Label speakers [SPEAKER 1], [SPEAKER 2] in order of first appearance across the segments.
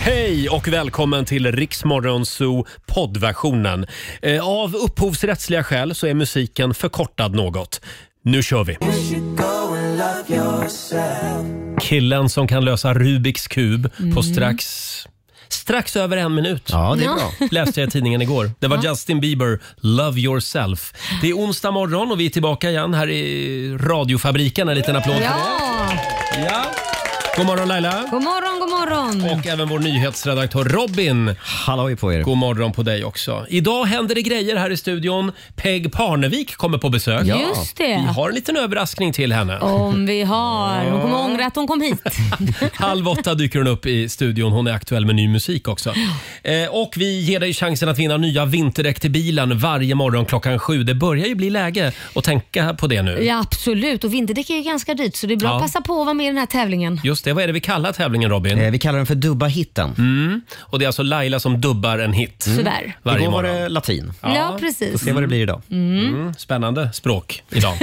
[SPEAKER 1] Hej och välkommen till Riksmorgon Zoo poddversionen. Eh, Av upphovsrättsliga skäl så är musiken förkortad något. Nu kör vi! Killen som kan lösa Rubiks kub på strax Strax över en minut.
[SPEAKER 2] Ja, det är bra.
[SPEAKER 1] Läste jag i tidningen igår. Det var Justin Bieber, Love yourself. Det är onsdag morgon och vi är tillbaka igen här i radiofabriken. En liten applåd för
[SPEAKER 3] Ja!
[SPEAKER 1] det. Ja. God morgon Laila!
[SPEAKER 3] God morgon, god morgon!
[SPEAKER 1] Och även vår nyhetsredaktör Robin.
[SPEAKER 2] Halloj på er.
[SPEAKER 1] God morgon på dig också. Idag händer det grejer här i studion. Peg Parnevik kommer på besök.
[SPEAKER 3] Just det.
[SPEAKER 1] Vi har en liten överraskning till henne.
[SPEAKER 3] Om vi har. Hon kommer ångra att hon kom hit.
[SPEAKER 1] Halv åtta dyker hon upp i studion. Hon är aktuell med ny musik också. Eh, och vi ger dig chansen att vinna nya vinterdäck till bilen varje morgon klockan sju. Det börjar ju bli läge att tänka på det nu.
[SPEAKER 3] Ja, absolut. Och vinterdäck är ju ganska dyrt så det är bra
[SPEAKER 1] Ja. Mm.
[SPEAKER 3] att passa på att vara med i den här tävlingen.
[SPEAKER 1] Just det, vad är det vi kallar tävlingen Robin?
[SPEAKER 2] Eh, Vi kallar den för Dubba hitten.
[SPEAKER 1] Och det är alltså Laila som dubbar en hit
[SPEAKER 3] Sådär.
[SPEAKER 1] varje
[SPEAKER 2] Igår var
[SPEAKER 1] morgon. Mm.
[SPEAKER 2] det latin.
[SPEAKER 3] Ja,
[SPEAKER 1] Ja,
[SPEAKER 2] Får
[SPEAKER 3] precis.
[SPEAKER 2] se vad det blir idag.
[SPEAKER 1] Spännande språk idag.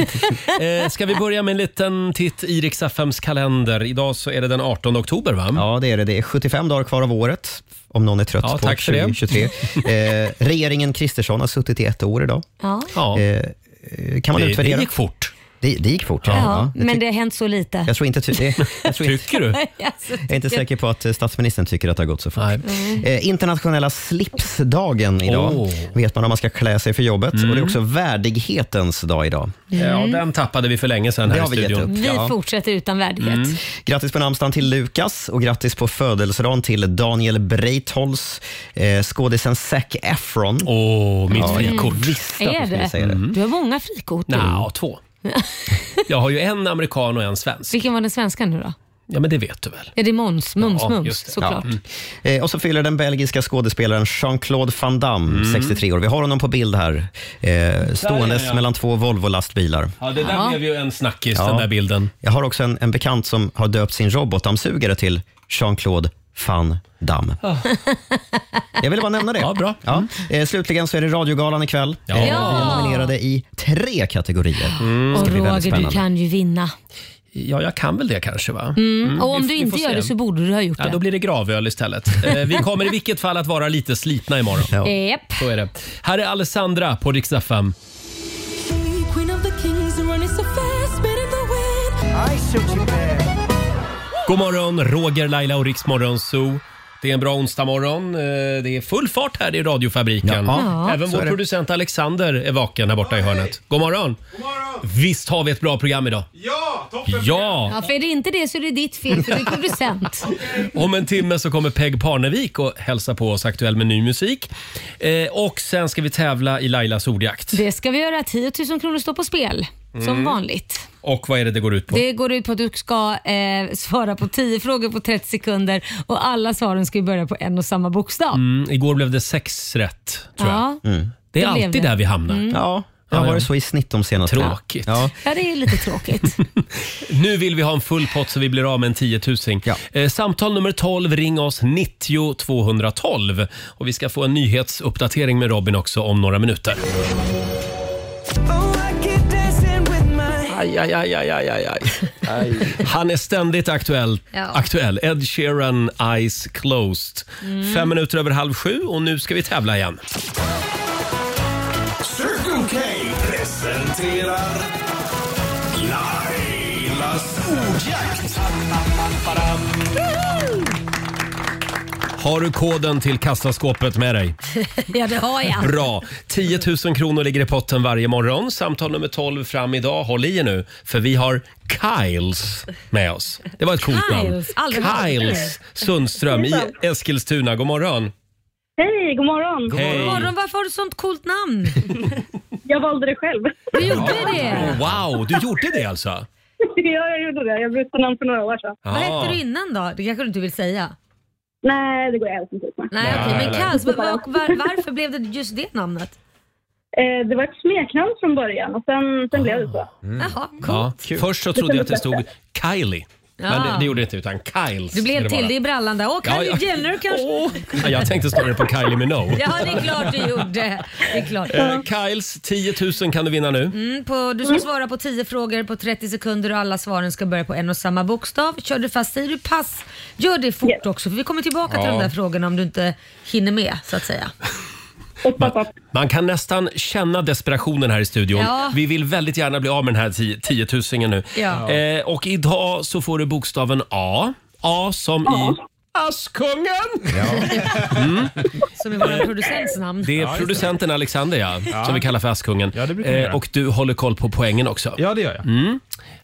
[SPEAKER 1] eh, ska vi börja med en liten titt i Rix FMs kalender? Idag så är det den 18 oktober va?
[SPEAKER 2] Ja, det är det. Det är 75 dagar kvar av året, om någon är trött
[SPEAKER 1] Mm. Ja,
[SPEAKER 2] på
[SPEAKER 1] tack för det.
[SPEAKER 2] 2023. eh, regeringen Kristersson har suttit i ett år idag.
[SPEAKER 3] Ja.
[SPEAKER 1] Ja,
[SPEAKER 2] Eh, eh, kan man
[SPEAKER 1] det, det
[SPEAKER 2] utvärdera?
[SPEAKER 1] gick fort.
[SPEAKER 2] det, det gick fort. Ja.
[SPEAKER 3] Ja,
[SPEAKER 2] jag,
[SPEAKER 3] men
[SPEAKER 2] ty-
[SPEAKER 3] det har hänt så lite.
[SPEAKER 2] jag tror inte... Ty- eh, jag, tror inte
[SPEAKER 1] Tycker du?
[SPEAKER 3] Alltså,
[SPEAKER 2] jag är inte säker på att eh, statsministern tycker att det har gått så fort.
[SPEAKER 1] Nej.
[SPEAKER 2] Eh, internationella slipsdagen idag.
[SPEAKER 1] Oh.
[SPEAKER 2] Vet man om man ska klä sig för jobbet.
[SPEAKER 1] Mm.
[SPEAKER 2] Och Det är också värdighetens dag idag.
[SPEAKER 1] Ja, den tappade vi för länge sedan
[SPEAKER 2] Det
[SPEAKER 1] här i
[SPEAKER 2] har vi gett
[SPEAKER 1] studion.
[SPEAKER 2] upp.
[SPEAKER 3] Vi
[SPEAKER 2] Ja.
[SPEAKER 3] fortsätter utan värdighet.
[SPEAKER 2] Grattis på namnsdagen till Lukas och grattis på födelsedagen till Daniel Breitholtz, eh, skådisen Zac Efron.
[SPEAKER 1] Åh, Mm. mitt
[SPEAKER 2] Ja,
[SPEAKER 1] frikort.
[SPEAKER 2] jag visste att du
[SPEAKER 3] Är
[SPEAKER 2] skulle
[SPEAKER 3] det?
[SPEAKER 2] säga det.
[SPEAKER 3] Du har många frikort.
[SPEAKER 1] Nja, två. Jag har ju en amerikan och en svensk.
[SPEAKER 3] Vilken var den svenska nu då?
[SPEAKER 1] Ja, men det vet du väl?
[SPEAKER 3] Ja, det är Måns. Mums,
[SPEAKER 1] Ja,
[SPEAKER 3] mums
[SPEAKER 1] just det.
[SPEAKER 3] såklart.
[SPEAKER 2] Ja. Eh, och så fyller den belgiska skådespelaren Jean-Claude Van Damme 63 år. Vi har honom på bild här, eh, ståendes
[SPEAKER 1] Mm. är jag.
[SPEAKER 2] mellan två Volvo-lastbilar.
[SPEAKER 1] Ja, det där
[SPEAKER 3] Ja.
[SPEAKER 1] blev ju en snackis,
[SPEAKER 2] Ja.
[SPEAKER 1] den där bilden.
[SPEAKER 2] Jag har också en, en bekant som har döpt sin robotdammsugare till Jean-Claude Van Damme. Jag ville bara nämna det.
[SPEAKER 1] Ja, bra.
[SPEAKER 2] Ja. Eh, slutligen så är det Radiogalan ikväll.
[SPEAKER 1] Ja.
[SPEAKER 2] Eh, vi
[SPEAKER 3] Ja. Mm.
[SPEAKER 2] är nominerade i tre kategorier. Det
[SPEAKER 3] Och
[SPEAKER 2] ska bli väldigt
[SPEAKER 3] Roger, du
[SPEAKER 2] spännande.
[SPEAKER 3] kan ju vinna.
[SPEAKER 1] Ja, jag kan väl det kanske, va?
[SPEAKER 3] Mm. Och om
[SPEAKER 1] vi-
[SPEAKER 3] du
[SPEAKER 1] vi
[SPEAKER 3] inte
[SPEAKER 1] får
[SPEAKER 3] gör
[SPEAKER 1] se.
[SPEAKER 3] det så borde du ha gjort
[SPEAKER 1] Ja, då
[SPEAKER 3] det.
[SPEAKER 1] blir det gravöl istället. Eh, Vi kommer i vilket fall att vara lite slitna imorgon.
[SPEAKER 2] Ja.
[SPEAKER 3] Japp.
[SPEAKER 1] Så är det. Här är Alessandra på Rix FM. God morgon, Roger, Laila och Rix Morgon Zoo. Det är en bra onsdagmorgon. Eh, Det är full fart här i radiofabriken.
[SPEAKER 2] Ja, ja,
[SPEAKER 1] Även
[SPEAKER 2] så
[SPEAKER 1] vår
[SPEAKER 2] är det.
[SPEAKER 1] producent Alexander är vaken här borta i hörnet. God morgon! Visst har vi ett bra program idag?
[SPEAKER 4] Ja, toppen!
[SPEAKER 1] Ja!
[SPEAKER 3] Ja, för är det inte det så är det ditt fel för du är producent.
[SPEAKER 1] Om en timme så kommer Peg Parnevik och hälsa på oss aktuell med ny musik. Eh, Och sen ska vi tävla i Lailas ordjakt.
[SPEAKER 3] Det ska vi göra. 10 000 kronor står på spel. Som vanligt.
[SPEAKER 1] Och vad är det det går ut på?
[SPEAKER 3] Det går ut på att du ska eh, svara på 10 frågor på 30 sekunder och alla svaren ska ju börja på en och samma bokstav.
[SPEAKER 1] Mm, igår blev det sex rätt, tror jag.
[SPEAKER 3] Ja.
[SPEAKER 1] Det är
[SPEAKER 3] det blev
[SPEAKER 1] alltid
[SPEAKER 3] det.
[SPEAKER 1] där vi hamnar.
[SPEAKER 2] Ja, det har varit så i snitt de senaste åren.
[SPEAKER 1] Tråkigt.
[SPEAKER 2] Ja.
[SPEAKER 3] ja, det är lite tråkigt.
[SPEAKER 1] Nu vill vi ha en full pott så vi blir av med en 10 000.
[SPEAKER 2] Ja.
[SPEAKER 1] Eh, samtal nummer 12, ring oss 90 212. Och vi ska få en nyhetsuppdatering med Robin också om några minuter. Aj, aj, aj, aj, aj, aj, aj. Han är ständigt aktuell.
[SPEAKER 3] Ja.
[SPEAKER 1] aktuell. Ed Sheeran, Eyes Closed. Fem minuter över halv sju och nu ska vi tävla igen.
[SPEAKER 4] Circle K presenterar Lailas ordjakt.
[SPEAKER 1] Har du koden till kassaskåpet med dig?
[SPEAKER 3] ja, det har jag.
[SPEAKER 1] Bra! 10 000 kronor ligger i potten varje morgon. Samtal nummer 12 fram idag. Håll i er nu, för vi har Kyles med oss. Det var ett coolt namn.
[SPEAKER 3] Kyles. Aldrig hört.
[SPEAKER 1] Kyles Sundström i Eskilstuna. God morgon!
[SPEAKER 5] Hej, god morgon.
[SPEAKER 1] Hej!
[SPEAKER 3] Morgon, varför har du sånt coolt namn?
[SPEAKER 5] Jag valde det själv.
[SPEAKER 3] Du gjorde det.
[SPEAKER 1] Wow, du gjorde det alltså?
[SPEAKER 5] ja, jag gjorde det. Jag bytte namn för några år sedan.
[SPEAKER 3] Vad hette
[SPEAKER 1] Ja.
[SPEAKER 3] du innan då? Det kanske du inte vill säga?
[SPEAKER 5] Nej, det går jag helt inte ut med.
[SPEAKER 3] Nej,
[SPEAKER 1] Nej,
[SPEAKER 3] okej.
[SPEAKER 1] nej.
[SPEAKER 3] Men Kals, var, var, varför blev det just det namnet?
[SPEAKER 5] Eh, det var ett smeknamn
[SPEAKER 3] Mm.
[SPEAKER 5] från början och sen, sen blev det så.
[SPEAKER 3] Jaha, coolt.
[SPEAKER 1] Ja. Först så trodde jag att det stod Kylie. Men
[SPEAKER 3] Ja.
[SPEAKER 1] det, det gjorde det inte, utan Kyles.
[SPEAKER 3] Du blev
[SPEAKER 1] skulle
[SPEAKER 3] till
[SPEAKER 1] vara.
[SPEAKER 3] det i brallan där. Åh, Kylie
[SPEAKER 1] Ja, ja.
[SPEAKER 3] Jenner kanske?
[SPEAKER 1] Åh, ja, jag tänkte snarare på Kylie Minogue.
[SPEAKER 3] Ja, det är klart du gjorde. Det är klart.
[SPEAKER 1] Eh, Kyles, 10 000 kan du vinna nu.
[SPEAKER 3] Mm, på, du ska svara på 10 frågor på 30 sekunder och alla svaren ska börja på en och samma bokstav. Kör du fast, säger du pass, gör det fort också för vi kommer tillbaka till
[SPEAKER 1] Ja.
[SPEAKER 3] de där frågorna om du inte hinner med så att säga.
[SPEAKER 5] Och stopp,
[SPEAKER 1] Man,
[SPEAKER 5] stopp.
[SPEAKER 1] man kan nästan känna desperationen här i studion.
[SPEAKER 3] Ja.
[SPEAKER 1] Vi vill väldigt gärna bli av med den här 10 tiotusingen nu.
[SPEAKER 3] Ja.
[SPEAKER 1] Eh, och idag så får du bokstaven A. A som i Askungen!
[SPEAKER 3] Som är vår producents namn.
[SPEAKER 1] Det är producenten Alexander ja, som vi kallar för Askungen. Eh,
[SPEAKER 6] Ja, det brukar vi göra.
[SPEAKER 1] och du håller koll på poängen också.
[SPEAKER 6] Ja, det gör jag.
[SPEAKER 2] Mm.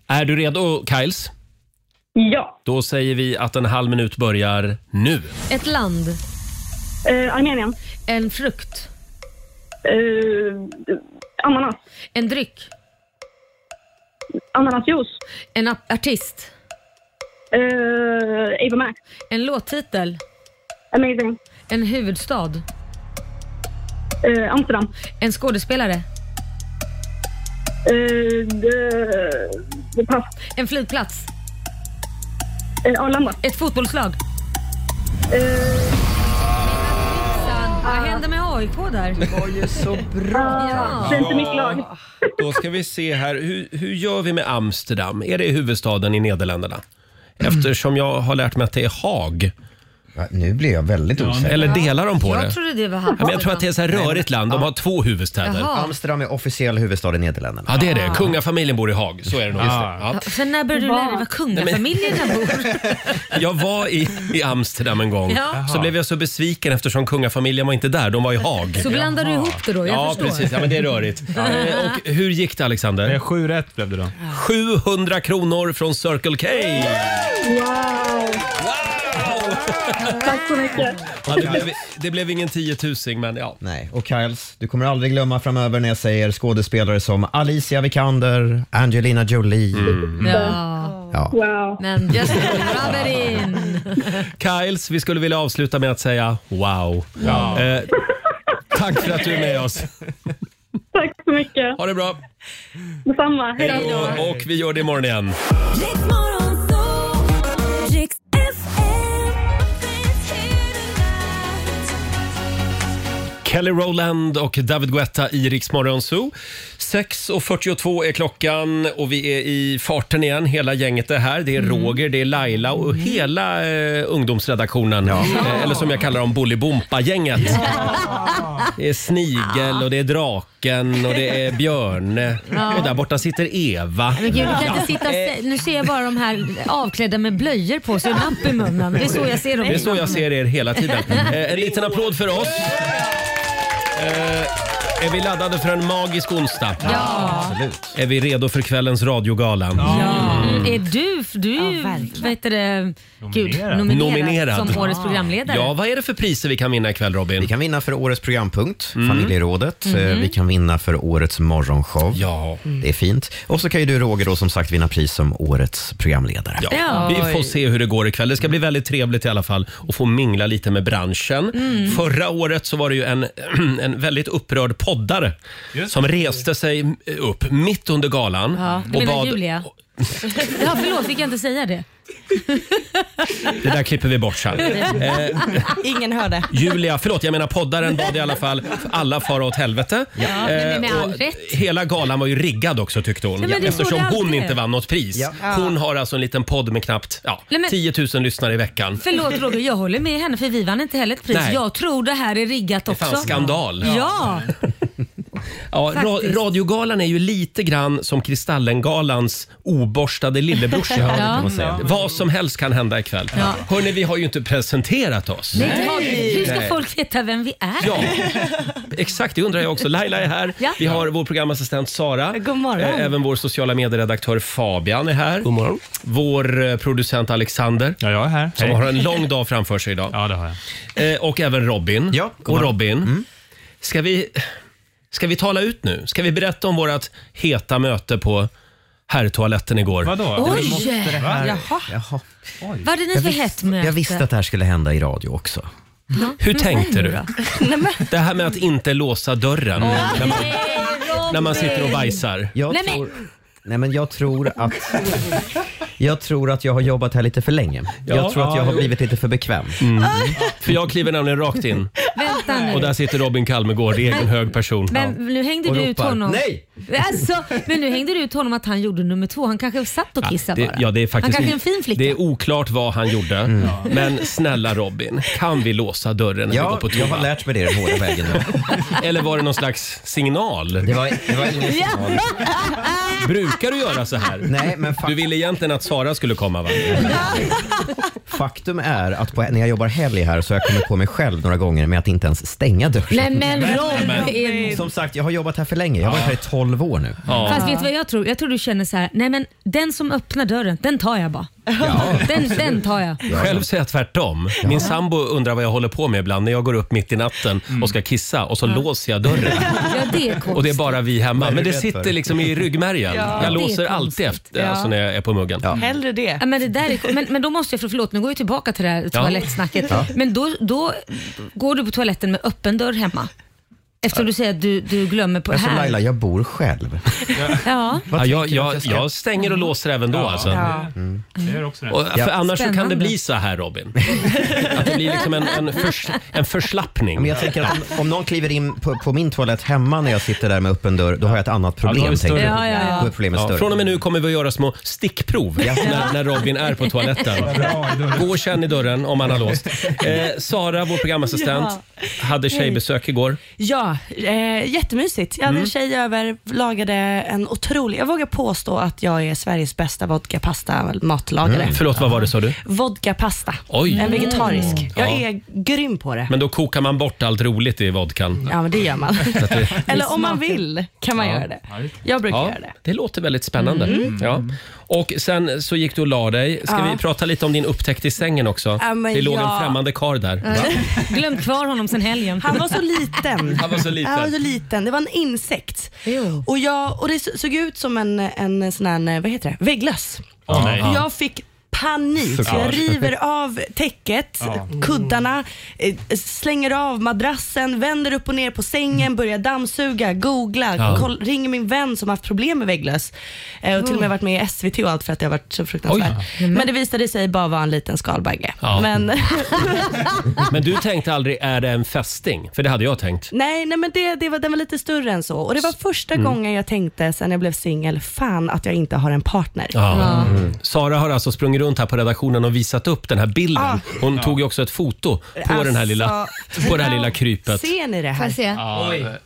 [SPEAKER 1] Är du redo Kyles?
[SPEAKER 5] Ja.
[SPEAKER 1] Då säger vi att en halv minut börjar nu.
[SPEAKER 3] Ett land,
[SPEAKER 5] Eh, Armenien.
[SPEAKER 3] en frukt,
[SPEAKER 5] Eh, ananas.
[SPEAKER 3] en dryck,
[SPEAKER 5] Ananasjuice.
[SPEAKER 3] en ap- artist,
[SPEAKER 5] Eh, Ava Max.
[SPEAKER 3] en låttitel,
[SPEAKER 5] Amazing.
[SPEAKER 3] en huvudstad,
[SPEAKER 5] Eh, Amsterdam.
[SPEAKER 3] en skådespelare,
[SPEAKER 5] Eh, eh, pass.
[SPEAKER 3] en flygplats,
[SPEAKER 5] Eh, Arlanda.
[SPEAKER 3] ett fotbollslag.
[SPEAKER 5] Eh,
[SPEAKER 3] Vad hände med AIK där?
[SPEAKER 6] Det var ju så bra.
[SPEAKER 3] Ja.
[SPEAKER 5] det är inte mitt lag.
[SPEAKER 1] Då ska vi se här. Hur, hur gör vi med Amsterdam? Är det huvudstaden i Nederländerna? Eftersom jag har lärt mig att det är Haag.
[SPEAKER 2] Ja, Nu blir jag väldigt osäker.
[SPEAKER 1] Eller delar de på det?
[SPEAKER 3] Jag trodde det var
[SPEAKER 1] Ja, men jag tror att det är ett så här rörigt land. De har två huvudstäder.
[SPEAKER 3] Jaha. Ah.
[SPEAKER 2] Amsterdam är officiell huvudstad i Nederländerna.
[SPEAKER 1] Ja, det är det. Kungafamiljen bor i Haag. Så är det nog. Just det. Ja.
[SPEAKER 3] Sen när började du lära dig var kungafamiljerna bor?
[SPEAKER 1] Jag var i, i Amsterdam en gång.
[SPEAKER 3] Ja.
[SPEAKER 1] Så blev jag så besviken eftersom kungafamiljen var inte där. De var i Haag.
[SPEAKER 3] Så blandar du ihop det då? Jag
[SPEAKER 1] Ja,
[SPEAKER 3] förstår.
[SPEAKER 1] precis. Ja, men det är rörigt. Eh, Och hur gick det,
[SPEAKER 6] Eh,
[SPEAKER 1] Alexander?
[SPEAKER 6] Sju rätt blev det då.
[SPEAKER 1] 700 kronor från Circle K!
[SPEAKER 5] Wow.
[SPEAKER 1] Wow!
[SPEAKER 5] Tack så mycket.
[SPEAKER 1] Ja, det, blev, det blev ingen tiotusing, men ja.
[SPEAKER 2] Nej, och Kyles, du kommer aldrig glömma framöver när jag säger skådespelare som Alicia Vikander, Angelina Jolie.
[SPEAKER 3] Mm.
[SPEAKER 1] Mm.
[SPEAKER 3] Ja.
[SPEAKER 2] Ja.
[SPEAKER 5] Wow.
[SPEAKER 3] Men Justin Robert in.
[SPEAKER 1] Kyles, vi skulle vilja avsluta med att säga wow. Eh, tack för att du är med oss.
[SPEAKER 5] Tack så mycket.
[SPEAKER 1] Ha det bra.
[SPEAKER 5] Detsamma. Hej då.
[SPEAKER 1] Och, och vi gör det imorgon igen. Kelly Rowland och David Guetta i Rix Morgon Zoo. 6.42 är klockan och vi är i farten igen. Hela gänget är här. Det är Roger, det är Laila och hela eh, ungdomsredaktionen. Eh, eller som jag kallar dem, Bolibompa-gänget. Det är Snigel och det är Draken och det är Björne. Och där borta sitter Eva.
[SPEAKER 3] Men gud, du kan inte sitta stä- nu ser jag bara de här avklädda med blöjor på sig och napp i munnen. Det är så jag ser dem.
[SPEAKER 1] Det är så jag ser er hela tiden. Eh, en liten applåd för oss. Eh, är vi laddade för en magisk onsdag?
[SPEAKER 3] Ja.
[SPEAKER 2] Absolut.
[SPEAKER 1] Är vi redo för kvällens radiogala?
[SPEAKER 3] Mm. Är du, du är ju,
[SPEAKER 7] Ja, verkligen.
[SPEAKER 3] vad heter det, gud,
[SPEAKER 6] Nominerad.
[SPEAKER 3] nominerad,
[SPEAKER 1] Nominerad.
[SPEAKER 3] som årets programledare.
[SPEAKER 1] Ja, vad är det för priser vi kan vinna ikväll Robin?
[SPEAKER 2] Vi kan vinna för årets programpunkt,
[SPEAKER 1] Mm.
[SPEAKER 2] familjerådet. Eh, Vi kan vinna för årets morgonshow.
[SPEAKER 1] Ja.
[SPEAKER 2] Det är fint. Och så kan ju du Roger då som sagt vinna pris som årets programledare.
[SPEAKER 1] Ja.
[SPEAKER 3] Ja.
[SPEAKER 1] Vi får se hur det går ikväll. Det ska bli väldigt trevligt i alla fall att få mingla lite med branschen.
[SPEAKER 3] Mm.
[SPEAKER 1] Förra året så var det ju en, en väldigt upprörd poddare
[SPEAKER 6] Just
[SPEAKER 1] som reste sig upp mitt under galan.
[SPEAKER 3] Ja, du menar Julia? Ja, förlåt, fick jag inte säga det?
[SPEAKER 1] Det där klipper vi bort sen. Eh,
[SPEAKER 7] Ingen hörde.
[SPEAKER 1] Julia, förlåt jag menar poddaren bad i alla fall alla fara åt helvete.
[SPEAKER 3] Ja, men det är med
[SPEAKER 1] Eh,
[SPEAKER 3] all
[SPEAKER 1] och
[SPEAKER 3] rätt.
[SPEAKER 1] Hela galan var ju riggad också tyckte hon.
[SPEAKER 3] Ja, men det
[SPEAKER 1] eftersom
[SPEAKER 3] borde
[SPEAKER 1] hon
[SPEAKER 3] alltid.
[SPEAKER 1] inte vann något pris. Hon har alltså en liten podd med knappt ja,
[SPEAKER 3] Nej, men-
[SPEAKER 1] 10 000 lyssnare i veckan.
[SPEAKER 3] Förlåt Roger, jag håller med henne för vi vann inte heller ett pris.
[SPEAKER 1] Nej.
[SPEAKER 3] Jag tror det här är riggat också.
[SPEAKER 1] Fan, skandal.
[SPEAKER 3] Ja,
[SPEAKER 1] Ja, ra
[SPEAKER 3] faktiskt.
[SPEAKER 1] radiogalan är ju lite grann som Kristallengalans oborstade lillebrorsa. kan man säga. Vad som helst kan hända ikväll.
[SPEAKER 3] Ja.
[SPEAKER 1] Hörni, vi har ju inte presenterat oss.
[SPEAKER 3] Nej. Hur ska
[SPEAKER 1] Nej.
[SPEAKER 3] folk veta vem vi är?
[SPEAKER 1] Ja, exakt. Det undrar jag också. Laila är här.
[SPEAKER 3] Ja.
[SPEAKER 1] Vi har vår programassistent Sara.
[SPEAKER 7] God morgon.
[SPEAKER 1] Eh, Även vår sociala medieredaktör Fabian är här. God morgon. Vår eh, producent Alexander.
[SPEAKER 6] Ja, jag är här.
[SPEAKER 1] Som
[SPEAKER 6] Hej.
[SPEAKER 1] har en lång dag framför sig idag.
[SPEAKER 6] Ja, det har jag.
[SPEAKER 1] Eh, Och även Robin.
[SPEAKER 2] Ja,
[SPEAKER 1] och
[SPEAKER 2] god morgon.
[SPEAKER 1] Robin, ska, vi, ska vi tala ut nu? Ska vi berätta om vårt heta möte på herrtoaletten igår?
[SPEAKER 6] Vadå?
[SPEAKER 3] Oj!
[SPEAKER 6] Du det här...
[SPEAKER 7] Jaha.
[SPEAKER 2] Jaha.
[SPEAKER 3] Vad hade ni för hett möte?
[SPEAKER 2] jag visste att det här skulle hända i radio också.
[SPEAKER 1] Hur tänkte du?
[SPEAKER 7] Nej, men,
[SPEAKER 1] Det här med att inte låsa dörren när, man,
[SPEAKER 3] Nej,
[SPEAKER 1] när man sitter och bajsar.
[SPEAKER 2] Jag
[SPEAKER 3] Nej, men-
[SPEAKER 2] tror... Nej men jag tror att... Jag tror att jag har jobbat här lite för länge.
[SPEAKER 1] Ja.
[SPEAKER 2] Jag tror att jag har
[SPEAKER 1] Ja, jo. Mm.
[SPEAKER 2] blivit lite för bekväm.
[SPEAKER 1] För jag kliver nämligen rakt in
[SPEAKER 3] Vänta nu.
[SPEAKER 1] och där sitter Robin Kalmegård i egen hög person.
[SPEAKER 3] Men nu hängde
[SPEAKER 1] Och
[SPEAKER 3] du ut
[SPEAKER 1] ropar,
[SPEAKER 3] honom.
[SPEAKER 1] "Nej!"
[SPEAKER 3] Alltså, men nu hängde du ut honom att han gjorde nummer två. Han kanske satt och kissade
[SPEAKER 1] Det,
[SPEAKER 3] bara.
[SPEAKER 1] ja, det är faktiskt
[SPEAKER 3] han kanske är en fin flicka.
[SPEAKER 1] Det är oklart vad han gjorde.
[SPEAKER 2] Mm.
[SPEAKER 1] Men snälla Robin, kan vi låsa dörren när vi går
[SPEAKER 2] Ja,
[SPEAKER 1] på
[SPEAKER 2] jag
[SPEAKER 1] toa?
[SPEAKER 2] har lärt mig det den hårda vägen nu.
[SPEAKER 1] Eller var det någon slags signal?
[SPEAKER 2] Det var, det var ingen signal.
[SPEAKER 1] Brukar du göra så här?
[SPEAKER 2] Nej, men fak-
[SPEAKER 1] Du ville egentligen att Sara skulle komma va?
[SPEAKER 2] faktum är att på, när jag jobbar helg här så har jag kommit på mig själv några gånger med att inte ens stänga dörren.
[SPEAKER 3] Nej men Robin!
[SPEAKER 2] Som sagt, jag har jobbat här för länge. Jag har varit här i 12 år nu.
[SPEAKER 3] Fast vet du vad jag tror? Jag tror du känner så här, nej men den som öppnar dörren, den tar jag bara. den, den tar jag.
[SPEAKER 1] Själv säger jag tvärtom. Min sambo undrar vad jag håller på med ibland när jag går upp mitt i natten
[SPEAKER 2] Mm.
[SPEAKER 1] och ska kissa och så låser jag dörren.
[SPEAKER 3] Ja, det är konstigt.
[SPEAKER 1] Och det är bara vi hemma.
[SPEAKER 2] är
[SPEAKER 1] Men
[SPEAKER 2] du
[SPEAKER 1] det
[SPEAKER 2] rädd för?
[SPEAKER 1] sitter liksom i ryggmärgen.
[SPEAKER 8] Ja.
[SPEAKER 1] Jag
[SPEAKER 3] Det är
[SPEAKER 1] låser alltid
[SPEAKER 3] konstigt.
[SPEAKER 1] efter alltså, när jag är på muggen.
[SPEAKER 8] Hellre det.
[SPEAKER 3] Ja, men, det där är, men, men då måste jag, för förlåt nu går jag tillbaka till det här toalettsnacket. Men då, då går du på toaletten med öppen dörr hemma. Eftersom du säger att du, du glömmer på
[SPEAKER 2] Alltså
[SPEAKER 3] här.
[SPEAKER 2] Laila, jag bor själv.
[SPEAKER 3] Ja.
[SPEAKER 1] Ja, jag,
[SPEAKER 2] tänker du att
[SPEAKER 1] jag,
[SPEAKER 2] jag ska-
[SPEAKER 1] jag stänger och låser även då alltså.
[SPEAKER 6] Jag gör också det.
[SPEAKER 1] Och, för annars så kan det
[SPEAKER 3] Spännande.
[SPEAKER 1] bli så här Robin. Att det blir liksom en, en, förs, en förslappning.
[SPEAKER 2] Men jag tänker att om, om någon kliver in på, på min toalett hemma när jag sitter där med öppen dörr, då har jag ett annat problem.
[SPEAKER 1] då är det
[SPEAKER 2] tänker
[SPEAKER 1] större.
[SPEAKER 2] jag.
[SPEAKER 3] Ja, ja, ja.
[SPEAKER 2] Då är problemet
[SPEAKER 1] Ja,
[SPEAKER 2] större.
[SPEAKER 1] från och med nu kommer vi att göra små stickprov när, när Robin är på toaletten. Gå och känn i dörren om han har låst. Eh, Sara, vår programassistent, hade tjejbesök igår.
[SPEAKER 8] Ja, eh, jättemysigt. Jag hade
[SPEAKER 1] Mm.
[SPEAKER 8] en tjej över, lagade en otrolig, jag vågar påstå att jag är Sveriges bästa vodkapasta matlagare.
[SPEAKER 1] Förlåt, vad var det sa du?
[SPEAKER 8] Vodkapasta,
[SPEAKER 1] Mm. Oj. Mm.
[SPEAKER 8] en vegetarisk. Jag
[SPEAKER 1] Ja.
[SPEAKER 8] är grym på det.
[SPEAKER 1] Men då kokar man bort allt roligt i vodkan.
[SPEAKER 8] Ja, men det gör man. Eller om man vill kan man
[SPEAKER 1] Ja.
[SPEAKER 8] göra det. Jag brukar
[SPEAKER 1] Ja,
[SPEAKER 8] göra det. Mm.
[SPEAKER 1] det låter väldigt spännande. Ja. Och sen så gick du och la dig. Ska
[SPEAKER 8] Ja.
[SPEAKER 1] vi prata lite om din upptäckt i sängen också?
[SPEAKER 8] Ja, men
[SPEAKER 1] det låg en
[SPEAKER 8] ja.
[SPEAKER 1] främmande karl där.
[SPEAKER 3] Glömt kvar honom sen helgen.
[SPEAKER 8] Han var så liten.
[SPEAKER 1] Han var så liten.
[SPEAKER 8] Han var så liten. Det var en insekt.
[SPEAKER 3] Jo.
[SPEAKER 8] Och, jag, och det så- såg ut som en, en sån här, eh, vad heter det, vägglöss.
[SPEAKER 1] Åh, nej.
[SPEAKER 8] Och Jag fick panik. Jag river av täcket,
[SPEAKER 1] Mm.
[SPEAKER 8] kuddarna, eh, slänger av madrassen, vänder upp och ner på sängen, börjar dammsuga, googla,
[SPEAKER 1] Mm. Ja.
[SPEAKER 8] koll, ringer min vän som haft problem med vägglöss. Eh, och till
[SPEAKER 1] Mm.
[SPEAKER 8] och med varit med i SVT och allt för att det har varit så fruktansvärt. Men det visade sig bara vara en liten skalbagge.
[SPEAKER 1] Ja.
[SPEAKER 8] Men,
[SPEAKER 1] Men du tänkte aldrig, är det en fästing? För det hade jag tänkt.
[SPEAKER 8] nej, nej, men det, det var, den var lite större än så. Och det var första
[SPEAKER 1] mm.
[SPEAKER 8] gången jag tänkte sen jag blev singel, fan att jag inte har en partner.
[SPEAKER 1] Ja. Sara har alltså sprungit runt här på redaktionen och visat upp den här bilden.
[SPEAKER 8] Ah.
[SPEAKER 1] Hon tog ju också ett foto på, den här lilla,
[SPEAKER 8] Alltså,
[SPEAKER 1] på det här lilla krypet.
[SPEAKER 8] Ser ni det
[SPEAKER 3] Får jag
[SPEAKER 8] här?
[SPEAKER 3] se?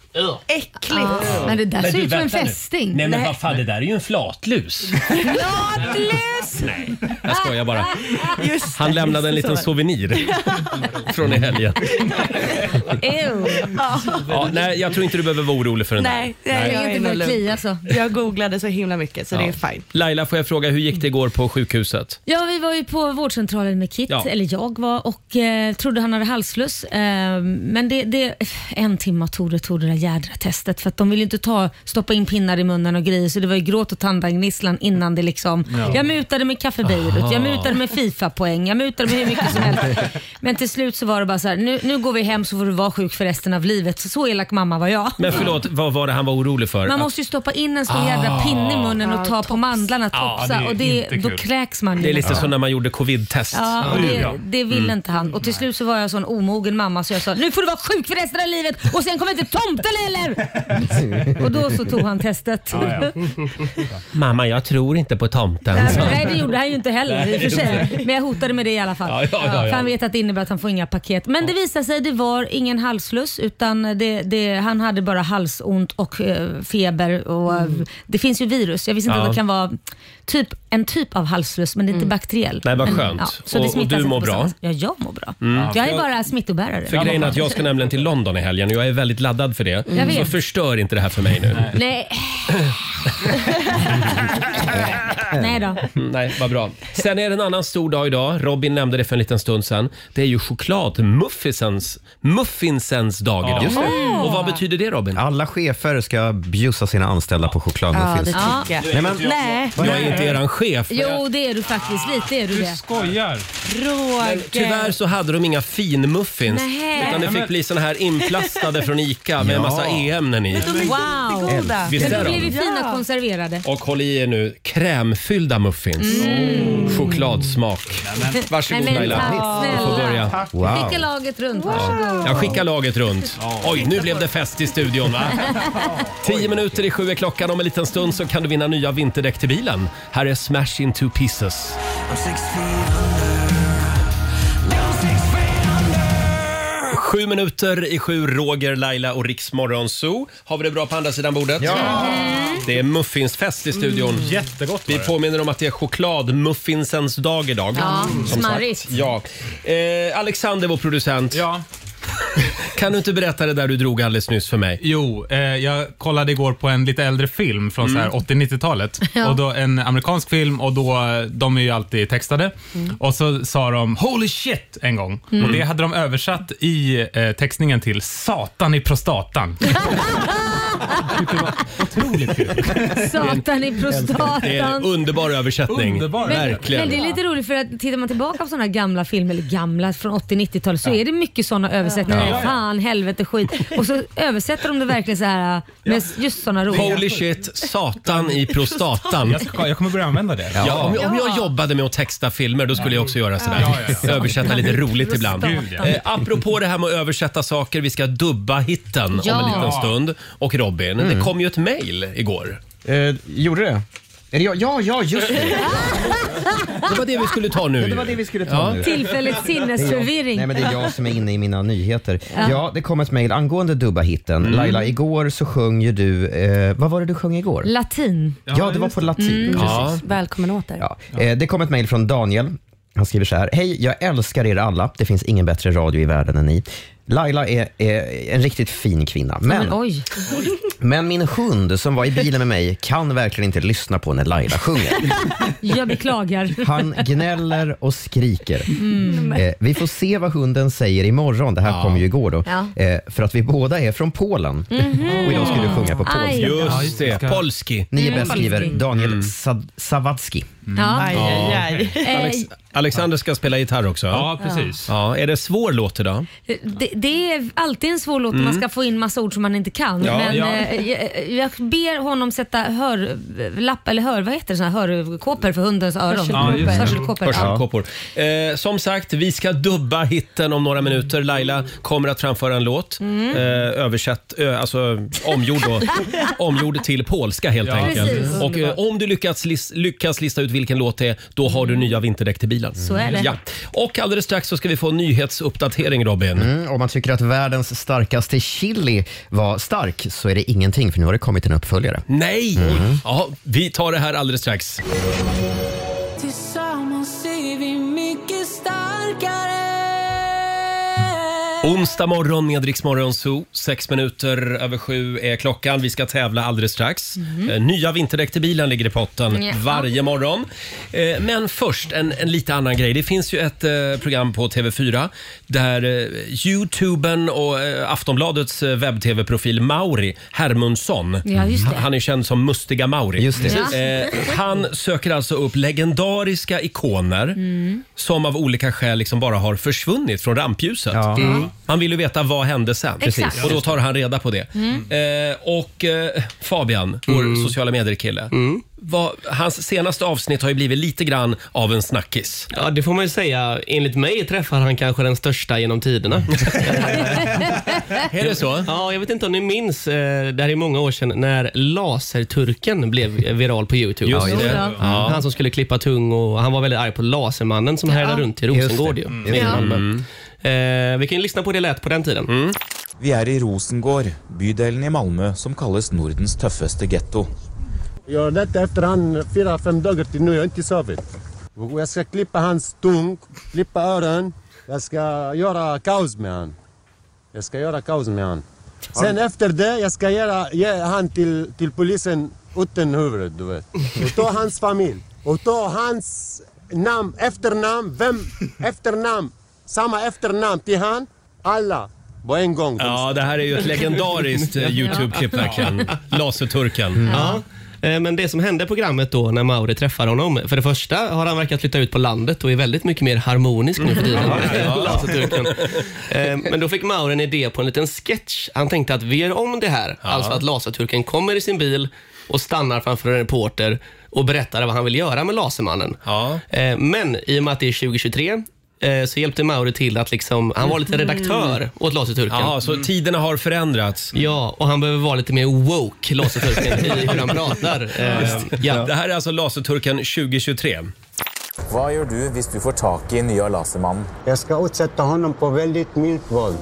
[SPEAKER 8] Äckligt!
[SPEAKER 3] Men det där ser ut som en fästing.
[SPEAKER 1] Nej men vad fan, det där är ju en flatlus.
[SPEAKER 3] Latlös!
[SPEAKER 1] Jag skojar bara.
[SPEAKER 8] Just
[SPEAKER 1] Han
[SPEAKER 8] det,
[SPEAKER 1] lämnade en
[SPEAKER 8] just
[SPEAKER 1] liten
[SPEAKER 8] så.
[SPEAKER 1] souvenir från i helgen.
[SPEAKER 3] Ew.
[SPEAKER 1] Ja, nej, jag tror inte du behöver vara orolig för den där.
[SPEAKER 8] Nej, nej,
[SPEAKER 3] Jag
[SPEAKER 8] jag,
[SPEAKER 3] är
[SPEAKER 8] är
[SPEAKER 3] inte
[SPEAKER 8] nog
[SPEAKER 3] börjat
[SPEAKER 8] lugn.
[SPEAKER 3] klia alltså.
[SPEAKER 8] jag googlade så himla mycket så det är fine.
[SPEAKER 1] Laila, får jag fråga, hur gick det igår på sjukhuset?
[SPEAKER 3] Ja, vi var ju på vårdcentralen med Kit,
[SPEAKER 1] Ja.
[SPEAKER 3] eller jag var, och eh, trodde han hade halsfluss. Eh, men det, det, en timme tog det, tog det där jädra testet för att de ville inte ta, stoppa in pinnar i munnen och grejer så det var ju gråt och tandagnisslan innan det liksom. Jag mutade med kaffebyrut, jag mutade med Fifa-poäng, jag mutade med hur mycket som helst. Men till slut så var det bara så här, nu, nu går vi hem så får du vara sjuk för resten av livet. Så, så elak mamma var jag.
[SPEAKER 1] Men förlåt, vad var det han var orolig för?
[SPEAKER 3] Man
[SPEAKER 1] Att-
[SPEAKER 3] måste ju stoppa in en stor jädra pinne i munnen och ta på mandlarna,
[SPEAKER 6] Ja,
[SPEAKER 3] topsa
[SPEAKER 6] det är
[SPEAKER 3] och det,
[SPEAKER 6] inte
[SPEAKER 3] då
[SPEAKER 6] kul.
[SPEAKER 3] kräks man ju
[SPEAKER 1] Det är
[SPEAKER 3] nästan.
[SPEAKER 1] lite som när man gjorde covid-test.
[SPEAKER 3] Ja, och
[SPEAKER 6] Ja.
[SPEAKER 3] det, Mm. det ville inte han. Och till slut så var jag sån omogen mamma så jag sa nu får du vara sjuk för resten av livet och sen kommer inte tomten heller. och då så tog han testet.
[SPEAKER 1] Mamma, jag tror inte på tomten.
[SPEAKER 3] Nej Alltså, det gjorde han ju inte heller i och för sig. Men jag hotade med det i alla fall.
[SPEAKER 1] Ja, ja, ja, ja.
[SPEAKER 3] För han vet att det innebär att han får inga paket. Men det visade sig det var ingen halsfluss utan det, det, han hade bara halsont och eh, feber. Och, eh, Det finns ju virus. Jag visste inte
[SPEAKER 1] Mm. Ja. Mm.
[SPEAKER 3] att det kan vara typ, en typ av halsfluss men det är inte bakteriell.
[SPEAKER 1] Nej, vad
[SPEAKER 3] Men,
[SPEAKER 1] skönt.
[SPEAKER 3] så det
[SPEAKER 1] Och- och
[SPEAKER 3] smittas
[SPEAKER 1] du
[SPEAKER 3] inte
[SPEAKER 1] mår
[SPEAKER 3] på
[SPEAKER 1] bra? Mm.
[SPEAKER 3] samma sätt. Ja, jag mår bra. Jag är bara smitobärare.
[SPEAKER 1] För grejen är att jag ska nämligen till London i helgen och jag är väldigt laddad för det.
[SPEAKER 3] Jag
[SPEAKER 1] Så
[SPEAKER 3] vet.
[SPEAKER 1] förstör inte det här för mig nu. Nej,
[SPEAKER 3] Nej. Nej då.
[SPEAKER 1] Mm, Nej vad bra. Sen är det en annan stor dag idag. Robin nämnde det för en liten stund sedan. Det är ju chokladmuffinsens muffinsens dag idag.
[SPEAKER 2] Just
[SPEAKER 1] Och vad betyder det Robin?
[SPEAKER 2] Alla chefer ska bjussa sina anställda på
[SPEAKER 8] Ja, det
[SPEAKER 2] chokladmuffins.
[SPEAKER 8] tycker jag.
[SPEAKER 2] Nej, men,
[SPEAKER 8] Nej,
[SPEAKER 1] Jag är inte eran chef.
[SPEAKER 3] Jo, det är du faktiskt. Lite är du
[SPEAKER 6] Du
[SPEAKER 3] det.
[SPEAKER 6] skojar!
[SPEAKER 8] Roger.
[SPEAKER 1] Tyvärr så hade de inga finmuffins.
[SPEAKER 3] Nähä.
[SPEAKER 1] Utan det fick bli såna här inplastade från ICA med en massa e-ämnen i.
[SPEAKER 8] De är
[SPEAKER 3] Wow.
[SPEAKER 8] jättegoda.
[SPEAKER 1] Visst
[SPEAKER 3] Men
[SPEAKER 1] är
[SPEAKER 3] då blev vi
[SPEAKER 1] de?
[SPEAKER 3] fina
[SPEAKER 8] Ja.
[SPEAKER 3] konserverade.
[SPEAKER 1] Och håll i er nu, crème krämfyllda muffins.
[SPEAKER 3] Mm.
[SPEAKER 1] Chokladsmak. Varsågod
[SPEAKER 3] Nej, men
[SPEAKER 1] Laila.
[SPEAKER 3] tack,
[SPEAKER 1] Du får
[SPEAKER 3] snälla.
[SPEAKER 1] börja.
[SPEAKER 2] Wow.
[SPEAKER 3] Skicka laget runt, varsågod.
[SPEAKER 1] Jag skickar laget runt. Oj, nu blev det fest i studion va? Tio minuter i sju är klockan. Om en liten stund så kan du vinna nya vinterdäck till bilen. Här är Smash Into Pieces. Sju minuter i sju, Roger, Laila och Riksmorgon Zoo. Har vi det bra på andra sidan bordet? Ja. Det är muffinsfest i studion.
[SPEAKER 6] Jättegott
[SPEAKER 1] Vi påminner om att det är chokladmuffinsens dag idag.
[SPEAKER 3] Ja,
[SPEAKER 1] Som sagt.
[SPEAKER 3] smarrigt.
[SPEAKER 1] Ja. Eh, Alexander, vår producent.
[SPEAKER 6] Ja.
[SPEAKER 1] Kan du inte berätta det där du drog alldeles nyss för mig?
[SPEAKER 6] Jo, eh, jag kollade igår på en lite äldre film från så här 80-90-talet.
[SPEAKER 3] Ja.
[SPEAKER 6] Och då, en amerikansk film och då, eh, de är ju alltid textade. Och så sa de “Holy shit” en gång. Och det hade de översatt i eh, textningen till “Satan i prostatan”. det var otroligt kul.
[SPEAKER 3] Satan
[SPEAKER 1] Det
[SPEAKER 3] i
[SPEAKER 1] är en
[SPEAKER 3] prostatan.
[SPEAKER 1] underbar översättning.
[SPEAKER 6] Underbar.
[SPEAKER 3] Men,
[SPEAKER 1] Verkligen.
[SPEAKER 3] men det är lite roligt för att tittar man tillbaka på sådana gamla filmer, eller gamla från 80-90-talet, så är det mycket sådana översättningar.
[SPEAKER 6] Ja.
[SPEAKER 3] Fan, helvete, skit. Och så översätter de det verkligen så här äh, med just sådana roliga.
[SPEAKER 1] Holy shit, satan i prostatan.
[SPEAKER 6] Jag, ska, jag kommer börja använda det.
[SPEAKER 1] Ja, om, om jag jobbade med att texta filmer då skulle jag också göra sådär.
[SPEAKER 6] Ja, ja, ja.
[SPEAKER 1] Översätta lite roligt ibland.
[SPEAKER 6] Gud, ja.
[SPEAKER 1] Eh, apropå det här med att översätta saker, vi ska dubba hitten om en
[SPEAKER 3] Ja.
[SPEAKER 1] liten stund. Och Robin, det kom ju ett mejl igår.
[SPEAKER 2] Eh, gjorde det? Är det jag? Ja, ja, just det.
[SPEAKER 1] Det var det vi skulle ta nu.
[SPEAKER 2] Det var det vi skulle ta
[SPEAKER 1] Ja.
[SPEAKER 2] nu.
[SPEAKER 3] Tillfälligt sinnesförvirring.
[SPEAKER 2] Nej, men det är jag som är inne i mina nyheter. Ja, det kom ett mejl angående dubbahitten. Laila, igår så sjöng ju du, eh, vad var det du sjöng igår?
[SPEAKER 3] Latin.
[SPEAKER 2] ja, det Mm. var på latin.
[SPEAKER 1] Ja.
[SPEAKER 7] Välkommen åter.
[SPEAKER 2] Ja. Eh, det kom ett mejl från Daniel. Han skriver så här. Hej, jag älskar er alla. Det finns ingen bättre radio i världen än ni. Laila är, är en riktigt fin kvinna, men,
[SPEAKER 3] Men oj.
[SPEAKER 2] men min hund som var i bilen med mig kan verkligen inte lyssna på när Laila sjunger.
[SPEAKER 3] Jag beklagar.
[SPEAKER 2] Han gnäller och skriker. Eh, vi får se vad hunden säger imorgon. Det här kom ju igår då.
[SPEAKER 3] Ja.
[SPEAKER 2] Eh, för att vi båda är från Polen och idag skulle du sjunga på polska.
[SPEAKER 3] Aj.
[SPEAKER 1] Just det,
[SPEAKER 6] Ska-
[SPEAKER 1] Polski.
[SPEAKER 2] Ni är bäst skriver
[SPEAKER 3] Polski.
[SPEAKER 2] Daniel Sad- Savadski.
[SPEAKER 3] Ja.
[SPEAKER 7] Aj, aj, aj.
[SPEAKER 1] Mm.
[SPEAKER 3] Eh,
[SPEAKER 1] Alexander ska spela gitarr också.
[SPEAKER 6] Ja, precis.
[SPEAKER 1] Ja, är det svår låt idag?
[SPEAKER 3] Eh, det, det är alltid en svår låt när man ska få in massa ord som man inte kan.
[SPEAKER 1] Ja,
[SPEAKER 3] men
[SPEAKER 6] ja.
[SPEAKER 3] eh, jag, jag ber honom sätta hörlapp, eller hör, vad heter det, såna här hörkåpor för hundens öron.
[SPEAKER 6] Hörselkåpor. Ja, just det.
[SPEAKER 3] Hörselkåpor. Ja.
[SPEAKER 1] Hörselkåpor. Eh, som sagt, vi ska dubba hitten om några minuter. Laila kommer att framföra en låt.
[SPEAKER 3] Mm.
[SPEAKER 1] Eh, översatt, ö, alltså omgjord då. omgjord till polska helt
[SPEAKER 6] Ja.
[SPEAKER 1] enkelt.
[SPEAKER 3] Precis.
[SPEAKER 1] Och eh, om du lyckats, lis, lyckas lista ut vilken låt det är, då har du nya vinterdäck till bilen.
[SPEAKER 3] Så är det.
[SPEAKER 1] Ja. Och alldeles strax så ska vi få en nyhetsuppdatering Robin.
[SPEAKER 2] Mm, om man tycker att världens starkaste chili var stark så är det ingenting för nu har det kommit en uppföljare.
[SPEAKER 1] Nej! Ja, vi tar det här alldeles strax.
[SPEAKER 9] Tillsammans är vi mycket starkare
[SPEAKER 1] Onsdag morgon med Rix Morgon Zoo. Sex minuter över sju är klockan. Vi ska tävla alldeles strax. Eh, Nya vinterdäck till bilen ligger i potten
[SPEAKER 3] Mhm. Ja.
[SPEAKER 1] varje morgon. Eh, Men först en, en lite annan grej. Det finns ju ett eh, program på TV4 där eh, youtubern och eh, Aftonbladets eh, webb-tv-profil Mauri Hermundsson.
[SPEAKER 3] Ja, just det.
[SPEAKER 1] Han är känd som Mustiga Mauri.
[SPEAKER 2] Just det.
[SPEAKER 3] Ja.
[SPEAKER 1] Eh, han söker alltså upp legendariska ikoner
[SPEAKER 3] Mm.
[SPEAKER 1] som av olika skäl liksom bara har försvunnit från rampljuset.
[SPEAKER 2] Ja. Mm.
[SPEAKER 1] Han vill ju veta vad hände sen.
[SPEAKER 3] Exakt. Mm.
[SPEAKER 1] Och då tar han reda på det. Eh, och eh, Fabian, vår
[SPEAKER 2] Mm.
[SPEAKER 1] sociala medier-kille. vad- hans senaste avsnitt har ju blivit lite grann av en snackis.
[SPEAKER 10] Ja, det får man ju säga. Enligt mig träffar han kanske den största genom tiderna.
[SPEAKER 2] Mm,
[SPEAKER 1] Är det så?
[SPEAKER 10] Ja, jag vet inte om ni minns, eh, det här är många år sedan, när Laserturken blev viral på Youtube.
[SPEAKER 1] Just
[SPEAKER 3] det.
[SPEAKER 1] det. Ja.
[SPEAKER 10] Han som skulle klippa tung och han var väldigt arg på Lasermannen som härjade runt i Rosengård. Ju,
[SPEAKER 2] Just det.
[SPEAKER 10] nere
[SPEAKER 1] Mm.
[SPEAKER 2] Mm.
[SPEAKER 10] i Malmö. Eh, vi kan ju lyssna på hur det lät på den tiden.
[SPEAKER 1] Mm.
[SPEAKER 11] Vi er i Rosengård, bydelen i Malmö som kalles Nordens tøffeste getto.
[SPEAKER 12] Jag letade efter han fyra, fem dagar till nu. Jag har inte sovit. Och jag ska klippa hans tung, klippa öron. Jag ska göra kaos med han. Jag ska göra kaos med han. Sen efter det, jag ska göra, ge han till, till polisen utan huvud, du vet. Och ta hans familj. Och ta hans namn, efternamn, vem, efternamn, samma efternamn till han. Alla, på en gång.
[SPEAKER 1] Ja, det här är ju ett legendariskt eh, Youtube-klipp verkligen. Laserturken.
[SPEAKER 10] Ja. Eh, Men det som hände i programmet då när Mauri träffar honom, för det första har han verkat flytta ut på landet och är väldigt mycket mer harmonisk nu för tiden. Landsturken. Eh, Men då fick Mauri en idé på en liten sketch. Han tänkte att vi gör om det här, alltså att laserturken kommer i sin bil och stannar framför en reporter och berättade vad han ville göra med Lasermannen. Eh, Men i och med att det är 2023 eh, så hjälpte Mauri till att liksom, han var lite
[SPEAKER 1] Mhm.
[SPEAKER 10] redaktör åt Laserturken.
[SPEAKER 1] Ja, så tiderna har förändrats.
[SPEAKER 10] Ja, och han behöver vara lite mer woke, Laserturken, i hur han pratar. Eh,
[SPEAKER 1] Det här är alltså Laserturken 2023.
[SPEAKER 11] Vad gör du hvis du får tak i nya Lasermannen?
[SPEAKER 13] Jag ska utsätta honom på väldigt milt våld.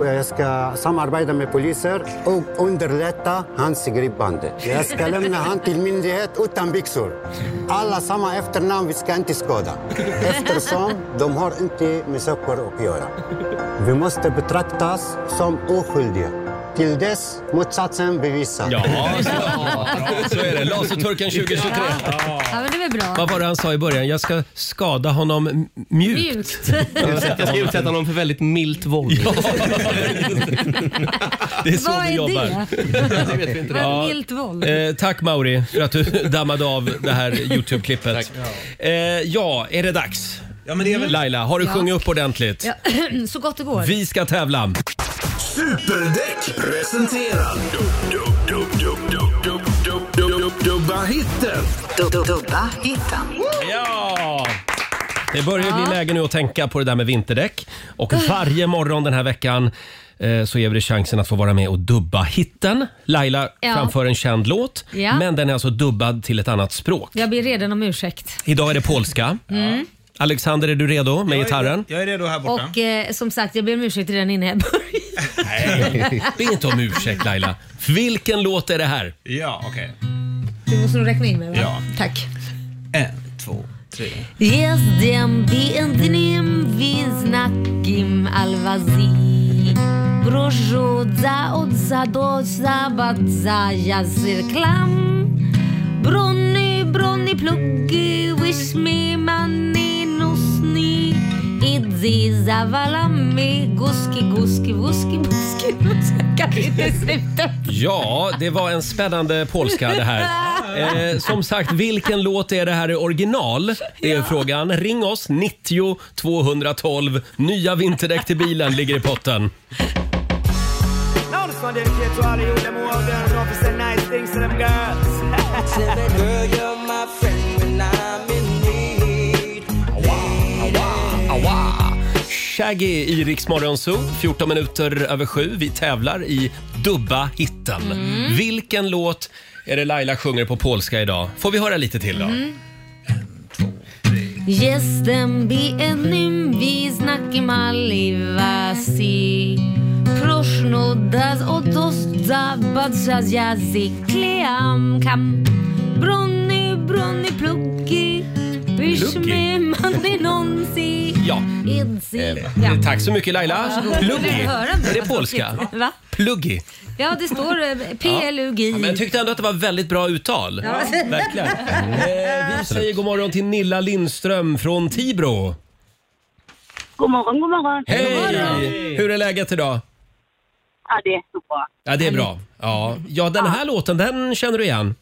[SPEAKER 13] Och Jag ska samarbeta med poliser och underlätta hans gripande. Jag ska lämna han till myndighet utan byxor. Alla samma efternamn vi ska inte skada. Eftersom de har inte med saker att göra. Vi måste betraktas som oskyldiga. Till dess motsatsen bevisas.
[SPEAKER 1] Ja, Så är det. Laserturken 2023.
[SPEAKER 3] Ja, men det är väl bra.
[SPEAKER 1] Vad var det han sa i början? Jag ska skada honom m- mjukt.
[SPEAKER 3] Mjukt.
[SPEAKER 10] Jag ska utsätta honom för väldigt milt våld.
[SPEAKER 1] Det är så
[SPEAKER 3] Vad
[SPEAKER 1] vi
[SPEAKER 3] är
[SPEAKER 1] jobbar.
[SPEAKER 3] det?
[SPEAKER 10] Det vet vi inte.
[SPEAKER 1] Ja.
[SPEAKER 3] Milt våld.
[SPEAKER 1] Eh, tack Mauri för att du dammade av det här Youtube-klippet. Eh, ja, är det dags? Ja, men det är väl... Laila, har du
[SPEAKER 3] Ja.
[SPEAKER 1] sjungit upp ordentligt?
[SPEAKER 3] Ja, så gott det går.
[SPEAKER 1] Vi ska tävla.
[SPEAKER 4] Superdäck presenterar... Dubba hitten! Dubba hitten.
[SPEAKER 1] Ja! Det börjar ju
[SPEAKER 4] Ja.
[SPEAKER 1] bli läge nu att tänka på det där med vinterdäck. Och varje morgon den här veckan eh, så ger vi dig chansen att få vara med och dubba hitten. Laila
[SPEAKER 3] Ja.
[SPEAKER 1] framför en känd låt,
[SPEAKER 3] Ja.
[SPEAKER 1] men den är alltså dubbad till ett annat språk.
[SPEAKER 3] Jag ber redan om ursäkt.
[SPEAKER 1] Idag är det polska.
[SPEAKER 3] Mm.
[SPEAKER 1] Alexander, är du redo med gitarren?
[SPEAKER 6] Jag är redo här
[SPEAKER 3] Och eh, som sagt, jag ber om ursäkt redan innan jag börjar.
[SPEAKER 1] Nej, be inte om ursäkt Laila. Vilken låt är det här?
[SPEAKER 6] Ja, okej.
[SPEAKER 3] Du måste nog räkna in mig va?
[SPEAKER 1] Ja.
[SPEAKER 3] Tack.
[SPEAKER 6] En, två, tre.
[SPEAKER 3] Jezdem piętnym wyznakiem Alwazji. Proszę za od za do zabat za jazyklam. Brony, brony pluki, wyśmi manny nosni. Idzi za walami, guski, guski, wuski, buski, buski. Kan inte sluta.
[SPEAKER 1] Ja, det var en spännande polska det här. Eh, som sagt, vilken låt är det här i original? Det är frågan. Ring oss, 90 212. Nya vinterdäck till bilen ligger i potten.
[SPEAKER 14] Now this one dedicated to all of you, them who out there and officer nice things to them girls. girl, you're my friend when I'm in need.
[SPEAKER 1] Awa! Shaggy i Rix Morgon Zoo, 14 minuter över sju. Vi tävlar i Dubba hitten.
[SPEAKER 3] Mm.
[SPEAKER 1] Vilken låt är det Laila sjunger på polska idag? Får vi höra lite till då?
[SPEAKER 3] Mm. Jestem biednym wyznakiem aliwasi. Proszno das o to zabatrzać język klejam kam. Brony, brony pluki, byśmy manny nonsi.
[SPEAKER 1] Ja.
[SPEAKER 3] Idzi.
[SPEAKER 1] Eh, Tack så mycket Laila.
[SPEAKER 3] Varsågod. Jag
[SPEAKER 1] Pluggi.
[SPEAKER 3] vill höra nu.
[SPEAKER 1] Är det polska?
[SPEAKER 3] Va?
[SPEAKER 1] Pluggi.
[SPEAKER 3] Ja, det står eh, PLUGI.
[SPEAKER 1] Ja, men jag tyckte ändå att det var väldigt bra uttal.
[SPEAKER 3] Ja.
[SPEAKER 1] Verkligen. Eh, vi säger god morgon till Nilla Lindström från Tibro.
[SPEAKER 15] God morgon, god morgon.
[SPEAKER 1] Hej! Hur är läget idag?
[SPEAKER 15] Ja, det är så bra.
[SPEAKER 1] Ja, det är bra. Ja, ja den här låten, den känner du igen.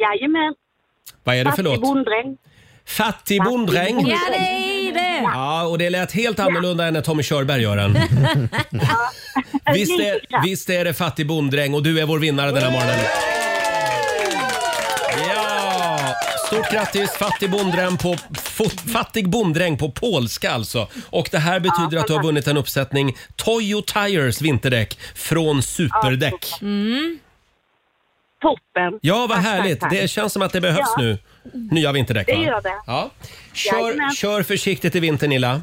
[SPEAKER 15] Jajamän.
[SPEAKER 1] Vad är det för
[SPEAKER 15] Fattig
[SPEAKER 1] låt?
[SPEAKER 15] bonddräng.
[SPEAKER 1] Fattig bonddräng.
[SPEAKER 15] Ja,
[SPEAKER 3] det är det.
[SPEAKER 1] Ja, och det lät helt annorlunda än när Tommy Körberg gör den. Visst är, visst är det Fattig bonddräng och du är vår vinnare den här morgonen. Ja! Stort grattis Fattig bonddräng på, fo- fattig bonddräng på polska alltså. Och det här betyder att du har vunnit en uppsättning Toyo Tires vinterdäck från Superdäck.
[SPEAKER 15] Mm. Toppen.
[SPEAKER 1] Ja, vad
[SPEAKER 15] Tack, tack,
[SPEAKER 1] härligt.
[SPEAKER 15] tack.
[SPEAKER 1] Det känns som att det behövs
[SPEAKER 15] Ja.
[SPEAKER 1] nu. Nya vinterdäck. va?
[SPEAKER 15] Det gör det.
[SPEAKER 1] Ja.
[SPEAKER 15] Jajamän.
[SPEAKER 1] Kör, kör försiktigt i vinter Nilla.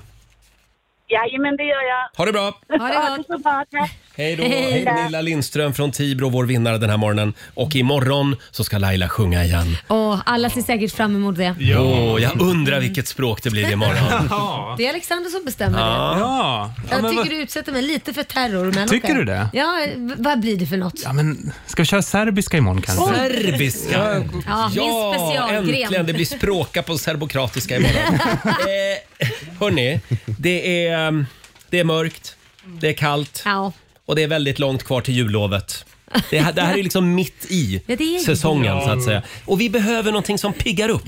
[SPEAKER 15] Jajamän, det gör jag.
[SPEAKER 1] Ha det bra.
[SPEAKER 15] Ha det så bra. Tack.
[SPEAKER 1] Hej då!
[SPEAKER 15] Hej.
[SPEAKER 1] Hej Nilla Lindström från Tibro, vår vinnare den här morgonen. Och imorgon så ska Laila sjunga igen.
[SPEAKER 3] Åh, alla ser säkert fram emot det.
[SPEAKER 1] Åh, jag undrar vilket språk det blir imorgon.
[SPEAKER 3] Det är Alexander som bestämmer det.
[SPEAKER 1] Ja.
[SPEAKER 3] Jag tycker du utsätter mig lite för terror. Men
[SPEAKER 6] Tycker
[SPEAKER 3] okej.
[SPEAKER 6] du det?
[SPEAKER 3] Ja, v- vad blir det för något? Ja,
[SPEAKER 6] Men ska vi köra serbiska imorgon kanske?
[SPEAKER 3] Oj.
[SPEAKER 1] Serbiska!
[SPEAKER 3] Ja, min specialgren.
[SPEAKER 1] äntligen! Det blir språka på serbokratiska imorgon. eh, hörni, det är, um, det är mörkt, det är kallt
[SPEAKER 3] Ja.
[SPEAKER 1] och det är väldigt långt kvar till jullovet. Det här, det här är liksom mitt i
[SPEAKER 3] Ja, det är ju
[SPEAKER 1] säsongen
[SPEAKER 3] det.
[SPEAKER 1] så att säga. Och vi behöver någonting som piggar upp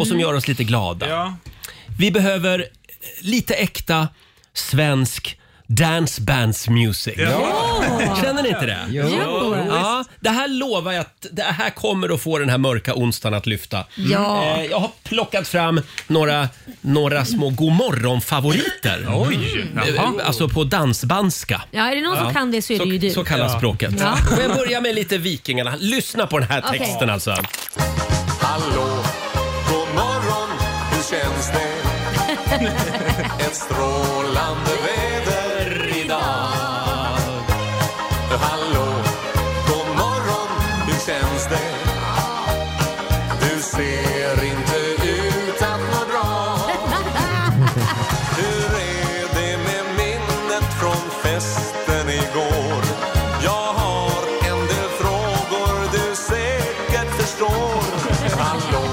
[SPEAKER 1] och som
[SPEAKER 3] Mm.
[SPEAKER 1] gör oss lite glada. Vi behöver lite äkta svensk dance bands music.
[SPEAKER 4] Ja.
[SPEAKER 1] Känner ni inte det?
[SPEAKER 4] Jo. Jo,
[SPEAKER 1] Ja, det här lovar jag att det här kommer att få den här mörka onsdagen att lyfta.
[SPEAKER 3] Mm.
[SPEAKER 4] Ja.
[SPEAKER 1] Eh, Jag har plockat fram några, några små godmorgon-favoriter.
[SPEAKER 6] Oj, jaha.
[SPEAKER 1] Eh, Alltså på dansbanska.
[SPEAKER 3] Ja, är det någon som kan det så är det ju du.
[SPEAKER 1] Så kallas språket.
[SPEAKER 3] Ja.
[SPEAKER 1] Får jag börja med lite Vikingarna? Lyssna på den här
[SPEAKER 3] Okej.
[SPEAKER 1] texten alltså.
[SPEAKER 4] Hallå, god morgon, hur känns det? Ett strålande väder idag. Hallå, god morgon, hur känns det? Du ser inte ut att må bra. Hur är det med minnet från festen igår? Jag har en del frågor du säkert förstår. Hallå,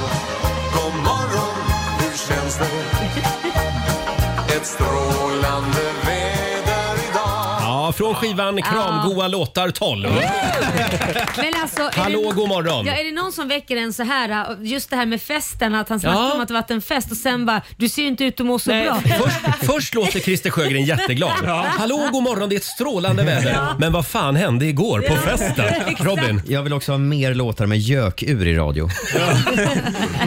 [SPEAKER 4] god morgon, hur känns det? Ett strålande väder idag.
[SPEAKER 1] Ja, från skivan Kramgoa låtar 12.
[SPEAKER 3] Men alltså, är
[SPEAKER 1] Hallå,
[SPEAKER 3] det,
[SPEAKER 1] god morgon.
[SPEAKER 3] Ja, är det någon som väcker en så här, just det här med festen, att han snackar
[SPEAKER 1] Ja.
[SPEAKER 3] om att det varit en fest och sen bara, du ser ju inte ut att må så bra.
[SPEAKER 1] Först, först låter Christer Sjögren jätteglad.
[SPEAKER 3] Ja.
[SPEAKER 1] Hallå, god morgon, det är ett strålande väder.
[SPEAKER 3] Ja.
[SPEAKER 1] Men vad fan hände igår på festen? Robin?
[SPEAKER 2] Jag vill också ha mer låtar med gökur i radio.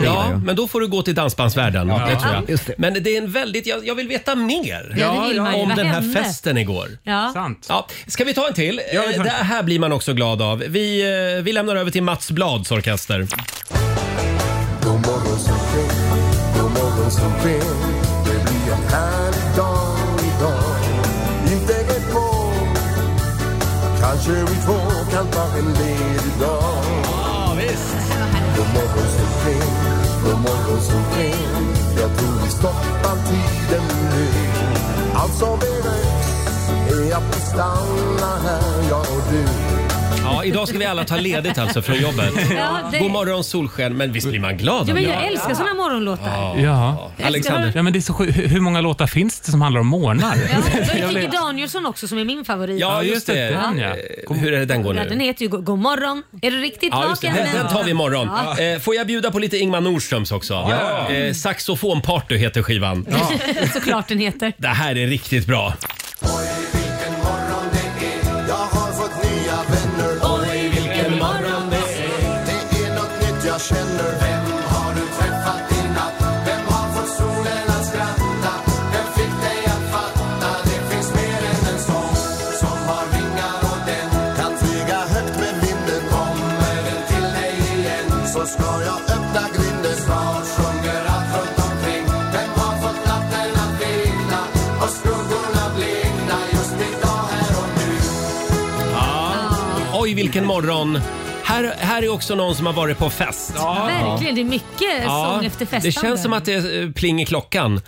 [SPEAKER 1] Ja, men då får du gå till dansbandsvärlden.
[SPEAKER 2] Ja.
[SPEAKER 1] Det tror jag.
[SPEAKER 2] Ja, just det.
[SPEAKER 1] Men det är en väldigt, jag, jag vill veta mer
[SPEAKER 4] Ja, det vill man ju.
[SPEAKER 1] om
[SPEAKER 4] Vad
[SPEAKER 1] den här
[SPEAKER 4] hände?
[SPEAKER 1] festen igår.
[SPEAKER 3] Ja.
[SPEAKER 6] Sant.
[SPEAKER 1] Ja. Ska vi ta en till?
[SPEAKER 4] Ja,
[SPEAKER 1] Eh,
[SPEAKER 4] vi tar en
[SPEAKER 1] det här blir man också glad av. Vi, eh, vi lämnar över till Mats Blads orkester.
[SPEAKER 4] God morgon solsken, god morgon solsken Det blir en härlig dag idag Inte ett moln Kanske vi två kan ta en ledig dag Ja, visst! God morgon solsken, god morgon solsken Jag tror vi stoppar tiden nu Allt som behövs är att vi stannar här, jag och du
[SPEAKER 1] Ja, idag ska vi alla ta ledigt alltså från jobbet.
[SPEAKER 3] Ja, det-
[SPEAKER 1] God morgon solsken, men visst blir man glad
[SPEAKER 3] Ja,
[SPEAKER 1] av
[SPEAKER 3] men
[SPEAKER 1] det?
[SPEAKER 3] jag älskar såna morgonlåtar.
[SPEAKER 6] Ja.
[SPEAKER 1] Alexander.
[SPEAKER 6] Ja, men det är så sjukt. Hur hur många låtar finns det som handlar om månar?
[SPEAKER 3] Jag tycker Danielsson också som är min favorit.
[SPEAKER 1] Ja, just det.
[SPEAKER 6] Den, ja.
[SPEAKER 1] Eh, Hur är det den går
[SPEAKER 3] Ja, den
[SPEAKER 1] nu?
[SPEAKER 3] heter ju God God morgon. Är du riktigt
[SPEAKER 1] Ja, just det.
[SPEAKER 3] vaken?
[SPEAKER 1] Den,
[SPEAKER 3] men-
[SPEAKER 1] den tar vi imorgon.
[SPEAKER 3] Ja.
[SPEAKER 1] Eh, får jag bjuda på lite Ingmar Nordströms också?
[SPEAKER 3] Ja.
[SPEAKER 1] Eh, Saxofonparty heter skivan.
[SPEAKER 3] Såklart den heter.
[SPEAKER 1] Det här är riktigt bra.
[SPEAKER 4] Jag har fått nya vänner Oj, vilken morgon det är Det är något nytt jag känner Vem har du träffat i natt? Vem har fått solen att skratta? Vem fick dig att fatta? Det finns mer än en sång Som har vingar och den Kan flyga högt med vinden Kommer den till dig igen Så ska jag öppna grinden Snart sjunger allt runt omkring Vem har fått natten att vila? Och skuggorna blekna Just idag här och nu
[SPEAKER 1] Oj, vilken morgon. Här, här är också någon som har varit på fest.
[SPEAKER 3] Verkligen, det är mycket
[SPEAKER 1] Ja,
[SPEAKER 3] sång efter festande.
[SPEAKER 1] det känns som att det eh, pling i klockan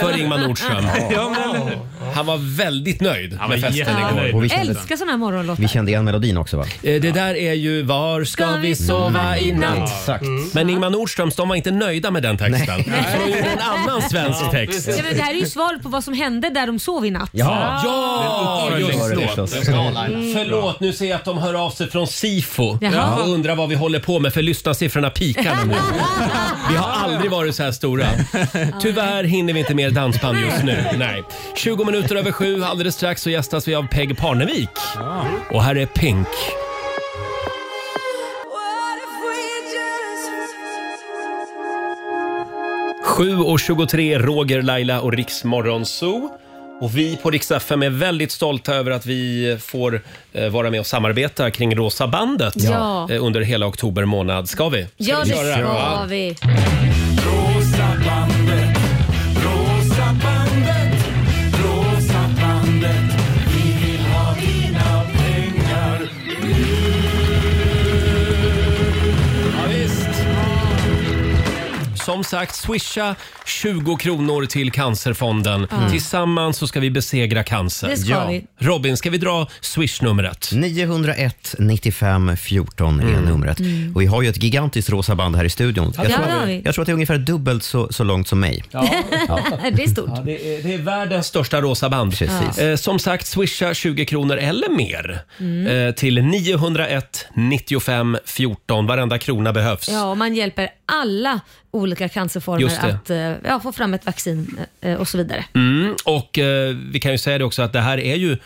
[SPEAKER 1] för Ingmar Nordström.
[SPEAKER 3] Ja, men
[SPEAKER 1] Han var väldigt nöjd med festen igår.
[SPEAKER 2] Och vi kände-
[SPEAKER 3] Älskar såna här morgonlåtar.
[SPEAKER 2] Vi kände igen melodin också va?
[SPEAKER 1] Eh, Det där är ju Var ska vi sova i natt?
[SPEAKER 2] Exakt.
[SPEAKER 3] Mm.
[SPEAKER 1] Men Ingmar Nordströms de var inte nöjda med den texten.
[SPEAKER 3] Nej.
[SPEAKER 1] Så de gjorde en annan svensk text.
[SPEAKER 3] Ja, men det här är ju svar på vad som hände där de sov i natt.
[SPEAKER 1] Ja,
[SPEAKER 4] Den
[SPEAKER 1] just
[SPEAKER 4] uppföljningen
[SPEAKER 1] det.
[SPEAKER 4] förstås.
[SPEAKER 1] Mm. Förlåt, nu ser jag att de hör av sig från SIFO
[SPEAKER 4] Jaha.
[SPEAKER 1] och undrar vad vi håller på med för lyssnarsiffrorna pikar nu. Vi har aldrig varit så här stora. Tyvärr hinner vi inte mer dansband just nu. Nej. 20 minuter över sju, alldeles strax så gästas vi av Peg Parnevik. Och här är Pink. Sju och 23, Roger, Laila och Riksmorgon Zoo. Och vi på Rix FM är väldigt stolta över att vi får eh, vara med och samarbeta kring Rosa bandet
[SPEAKER 3] Ja.
[SPEAKER 1] eh, under hela oktober månad. Ska vi? Ska
[SPEAKER 3] Ja,
[SPEAKER 1] vi
[SPEAKER 3] det
[SPEAKER 1] göra här?
[SPEAKER 3] ska vi.
[SPEAKER 4] Rosa bandet, rosa bandet, rosa bandet. Vi vill ha dina pengar
[SPEAKER 1] Ja, visst. Som sagt, swisha 20 kronor till Cancerfonden.
[SPEAKER 3] Mm.
[SPEAKER 1] Tillsammans så ska vi besegra cancer.
[SPEAKER 3] Det ska Ja. vi.
[SPEAKER 1] Robin, ska vi dra swishnumret?
[SPEAKER 2] 901 95 14 är numret.
[SPEAKER 3] Mm.
[SPEAKER 2] Och vi har ju ett gigantiskt rosa band här i studion.
[SPEAKER 3] Ja,
[SPEAKER 2] jag,
[SPEAKER 3] det
[SPEAKER 2] tror,
[SPEAKER 3] har vi.
[SPEAKER 2] jag tror att det är ungefär dubbelt så, så långt som mig.
[SPEAKER 3] det är stort.
[SPEAKER 1] Ja, det, är, det är världens största rosa band.
[SPEAKER 2] Precis.
[SPEAKER 1] Eh, som sagt, swisha 20 kronor eller mer
[SPEAKER 3] Mm.
[SPEAKER 1] eh, till 901 95 14. Varenda krona behövs.
[SPEAKER 3] Ja, och man hjälper alla olika
[SPEAKER 1] Just
[SPEAKER 3] cancerformer
[SPEAKER 1] det.
[SPEAKER 3] att eh, ja, få fram ett vaccin eh, och så vidare.
[SPEAKER 1] Mm, och eh, vi kan ju säga det också att det här är ju eh,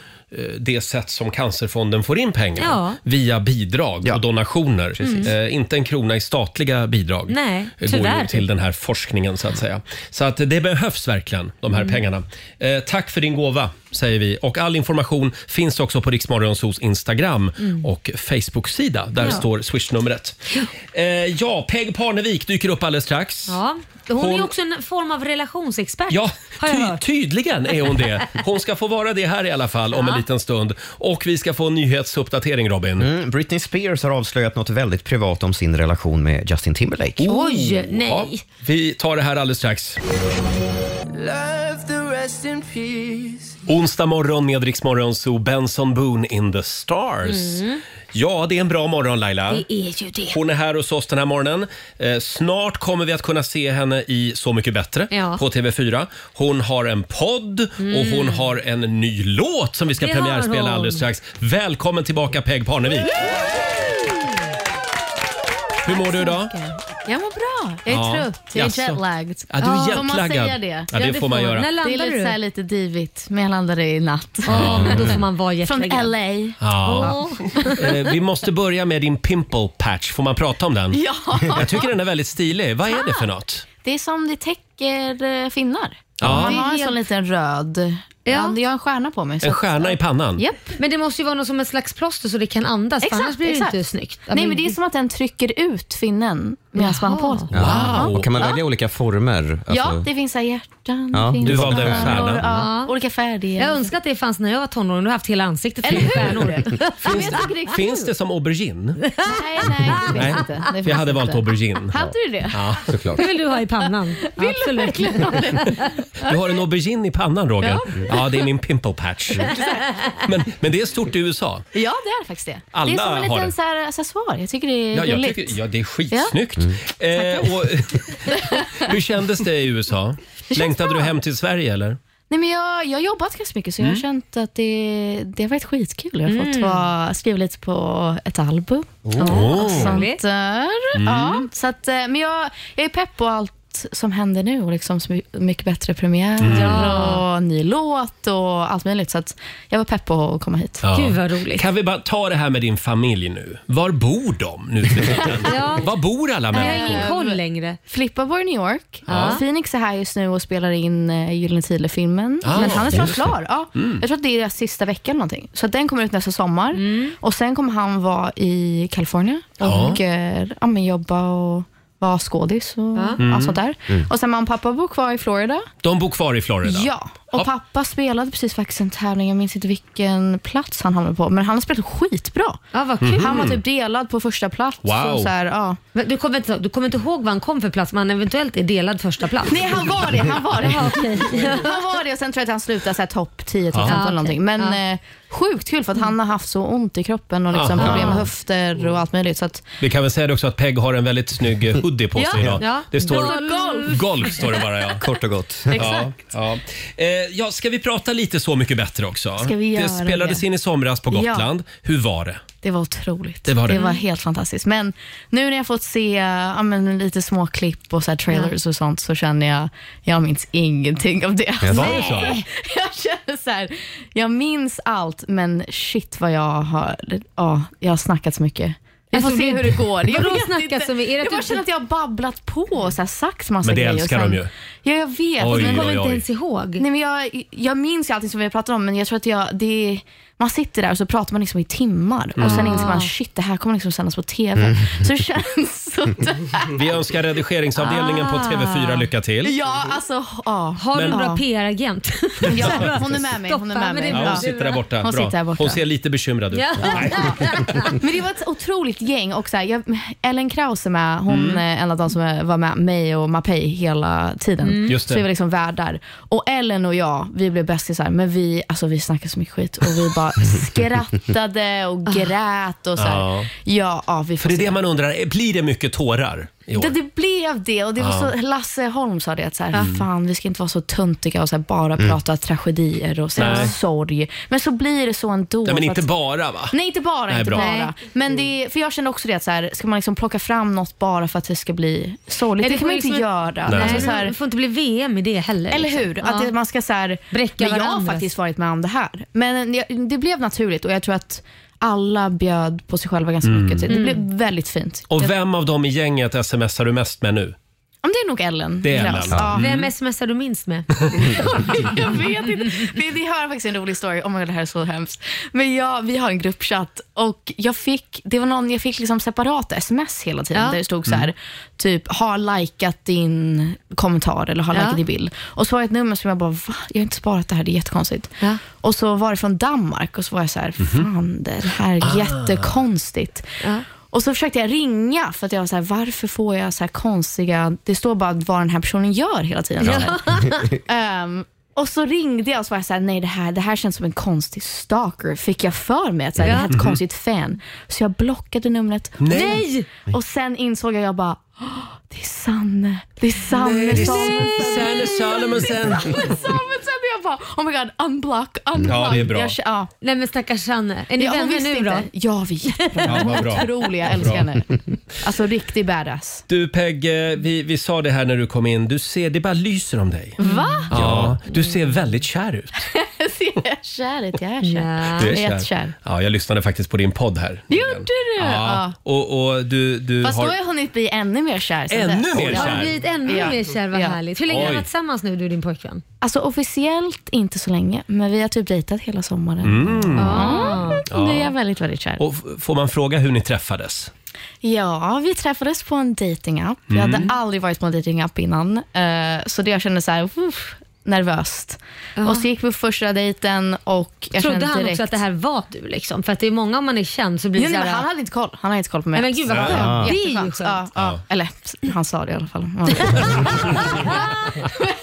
[SPEAKER 1] det sätt som Cancerfonden får in pengar
[SPEAKER 3] Ja.
[SPEAKER 1] via bidrag och donationer.
[SPEAKER 3] Precis.
[SPEAKER 1] Eh, inte en krona i statliga bidrag
[SPEAKER 3] Nej,
[SPEAKER 1] eh, går
[SPEAKER 3] tyvärr.
[SPEAKER 1] ju till den här forskningen så att säga. Så att det behövs verkligen de här
[SPEAKER 3] Mm.
[SPEAKER 1] pengarna. Eh, tack för din gåva säger vi och all information finns också på Riksmorgonsos Instagram
[SPEAKER 16] Mm.
[SPEAKER 1] och Facebook-sida. Där
[SPEAKER 3] Ja.
[SPEAKER 1] står swishnumret. Eh, ja, Peg Parnevik dyker upp alldeles strax.
[SPEAKER 3] Ja. Hon, är
[SPEAKER 1] Hon-
[SPEAKER 3] ju också en form av relationsexpert.
[SPEAKER 1] Ja, typ.
[SPEAKER 3] har jag
[SPEAKER 1] ty-
[SPEAKER 3] hört.
[SPEAKER 1] tydligen är hon det. Hon ska få vara det här i alla fall om
[SPEAKER 3] Ja.
[SPEAKER 1] en liten stund. Och vi ska få en nyhetsuppdatering Robin.
[SPEAKER 2] Mm, Britney Spears har avslöjat något väldigt privat om sin relation med Justin Timberlake.
[SPEAKER 3] Oh, Oj, nej.
[SPEAKER 1] Ja, vi tar det här alldeles strax.
[SPEAKER 9] Love the rest in peace.
[SPEAKER 1] Onsdag morgon med Rix Morgon, så Benson Boone in the stars.
[SPEAKER 9] Mm.
[SPEAKER 1] Ja, det är en bra morgon Laila.
[SPEAKER 3] Det är ju det.
[SPEAKER 1] Hon är här hos oss den här morgonen. Eh, snart kommer vi att kunna se henne i Så mycket bättre
[SPEAKER 3] Ja.
[SPEAKER 1] på TV4. Hon har en podd och
[SPEAKER 3] Mm.
[SPEAKER 1] hon har en ny låt som vi ska
[SPEAKER 3] Det har hon.
[SPEAKER 1] premiärspela alldeles strax. Välkommen tillbaka Peg Parnevik! Hur mår du idag?
[SPEAKER 8] Jag mår bra. Jag är
[SPEAKER 1] Ja.
[SPEAKER 8] trött. Jag
[SPEAKER 1] Jaså.
[SPEAKER 8] är jetlagged.
[SPEAKER 1] Ja, du är
[SPEAKER 8] Får man
[SPEAKER 1] jetlaggad.
[SPEAKER 8] säga det?
[SPEAKER 1] Ja, det får man göra. När
[SPEAKER 8] det
[SPEAKER 3] landar
[SPEAKER 8] är
[SPEAKER 3] du?
[SPEAKER 8] lite, så här, lite divigt, men jag landade i natt.
[SPEAKER 1] Ja, men då får
[SPEAKER 3] man vara
[SPEAKER 8] jetlaggad. Från LA.
[SPEAKER 1] Ja. Eh, vi måste börja med din pimple patch. Får man prata om den?
[SPEAKER 8] Ja.
[SPEAKER 1] Jag tycker den är väldigt stilig. Vad är det för något?
[SPEAKER 8] Det är som det täcker eh, finnar.
[SPEAKER 1] Ja.
[SPEAKER 8] Man
[SPEAKER 1] Det är
[SPEAKER 8] har en
[SPEAKER 1] helt-
[SPEAKER 8] sån liten röd... Ja. jag har en stjärna på mig. så
[SPEAKER 1] En
[SPEAKER 8] att-
[SPEAKER 1] stjärna i pannan?
[SPEAKER 3] Men det måste ju vara något som ett slags plåster så det kan andas, för annars blir det inte snyggt. Ja,
[SPEAKER 8] Nej, men det är som att den trycker ut finnen medan man har på den.
[SPEAKER 2] Ja. Och kan man
[SPEAKER 8] Ja.
[SPEAKER 2] välja olika former?
[SPEAKER 1] Alltså-
[SPEAKER 2] Alltså,
[SPEAKER 8] Ja, det finns så här hjärtan.
[SPEAKER 2] Ja,
[SPEAKER 8] det finns
[SPEAKER 2] du valde en
[SPEAKER 8] stjärnor,
[SPEAKER 2] stjärna.
[SPEAKER 8] Ja, olika färger.
[SPEAKER 12] Mm.
[SPEAKER 3] Jag önskar att det fanns när jag var tonåring. Då har jag haft hela ansiktet fyllt med stjärnor.
[SPEAKER 1] Finns, finns det som aubergine?
[SPEAKER 8] Nej, nej, det finns inte. Det
[SPEAKER 1] jag
[SPEAKER 8] finns
[SPEAKER 1] hade
[SPEAKER 8] inte.
[SPEAKER 1] valt aubergine.
[SPEAKER 8] Hade du det?
[SPEAKER 1] Ja, såklart.
[SPEAKER 3] Det vill du ha i pannan. Vill Absolut. du verkligen ha det?
[SPEAKER 1] Du har en aubergine i pannan Roger. Ja, det är min pimple patch. Men, men det är stort i USA.
[SPEAKER 8] Ja, det är faktiskt det.
[SPEAKER 1] Alla
[SPEAKER 8] det är som en
[SPEAKER 1] har
[SPEAKER 8] liten
[SPEAKER 1] det.
[SPEAKER 8] så här accessoar. Jag tycker det är
[SPEAKER 1] Ja, jag
[SPEAKER 8] gulligt.
[SPEAKER 1] tycker, ja det är skitsnyggt. Eh, och, hur kändes det i USA? Längtade du hem till Sverige eller?
[SPEAKER 8] Nej, men jag, jag har jobbat ganska mycket, så jag har
[SPEAKER 1] Mm.
[SPEAKER 8] känt att det, det har varit skitkul. Jag har fått
[SPEAKER 1] Mm.
[SPEAKER 8] vara, skriva lite på ett album
[SPEAKER 1] Oh.
[SPEAKER 8] och sånt där.
[SPEAKER 1] Mm.
[SPEAKER 8] Ja, så att, eh, men jag, jag är pepp på allt som händer nu och liksom så my- mycket bättre premiär
[SPEAKER 1] Mm.
[SPEAKER 8] och ny låt och allt möjligt. Så att jag var pepp på att komma hit.
[SPEAKER 1] Ja. Kan vi bara ta det här med din familj nu? Var bor de nu för tiden?
[SPEAKER 8] Ja.
[SPEAKER 1] Var bor alla
[SPEAKER 8] Nej,
[SPEAKER 1] människor?
[SPEAKER 3] koll längre.
[SPEAKER 8] Flippa bor i New York.
[SPEAKER 1] Ja.
[SPEAKER 8] Phoenix är här just nu och spelar in eh, Gyllene Tider-filmen.
[SPEAKER 1] Ah,
[SPEAKER 8] men han är snart
[SPEAKER 1] just det.
[SPEAKER 8] klar. Ja.
[SPEAKER 1] Mm.
[SPEAKER 8] Jag tror att det är deras sista vecka eller någonting. Så att den kommer ut nästa sommar. Och Sen kommer han vara i Kalifornien
[SPEAKER 1] Mm. Ja.
[SPEAKER 8] och eh, ja, men jobba och vara skådis och
[SPEAKER 1] Mm.
[SPEAKER 8] allt sånt där.
[SPEAKER 1] Mm.
[SPEAKER 8] Och sen mamma och pappa bor kvar i Florida.
[SPEAKER 1] De bor kvar i Florida?
[SPEAKER 8] Ja, och pappa spelade precis faktiskt en tävling, jag minns inte vilken plats han hamnade på, men han har spelat skitbra.
[SPEAKER 3] Ja, vad
[SPEAKER 1] kul.
[SPEAKER 8] Han var
[SPEAKER 1] Mhm.
[SPEAKER 8] typ delad på första plats.
[SPEAKER 1] Wow.
[SPEAKER 8] Så så här, ja.
[SPEAKER 3] Men Du kommer, inte, du kommer inte ihåg vad han kom för plats, men han eventuellt är delad första plats?
[SPEAKER 8] Nej, han var det. Han var det.
[SPEAKER 3] Ja, okej.
[SPEAKER 8] han var det och sen tror jag att han slutade så här topp 10, topp
[SPEAKER 3] Ja.
[SPEAKER 8] 15
[SPEAKER 3] Ja, okej.
[SPEAKER 8] eller någonting. Men
[SPEAKER 3] Ja.
[SPEAKER 8] eh, sjukt kul för att han har haft så ont i kroppen och liksom
[SPEAKER 1] Aha.
[SPEAKER 8] problem med höfter och allt möjligt. Så att,
[SPEAKER 1] Vi kan väl säga det också att Peg har en väldigt snygg eh, hoodie på sig
[SPEAKER 8] Ja,
[SPEAKER 1] idag.
[SPEAKER 8] ja.
[SPEAKER 1] Det står
[SPEAKER 8] Det står golf.
[SPEAKER 1] golf står det bara ja.
[SPEAKER 2] Kort och gott.
[SPEAKER 8] Exakt.
[SPEAKER 1] Ja, ja. Eh, ja, ska vi prata lite Så mycket bättre också?
[SPEAKER 8] Ska vi
[SPEAKER 1] det
[SPEAKER 8] göra
[SPEAKER 1] spelades
[SPEAKER 8] det?
[SPEAKER 1] in i somras på
[SPEAKER 8] Ja.
[SPEAKER 1] Gotland. Hur var det?
[SPEAKER 8] det var otroligt.
[SPEAKER 1] Det Mm. var det.
[SPEAKER 8] helt fantastiskt. Men nu när jag fått se ja, men lite små klipp och så här trailers och sånt så känner jag, jag minns ingenting av det.
[SPEAKER 1] Ja, var det så?
[SPEAKER 8] Nej. Jag känner så här, jag minns allt men shit vad jag har, ja, jag har snackat så mycket. Vi får
[SPEAKER 3] Alltså,
[SPEAKER 8] se
[SPEAKER 3] vi-
[SPEAKER 8] hur det går. Jag
[SPEAKER 3] Vadå
[SPEAKER 8] vet
[SPEAKER 3] snackat
[SPEAKER 8] inte.
[SPEAKER 3] så mycket? Är det
[SPEAKER 8] jag
[SPEAKER 3] att
[SPEAKER 8] bara
[SPEAKER 3] du-
[SPEAKER 8] känner att jag har babblat på och så här, sagt massa
[SPEAKER 1] Men det
[SPEAKER 8] grejer. och
[SPEAKER 1] älskar
[SPEAKER 8] sen-
[SPEAKER 1] de ju.
[SPEAKER 8] Ja, jag vet.
[SPEAKER 1] Oj,
[SPEAKER 8] men
[SPEAKER 1] oj, oj.
[SPEAKER 3] ihåg.
[SPEAKER 8] Nej, men jag, jag minns ju allting som vi har pratat om, men jag tror att jag, det är, man sitter där och så pratar man liksom i timmar och sen
[SPEAKER 1] Mm.
[SPEAKER 8] inser man shit, det här kommer liksom sändas på TV.
[SPEAKER 1] Mm.
[SPEAKER 8] Så det känns sådär.
[SPEAKER 1] Vi önskar redigeringsavdelningen på
[SPEAKER 8] Ah.
[SPEAKER 1] TV4 lycka till.
[SPEAKER 8] Ja, alltså, ja.
[SPEAKER 3] Har du
[SPEAKER 1] Men-
[SPEAKER 3] en bra
[SPEAKER 1] Ja.
[SPEAKER 3] PR-agent?
[SPEAKER 8] Ja, hon är med mig. Hon, är
[SPEAKER 3] Stoppa, men
[SPEAKER 8] med
[SPEAKER 3] det
[SPEAKER 8] mig.
[SPEAKER 3] är
[SPEAKER 1] Ja,
[SPEAKER 8] Ja.
[SPEAKER 1] hon sitter där borta.
[SPEAKER 8] Hon
[SPEAKER 1] Bra.
[SPEAKER 8] sitter där borta.
[SPEAKER 1] Hon ser lite bekymrad ut.
[SPEAKER 8] Ja.
[SPEAKER 1] Nej.
[SPEAKER 8] Men det var ett otroligt gäng. Och så här, jag, Ellen Krause med, hon
[SPEAKER 1] Mm.
[SPEAKER 8] är en av de som är- var med mig och Mapei hela tiden.
[SPEAKER 1] Mm. Just det.
[SPEAKER 8] Så vi var liksom värdar. Och Ellen och jag, vi blev bästisar, men vi, alltså, vi snackade så mycket skit och vi bara skrattade och grät. Och så här.
[SPEAKER 1] Ah. Ja.
[SPEAKER 8] Ja, ja, vi får
[SPEAKER 1] För det är
[SPEAKER 8] se.
[SPEAKER 1] det man undrar, blir det mycket tårar? i år.
[SPEAKER 8] Det, det blev det och det var
[SPEAKER 1] Ja.
[SPEAKER 8] så, Lasse Holm sa det att så här,
[SPEAKER 1] Ah. Mm.
[SPEAKER 8] fan vi ska inte vara så töntiga och så här, bara
[SPEAKER 1] Mm.
[SPEAKER 8] prata tragedier och så här,
[SPEAKER 1] Nej.
[SPEAKER 8] sorg. Men så blir det så ändå.
[SPEAKER 1] Nej, men
[SPEAKER 8] för
[SPEAKER 1] inte
[SPEAKER 8] att-
[SPEAKER 1] bara va?
[SPEAKER 8] Nej, inte bara.
[SPEAKER 1] Nej,
[SPEAKER 8] inte
[SPEAKER 1] bra. Mm.
[SPEAKER 8] bara. Men det, är- för jag kände också det att så här, ska man liksom plocka fram något bara för att det ska bli sorgligt?
[SPEAKER 3] Nej,
[SPEAKER 8] Det,
[SPEAKER 3] det
[SPEAKER 8] kan man
[SPEAKER 3] får
[SPEAKER 8] ju inte
[SPEAKER 3] liksom-
[SPEAKER 8] göra.
[SPEAKER 3] Nej.
[SPEAKER 8] Alltså, så här,
[SPEAKER 3] Det får inte bli VM i det heller.
[SPEAKER 8] eller
[SPEAKER 3] liksom.
[SPEAKER 8] hur? Att
[SPEAKER 3] Ja.
[SPEAKER 8] det, man ska så här,
[SPEAKER 3] Bräcka
[SPEAKER 8] men Jag har
[SPEAKER 3] varandras.
[SPEAKER 8] faktiskt varit med om det här. Men jag, det blev naturligt och jag tror att alla bjöd på sig själva ganska
[SPEAKER 1] Mm.
[SPEAKER 8] mycket. Det
[SPEAKER 1] Mm.
[SPEAKER 8] blev väldigt fint.
[SPEAKER 1] Och vem av dem i gänget smsar du mest med nu?
[SPEAKER 8] Om det är nog Ellen.
[SPEAKER 1] Det är
[SPEAKER 8] Glös.
[SPEAKER 1] Ellen. Ja. Mm.
[SPEAKER 8] Vem smsar du minst med? jag vet inte. Vi, vi har faktiskt en rolig story. Oh my God, det här är så hemskt. Men jag, vi har en gruppchatt och jag fick, det var någon, jag fick liksom separata sms hela tiden
[SPEAKER 3] Ja.
[SPEAKER 8] där det stod så här,
[SPEAKER 3] Mm.
[SPEAKER 8] typ har likat din kommentar eller har
[SPEAKER 3] Ja.
[SPEAKER 8] likat din bild. Och så var det ett nummer som jag bara, va? Jag har inte sparat det här, det är jättekonstigt. Och så var det från Danmark och så var jag så här, fan det här är
[SPEAKER 3] Mhm. Ah.
[SPEAKER 8] jättekonstigt. Och så försökte jag ringa för att jag var så här, varför får jag så här konstiga, det står bara vad den här personen gör hela tiden.
[SPEAKER 3] Ja.
[SPEAKER 8] Ehm, och så ringde jag och så var jag så här, nej det här, det här känns som en konstig stalker, fick jag för mig. Att så här, Det här är ett
[SPEAKER 3] Ja.
[SPEAKER 8] konstigt fan. Så jag blockade numret.
[SPEAKER 3] Nej!
[SPEAKER 8] Och sen insåg jag, jag bara, "Åh, det är Sanne. Det är Sanne
[SPEAKER 1] Nej,
[SPEAKER 8] som...
[SPEAKER 1] Sanne Salomonsen.
[SPEAKER 8] Salomonsen. Jag bara, oh my god, unblock, unblock.
[SPEAKER 1] Ja, det är bra.
[SPEAKER 8] Jag, kä- ja.
[SPEAKER 3] Nej men stackars Sanne. Är ni
[SPEAKER 8] Ja, hon
[SPEAKER 3] vänner
[SPEAKER 8] visste
[SPEAKER 3] nu
[SPEAKER 8] inte.
[SPEAKER 3] då?
[SPEAKER 8] Ja, vi är jättebra.
[SPEAKER 1] Ja, vad bra.
[SPEAKER 8] Otrolig, jag älskar
[SPEAKER 1] Bra.
[SPEAKER 8] henne. Alltså riktig badass.
[SPEAKER 1] Du Peg, eh, vi, vi sa det här när du kom in. Du ser, det bara lyser om dig.
[SPEAKER 8] Va?
[SPEAKER 1] Ja, du ser väldigt kär ut.
[SPEAKER 8] Ser jag kär ut? Jag är
[SPEAKER 1] Du
[SPEAKER 8] kär. Jag är jättekär.
[SPEAKER 1] Ja, jag lyssnade faktiskt på din podd här.
[SPEAKER 8] Gjorde du?
[SPEAKER 1] Ja. Och, och du, du
[SPEAKER 8] Fast
[SPEAKER 1] har...
[SPEAKER 8] då har jag hunnit bli ännu mer kär. sen
[SPEAKER 1] Ännu
[SPEAKER 8] dess.
[SPEAKER 1] mer
[SPEAKER 8] Ja.
[SPEAKER 1] kär?
[SPEAKER 3] Har du blivit ännu
[SPEAKER 8] Ja.
[SPEAKER 3] mer kär? Vad
[SPEAKER 8] Ja.
[SPEAKER 3] härligt. Hur länge har ni
[SPEAKER 1] Oj.
[SPEAKER 3] varit tillsammans nu du och din pojkvän?
[SPEAKER 8] Alltså officiellt inte så länge, men vi har typ dejtat hela sommaren.
[SPEAKER 1] Mm.
[SPEAKER 8] Ja,
[SPEAKER 1] Ja.
[SPEAKER 8] nu är jag väldigt, väldigt kär.
[SPEAKER 1] Och f- får man fråga hur ni träffades?
[SPEAKER 8] Ja, vi träffades på en datingapp. Jag
[SPEAKER 1] Mm.
[SPEAKER 8] hade aldrig varit på en datingapp innan, eh, så det jag kände så här, uff, nervöst. Och så gick vi på första dejten och jag
[SPEAKER 3] Trodde
[SPEAKER 8] kände
[SPEAKER 3] han
[SPEAKER 8] direkt...
[SPEAKER 3] också att det här var du? Liksom? För att det är många om man är känd så blir
[SPEAKER 8] Jo,
[SPEAKER 3] det
[SPEAKER 8] nej,
[SPEAKER 3] så
[SPEAKER 8] men
[SPEAKER 3] här...
[SPEAKER 8] han hade inte koll. Han hade inte koll på mig.
[SPEAKER 3] Nej, men gud vad skönt.
[SPEAKER 8] Ja.
[SPEAKER 3] Det är ju
[SPEAKER 8] Jätteskönt.
[SPEAKER 3] skönt.
[SPEAKER 8] Ja, ja. Eller han sa det i alla fall. Ja.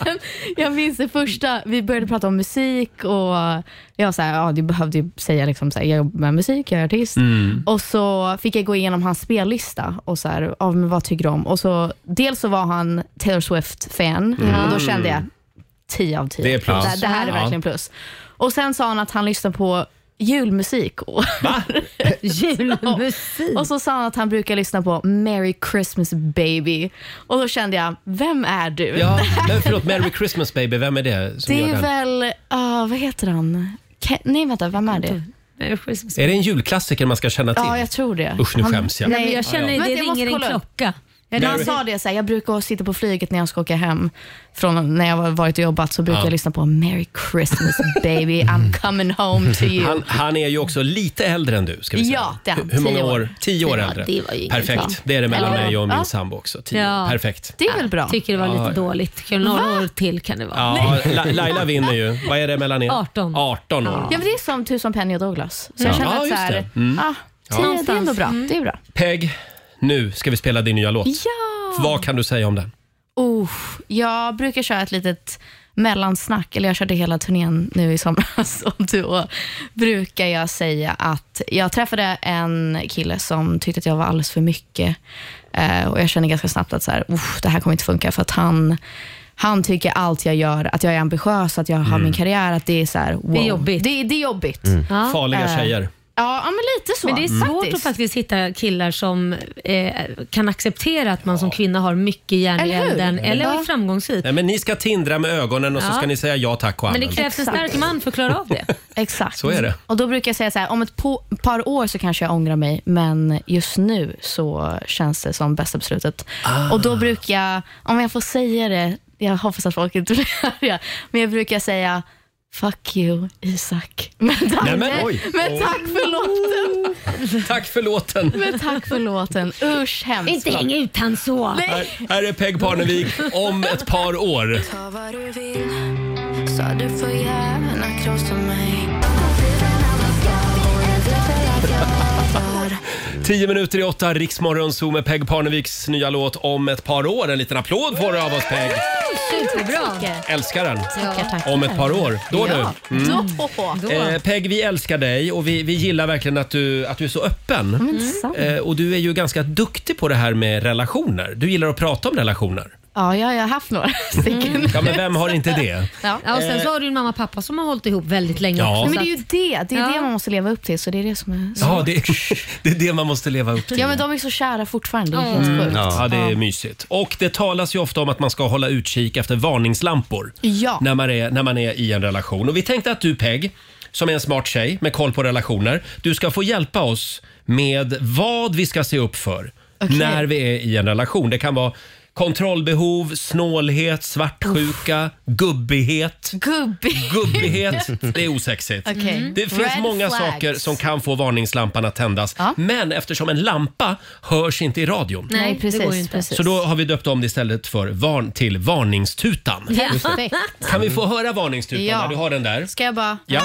[SPEAKER 8] men jag minns det första, vi började prata om musik och jag så här, ja, du behövde ju säga liksom, så här, jag jobbar med musik, jag är artist.
[SPEAKER 3] Mm.
[SPEAKER 8] Och så fick jag gå igenom hans spellista och så här, ja, men vad tycker du om? Och så, dels så var han Taylor Swift-fan
[SPEAKER 3] Mm.
[SPEAKER 8] och då kände jag 10 av 10.
[SPEAKER 3] Det är plus.
[SPEAKER 8] Det, det här är
[SPEAKER 3] Ja.
[SPEAKER 8] verkligen plus. Och sen sa han att han lyssnar på julmusik. Och
[SPEAKER 3] Julmusik?
[SPEAKER 8] och så sa han att han brukar lyssna på Merry Christmas baby. Och då kände jag, vem är du?
[SPEAKER 1] Ja, men förlåt, Merry Christmas baby, vem är det som
[SPEAKER 8] det
[SPEAKER 1] gör
[SPEAKER 8] är
[SPEAKER 1] den?
[SPEAKER 8] väl, ah, vad heter han? Ke- Nej vänta, vem är det?
[SPEAKER 1] Är det en julklassiker man ska känna till?
[SPEAKER 8] Ja, jag tror det.
[SPEAKER 1] Usch, nu
[SPEAKER 8] Han-
[SPEAKER 1] skäms jag.
[SPEAKER 8] Nej,
[SPEAKER 3] Jag känner
[SPEAKER 8] Ja, ja.
[SPEAKER 3] det
[SPEAKER 8] Vänta, jag måste
[SPEAKER 3] ringer en
[SPEAKER 8] kolla upp.
[SPEAKER 3] klocka.
[SPEAKER 8] Ja, när han sa det så här, jag brukar sitta på flyget när jag ska åka hem från när jag har varit och jobbat så brukar
[SPEAKER 1] Ja. Mm.
[SPEAKER 8] jag lyssna på Merry Christmas baby, I'm coming home to you.
[SPEAKER 1] Han, han är ju också lite äldre än du. Ska vi säga.
[SPEAKER 8] Ja, det är han.
[SPEAKER 1] Hur många
[SPEAKER 8] Tio år.
[SPEAKER 1] år? Tio år
[SPEAKER 8] Ja,
[SPEAKER 1] äldre.
[SPEAKER 8] det var ju ingen
[SPEAKER 1] Perfekt.
[SPEAKER 8] bra.
[SPEAKER 1] Det är det mellan
[SPEAKER 8] Eller?
[SPEAKER 1] mig och min
[SPEAKER 8] Ja.
[SPEAKER 1] sambo också. Tio år. Perfekt.
[SPEAKER 8] Det är väl bra?
[SPEAKER 3] Tycker det var
[SPEAKER 1] Ja,
[SPEAKER 3] lite
[SPEAKER 1] ja.
[SPEAKER 3] dåligt. Några år till kan det vara.
[SPEAKER 1] Ja, La- Laila vinner ju. Vad är det mellan er?
[SPEAKER 3] 18.
[SPEAKER 1] 18 år.
[SPEAKER 8] Ja, men det är som Tusen Penny och Douglas. Så
[SPEAKER 1] Ja.
[SPEAKER 8] jag känner
[SPEAKER 1] Ja,
[SPEAKER 8] att så
[SPEAKER 1] just
[SPEAKER 8] här,
[SPEAKER 1] det. Mm.
[SPEAKER 8] ah,
[SPEAKER 1] Ja.
[SPEAKER 8] tio, det är ändå
[SPEAKER 1] Någonstans.
[SPEAKER 8] bra. Det är bra.
[SPEAKER 1] Peg, nu ska vi spela din nya låt.
[SPEAKER 8] Ja!
[SPEAKER 1] Vad kan du säga om den?
[SPEAKER 8] Oh, jag brukar köra ett litet mellansnack, eller jag körde hela turnén nu i somras och då brukar jag säga att jag träffade en kille som tyckte att jag var alldeles för mycket eh, och jag kände ganska snabbt att så här, "Uff, det här kommer inte funka för att han han tycker allt jag gör, att jag är ambitiös, att jag har min karriär, att det är så här, wow.
[SPEAKER 3] Det är jobbigt.
[SPEAKER 8] Det, det är jobbigt.
[SPEAKER 3] Ja.
[SPEAKER 1] Farliga
[SPEAKER 8] Eh,
[SPEAKER 1] tjejer.
[SPEAKER 8] Ja, ja, men lite så.
[SPEAKER 3] Men det är svårt
[SPEAKER 8] faktiskt.
[SPEAKER 3] att faktiskt hitta killar som eh, kan acceptera att man som kvinna har mycket järn i
[SPEAKER 8] Eller hur?
[SPEAKER 3] elden eller
[SPEAKER 8] Ja.
[SPEAKER 3] är framgångsrik.
[SPEAKER 1] Nej, men ni ska tindra med ögonen och så
[SPEAKER 3] Ja.
[SPEAKER 1] ska ni säga ja tack och
[SPEAKER 3] Men
[SPEAKER 1] amen.
[SPEAKER 3] det krävs en stark man för att klara av det.
[SPEAKER 8] Exakt.
[SPEAKER 1] Så är det.
[SPEAKER 8] Och då brukar jag säga så här, om ett po- par år så kanske jag ångrar mig, men just nu så känns det som bästa beslutet. Och
[SPEAKER 1] Ah.
[SPEAKER 8] då brukar jag, om jag får säga det, jag hoppas att folk inte blir arga, men jag brukar säga Fuck you, Isak. Men tack,
[SPEAKER 1] Nej, men- oj.
[SPEAKER 8] men tack för låten.
[SPEAKER 1] Tack för låten.
[SPEAKER 8] Men tack för låten. Usch, hemskt.
[SPEAKER 3] Inte häng ut han så.
[SPEAKER 1] Här, här är Peg Parnevik om ett par år.
[SPEAKER 4] Ta vad du vill.
[SPEAKER 8] Så du får gärna krossa mig.
[SPEAKER 1] Tio minuter i åtta, Riksmorgon Zoo med Peg Parneviks nya låt om ett par år. En liten applåd får du av oss Peg.
[SPEAKER 3] Superbra.
[SPEAKER 1] Älskar den.
[SPEAKER 8] Tackar, tackar.
[SPEAKER 1] Om ett par år. Då
[SPEAKER 8] ja.
[SPEAKER 1] du. Mm.
[SPEAKER 8] Då. Då.
[SPEAKER 1] Eh, Peg, vi älskar dig och vi, vi gillar verkligen att du, att du är så öppen.
[SPEAKER 8] Mm, sant.
[SPEAKER 1] Eh, och du är ju ganska duktig på det här med relationer. Du gillar att prata om relationer.
[SPEAKER 8] Ja, jag har haft några stycken.
[SPEAKER 1] Ja, men vem har inte det?
[SPEAKER 8] Ja.
[SPEAKER 3] Ja, och sen så har du en mamma och pappa som har hållit ihop väldigt länge
[SPEAKER 1] eh, Ja.
[SPEAKER 3] också.
[SPEAKER 1] Men det är
[SPEAKER 8] ju det. Det är det man måste leva upp till, så det är det som är
[SPEAKER 1] Ja, det, det är det man måste leva upp till.
[SPEAKER 8] Ja, men de är så kära fortfarande. Det är helt
[SPEAKER 1] Mm,
[SPEAKER 8] sjukt.
[SPEAKER 1] ja. det är mysigt. Och det talas ju ofta om att man ska hålla utkik efter varningslampor
[SPEAKER 8] Ja.
[SPEAKER 1] när, man är, när man är i en relation. Och vi tänkte att du Peg, som är en smart tjej med koll på relationer, du ska få hjälpa oss med vad vi ska se upp för
[SPEAKER 8] Okej.
[SPEAKER 1] när vi är i en relation. Det kan vara kontrollbehov, snålhet, svartsjuka, gubbighet.
[SPEAKER 8] Gubbig.
[SPEAKER 1] Gubbighet, det är osexigt.
[SPEAKER 8] Okej. Mm.
[SPEAKER 1] Det finns
[SPEAKER 8] Red
[SPEAKER 1] många
[SPEAKER 8] flags.
[SPEAKER 1] saker som kan få varningslampan att tändas. Men eftersom en lampa hörs inte i radion.
[SPEAKER 8] Nej, Nej, det precis, går ju inte. precis.
[SPEAKER 1] Så då har vi döpt om det istället för varn till varningstutan.
[SPEAKER 8] Perfekt.
[SPEAKER 1] Kan vi få höra varningstutan?
[SPEAKER 8] Ja.
[SPEAKER 1] Där? Du har den där.
[SPEAKER 8] Ska jag bara...
[SPEAKER 1] Ja.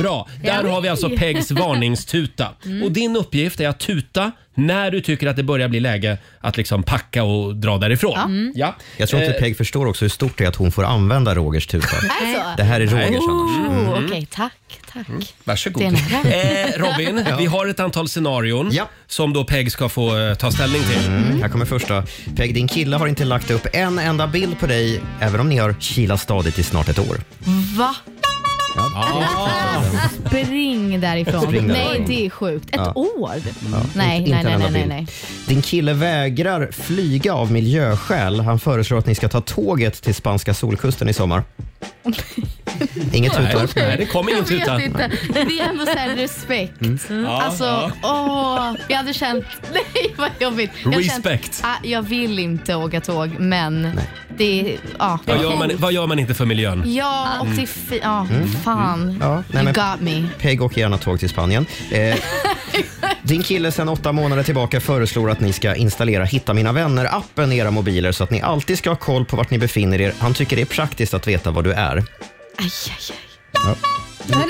[SPEAKER 1] Bra, där
[SPEAKER 8] Ja.
[SPEAKER 1] har vi alltså Pegs varningstuta.
[SPEAKER 8] Mm.
[SPEAKER 1] Och din uppgift är att tuta när du tycker att det börjar bli läge att liksom packa och dra därifrån.
[SPEAKER 8] Ja. Mm.
[SPEAKER 1] Ja.
[SPEAKER 2] Jag tror inte
[SPEAKER 1] Eh,
[SPEAKER 2] Peg förstår också hur stort det är att hon får använda Rogers tuta.
[SPEAKER 8] Alltså.
[SPEAKER 2] Det här är Rogers annars.
[SPEAKER 8] Oh,
[SPEAKER 2] Mm.
[SPEAKER 8] Okej, tack. tack.
[SPEAKER 1] Varsågod.
[SPEAKER 8] Det är
[SPEAKER 1] Eh, Robin,
[SPEAKER 8] Ja.
[SPEAKER 1] vi har ett antal scenarion som då Peg ska få eh, ta ställning till.
[SPEAKER 2] Mm. Här kommer första. Peg, din kille har inte lagt upp en enda bild på dig, även om ni har kilat stadigt i snart ett år.
[SPEAKER 8] Va?
[SPEAKER 2] Ja.
[SPEAKER 8] Spring därifrån.
[SPEAKER 2] Spring
[SPEAKER 8] Nej,
[SPEAKER 2] därifrån.
[SPEAKER 8] det är sjukt. Ett
[SPEAKER 2] Ja.
[SPEAKER 8] år?
[SPEAKER 2] Ja.
[SPEAKER 8] Nej,
[SPEAKER 2] Inte-
[SPEAKER 8] nej,
[SPEAKER 2] inte
[SPEAKER 8] nej,
[SPEAKER 2] en
[SPEAKER 8] nej,
[SPEAKER 2] enda
[SPEAKER 8] nej,
[SPEAKER 2] bild.
[SPEAKER 8] nej.
[SPEAKER 2] Din kille vägrar flyga av miljöskäl. Han föreslår att ni ska ta tåget till spanska solkusten i sommar. Inget
[SPEAKER 1] Nej,
[SPEAKER 2] tutar.
[SPEAKER 1] nej, det kom ingen tuta.
[SPEAKER 8] Jag vet inte. Det är ändå så här respekt.
[SPEAKER 2] Mm. Ja,
[SPEAKER 8] alltså, åh. Jag hade känt, nej vad jobbigt. Jag hade
[SPEAKER 1] Respekt.
[SPEAKER 8] Känt, ah, jag vill inte åka tåg, men det är, ah, ja.
[SPEAKER 1] Vad gör, man, vad gör man inte för miljön?
[SPEAKER 8] Ja, och det är fi- ja,
[SPEAKER 2] Mm.
[SPEAKER 8] fan.
[SPEAKER 2] Ja, nej,
[SPEAKER 8] you
[SPEAKER 2] men-
[SPEAKER 8] got me.
[SPEAKER 2] Peg åker gärna tåg till Spanien. Eh, din kille sen åtta månader tillbaka föreslår att ni ska installera Hitta mina vänner-appen i era mobiler så att ni alltid ska ha koll på vart ni befinner er. Han tycker det är praktiskt att veta var du är.
[SPEAKER 8] Aj, aj, aj.
[SPEAKER 2] Ja.
[SPEAKER 8] Det var ett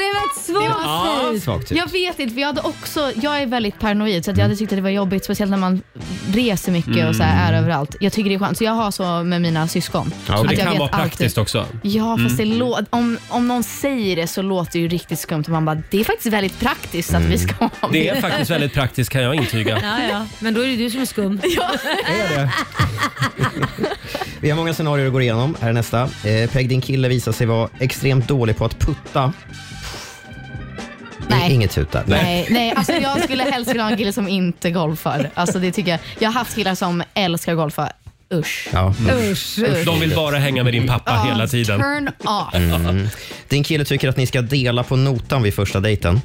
[SPEAKER 2] Ja,
[SPEAKER 8] svagt
[SPEAKER 2] svagt
[SPEAKER 1] typ-
[SPEAKER 2] typ. tips.
[SPEAKER 8] Jag vet inte, för jag hade också, jag är väldigt paranoid så att jag hade tyckt att det var jobbigt, speciellt när man reser mycket och så här är
[SPEAKER 1] Mm. Mm.
[SPEAKER 8] överallt. Jag tycker det är skönt, så jag har så med mina syskon.
[SPEAKER 1] Så
[SPEAKER 8] Att
[SPEAKER 1] det
[SPEAKER 8] jag
[SPEAKER 1] kan
[SPEAKER 8] vet
[SPEAKER 1] vara
[SPEAKER 8] alltid.
[SPEAKER 1] praktiskt också.
[SPEAKER 8] Ja, fast
[SPEAKER 1] Mm.
[SPEAKER 8] det lå- om, om någon säger det så låter det ju riktigt skumt och man bara, det är faktiskt väldigt praktiskt att vi ska ha
[SPEAKER 1] Mm. Det är faktiskt väldigt praktiskt kan jag intyga.
[SPEAKER 3] Ja, ja. Men då är det du som är skum.
[SPEAKER 8] Ja.
[SPEAKER 2] Vi har många scenarier att gå igenom. Här är nästa. Eh, Peg, din kille visar sig vara extremt dålig på att putta.
[SPEAKER 8] Nej.
[SPEAKER 2] Inget tutar.
[SPEAKER 8] Nej, nej alltså jag skulle helst vilja ha en kille som inte golfar. Alltså det tycker jag. Jag har haft killar som älskar att golfa. Usch.
[SPEAKER 2] Ja.
[SPEAKER 8] Mm. Usch, usch.
[SPEAKER 1] De vill bara hänga med din pappa
[SPEAKER 8] Ja,
[SPEAKER 1] hela tiden.
[SPEAKER 8] Turn off.
[SPEAKER 2] Mm. Din kille tycker att ni ska dela på notan vid första dejten.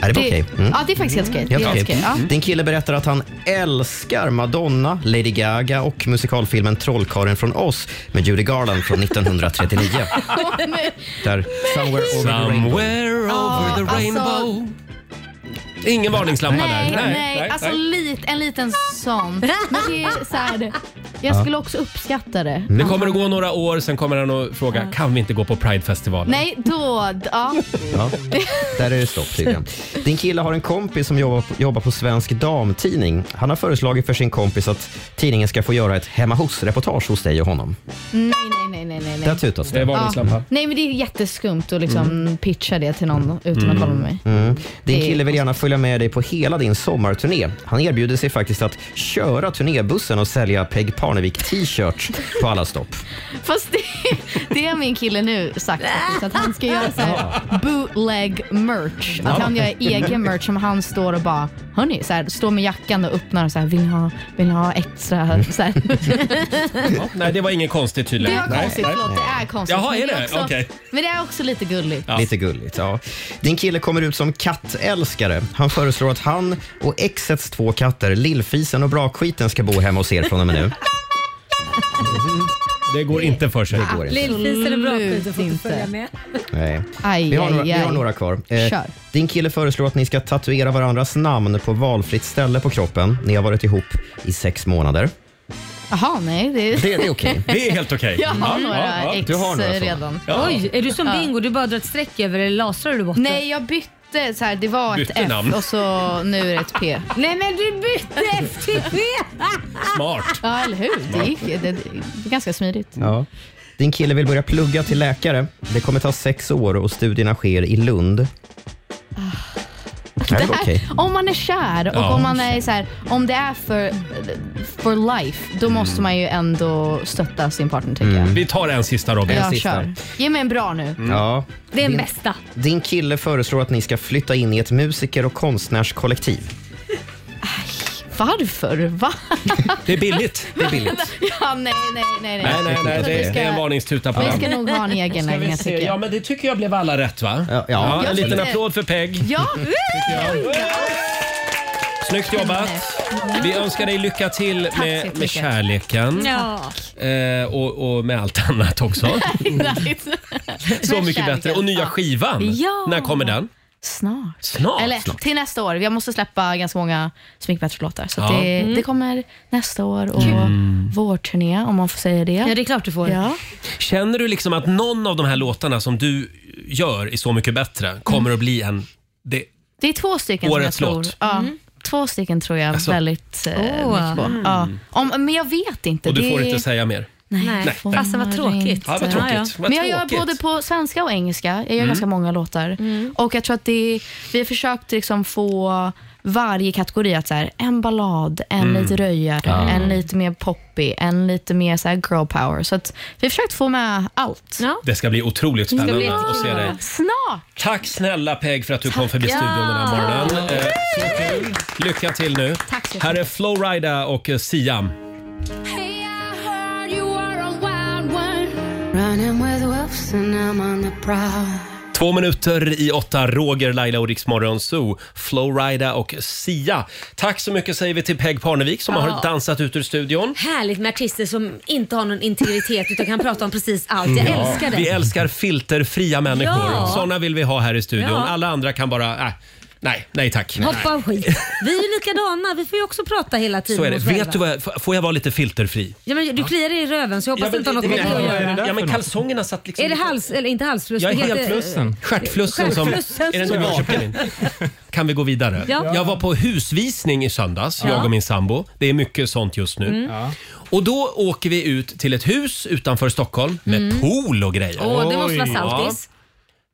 [SPEAKER 2] Är det,
[SPEAKER 8] Ah. Det-
[SPEAKER 2] okej? Mm.
[SPEAKER 8] ja, det är faktiskt helt okej. Det är helt okej, ja.
[SPEAKER 2] Din kille berättar att han älskar Madonna, Lady Gaga och musikalfilmen Trollkarlen från Oz med Judy Garland från 1939.
[SPEAKER 8] Åh, nej.
[SPEAKER 2] Där, somewhere over the rainbow.
[SPEAKER 1] Somewhere
[SPEAKER 8] Ja, alltså-
[SPEAKER 1] over the rainbow. Ingen varningslampa
[SPEAKER 8] Nej,
[SPEAKER 1] där.
[SPEAKER 8] nej, alltså Lit, en liten sån. Men det är så här, jag
[SPEAKER 1] Ja. Mm.
[SPEAKER 8] skulle också uppskatta det.
[SPEAKER 1] Det kommer att gå några år, sen kommer han att fråga kan vi inte gå på Pridefestivalen?
[SPEAKER 8] Nej, då... d- Ja.
[SPEAKER 2] Ja, där är det stopp tydligen. Din kille har en kompis som jobbar på, jobbar på Svensk Damtidning. Han har föreslagit för sin kompis att tidningen ska få göra ett hemma hos-reportage hos dig och honom.
[SPEAKER 8] Nej, nej, nej, nej, nej. nej.
[SPEAKER 2] Där tutas det. Det är varningslampa.
[SPEAKER 8] Ja. Nej, men det är jätteskumt att liksom pitcha det till någon utan att kolla med mig.
[SPEAKER 2] Mm. Din
[SPEAKER 8] Det-
[SPEAKER 2] kille vill gärna följa med dig på hela din sommarturné. Han erbjuder sig faktiskt att köra turnébussen och sälja Peg Parnevik t-shirts på alla stopp.
[SPEAKER 8] Fast det, det har min kille nu sagt faktiskt, att han ska göra så här bootleg merch. Att
[SPEAKER 16] Ja.
[SPEAKER 8] han gör egen merch som han står och bara, hörni, så här, står med jackan och öppnar och så här, vill ni ha, vill ni ha extra? Så här.
[SPEAKER 1] Ja, nej, det var inget konstigt
[SPEAKER 8] Det
[SPEAKER 1] tydligen.
[SPEAKER 8] var konstigt, förlåt, det är konstigt.
[SPEAKER 1] Jaha,
[SPEAKER 8] men
[SPEAKER 1] är det?
[SPEAKER 8] också-
[SPEAKER 1] Okej.
[SPEAKER 8] Men det är också lite gulligt.
[SPEAKER 2] Lite gulligt. Ja. Din kille kommer ut som kattälskare. Han föreslår att han och exets två katter, Lillfisen och Brakskiten, ska bo hemma hos er från och med nu.
[SPEAKER 1] Det går inte för sig.
[SPEAKER 2] Det går inte.
[SPEAKER 3] Lillfisen är bra
[SPEAKER 8] Absolut
[SPEAKER 3] skit att få
[SPEAKER 8] inte.
[SPEAKER 3] följa med.
[SPEAKER 2] Nej.
[SPEAKER 8] Aj,
[SPEAKER 2] vi, har några,
[SPEAKER 8] aj,
[SPEAKER 2] vi har
[SPEAKER 8] aj.
[SPEAKER 2] några kvar. Eh,
[SPEAKER 8] Kör.
[SPEAKER 2] din kille föreslår att ni ska tatuera varandras namn på valfritt ställe på kroppen. Ni har varit ihop i sex månader.
[SPEAKER 8] Jaha, nej. Det,
[SPEAKER 2] Det, det är okej.
[SPEAKER 8] Jag har några ex
[SPEAKER 2] Du har några sådana.
[SPEAKER 8] redan.
[SPEAKER 2] Ja.
[SPEAKER 3] Oj, är du som
[SPEAKER 8] Ja.
[SPEAKER 3] Bingo? Du bara drar ett streck över eller lasrar du bort det?
[SPEAKER 8] Nej, jag bytte bytte så här, det var ett
[SPEAKER 1] Bytte
[SPEAKER 8] F
[SPEAKER 1] namn.
[SPEAKER 8] och så nu är det ett P.
[SPEAKER 3] Nej men du bytte F till P!
[SPEAKER 1] Smart.
[SPEAKER 8] Ja, eller hur? Det
[SPEAKER 2] Smart.
[SPEAKER 8] gick det, det var ganska smidigt.
[SPEAKER 2] Ja. Din kille vill börja plugga till läkare. Det kommer ta sex år och studierna sker i Lund. Är Ah. det
[SPEAKER 8] här-
[SPEAKER 2] okej?
[SPEAKER 8] Om man är kär och
[SPEAKER 2] Ja.
[SPEAKER 8] om man är så här, om det är för, for life,
[SPEAKER 1] Mm.
[SPEAKER 8] då måste man ju ändå stötta sin partner tycker
[SPEAKER 2] Mm.
[SPEAKER 8] jag.
[SPEAKER 1] Vi tar en sista Robin.
[SPEAKER 8] Jag kör. Ge mig en bra nu.
[SPEAKER 1] Mm.
[SPEAKER 2] Ja.
[SPEAKER 8] Det är den bästa.
[SPEAKER 2] Din kille föreslår att ni ska flytta in i ett musiker och konstnärskollektiv.
[SPEAKER 8] Varför? Va?
[SPEAKER 1] Det är billigt. Det är
[SPEAKER 8] Ja, nej, nej, nej.
[SPEAKER 1] Nej, nej, nej,
[SPEAKER 8] Så
[SPEAKER 1] det,
[SPEAKER 8] vi
[SPEAKER 1] det är en varningstuta på
[SPEAKER 8] Vi
[SPEAKER 1] den.
[SPEAKER 8] ska nog ha en egen
[SPEAKER 1] Ska vi
[SPEAKER 8] lägenhet
[SPEAKER 1] se?
[SPEAKER 8] tycker jag.
[SPEAKER 1] Ja, men det tycker jag blev alla rätt va? Ja,
[SPEAKER 8] Jag
[SPEAKER 1] en liten
[SPEAKER 8] tycker-
[SPEAKER 1] applåd för Peg.
[SPEAKER 8] Ja!
[SPEAKER 1] Snyggt jobbat. Vi önskar dig lycka till
[SPEAKER 8] Tack så
[SPEAKER 1] med, med
[SPEAKER 8] jättemycket.
[SPEAKER 1] kärleken.
[SPEAKER 8] Ja.
[SPEAKER 1] Eh, och, och med allt annat också. Så mycket bättre. Och nya skivan.
[SPEAKER 8] Ja.
[SPEAKER 1] När kommer den?
[SPEAKER 8] Snart.
[SPEAKER 1] Snart.
[SPEAKER 8] Eller
[SPEAKER 1] Snart.
[SPEAKER 8] till nästa år. Jag måste släppa ganska många sminkbätterslåtar. Så
[SPEAKER 1] Ja.
[SPEAKER 8] det,
[SPEAKER 1] Mm.
[SPEAKER 8] det kommer nästa år och vårturné om man får säga det. Ja,
[SPEAKER 3] det är klart du får.
[SPEAKER 8] Ja.
[SPEAKER 1] Känner du liksom att någon av de här låtarna som du gör i Så mycket bättre
[SPEAKER 8] Mm.
[SPEAKER 1] kommer att bli en... Det,
[SPEAKER 8] Det är två stycken
[SPEAKER 1] Årets
[SPEAKER 8] som jag
[SPEAKER 1] låt.
[SPEAKER 8] tror. Ja. Två stycken tror jag
[SPEAKER 1] Alltså.
[SPEAKER 8] väldigt eh,
[SPEAKER 1] Åh.
[SPEAKER 8] mycket på.
[SPEAKER 1] Mm.
[SPEAKER 8] Ja. Om, men jag vet inte.
[SPEAKER 1] och du
[SPEAKER 8] det...
[SPEAKER 1] får inte säga mer.
[SPEAKER 8] Nej.
[SPEAKER 1] Nej.
[SPEAKER 8] Fasen vad tråkigt.
[SPEAKER 1] Ja, Alltså, vad tråkigt. Vad
[SPEAKER 8] Men jag gör
[SPEAKER 1] tråkigt.
[SPEAKER 8] både på svenska och engelska. Jag gör
[SPEAKER 1] Mm.
[SPEAKER 8] ganska många låtar. Och jag tror att det, vi har försökt liksom få varje kategori att så här, en ballad, en
[SPEAKER 3] Mm.
[SPEAKER 8] lite röjare,
[SPEAKER 3] Ja.
[SPEAKER 8] en lite mer poppy, en lite mer så här girl power. Så att vi har försökt få med allt.
[SPEAKER 1] Det ska bli otroligt
[SPEAKER 8] Det ska
[SPEAKER 1] spännande
[SPEAKER 8] bli
[SPEAKER 1] att se dig.
[SPEAKER 8] Snart!
[SPEAKER 1] Tack snälla Peg för att du kom förbi
[SPEAKER 8] Ja.
[SPEAKER 1] studion den här morgonen. Eh, så kul. Lycka till nu.
[SPEAKER 8] Tack så
[SPEAKER 1] Här är Flowrida och eh, Siam.
[SPEAKER 16] Running with wolves and I'm on the prowl.
[SPEAKER 1] Två minuter i åtta, Roger, Laila och Riksmorgon Zoo. Flowrida och Sia. Tack så mycket säger vi till Peg Parnevik som
[SPEAKER 3] Ja.
[SPEAKER 1] har dansat ut ur studion.
[SPEAKER 3] Härligt med artister som inte har någon integritet utan kan prata om precis allt. Jag
[SPEAKER 1] Mm. Ja.
[SPEAKER 3] älskar det.
[SPEAKER 1] Vi älskar filterfria människor.
[SPEAKER 3] Ja.
[SPEAKER 1] Såna vill vi ha här i studion.
[SPEAKER 3] Ja.
[SPEAKER 1] Alla andra kan bara... Äh, nej, nej tack.
[SPEAKER 3] Hoppa av skit. Vi är ju likadana, vi får ju också prata hela tiden
[SPEAKER 1] Så är det.
[SPEAKER 3] mot själva.
[SPEAKER 1] Vet du vad, jag- f- får jag vara lite filterfri?
[SPEAKER 3] Ja, men du kliar dig i röven så jag hoppas
[SPEAKER 1] men
[SPEAKER 3] inte har något med det att göra.
[SPEAKER 1] Ja, men kalsongerna satt liksom...
[SPEAKER 3] Är det hals, eller inte halsfluss?
[SPEAKER 1] Jag är
[SPEAKER 3] det heter-
[SPEAKER 1] helflussen. Stjärtflussen som...
[SPEAKER 3] Stjärtflussen
[SPEAKER 1] Är det
[SPEAKER 3] som-
[SPEAKER 1] inte Norrköping? Kan vi gå vidare?
[SPEAKER 3] Ja.
[SPEAKER 1] Jag var på husvisning i söndags,
[SPEAKER 3] Ja.
[SPEAKER 1] jag och min sambo. Det är mycket sånt just nu.
[SPEAKER 3] Mm.
[SPEAKER 1] Och då åker vi ut till ett hus utanför Stockholm med pool och grejer.
[SPEAKER 3] Mm. Åh, det måste vara
[SPEAKER 1] Oj.
[SPEAKER 3] saltis.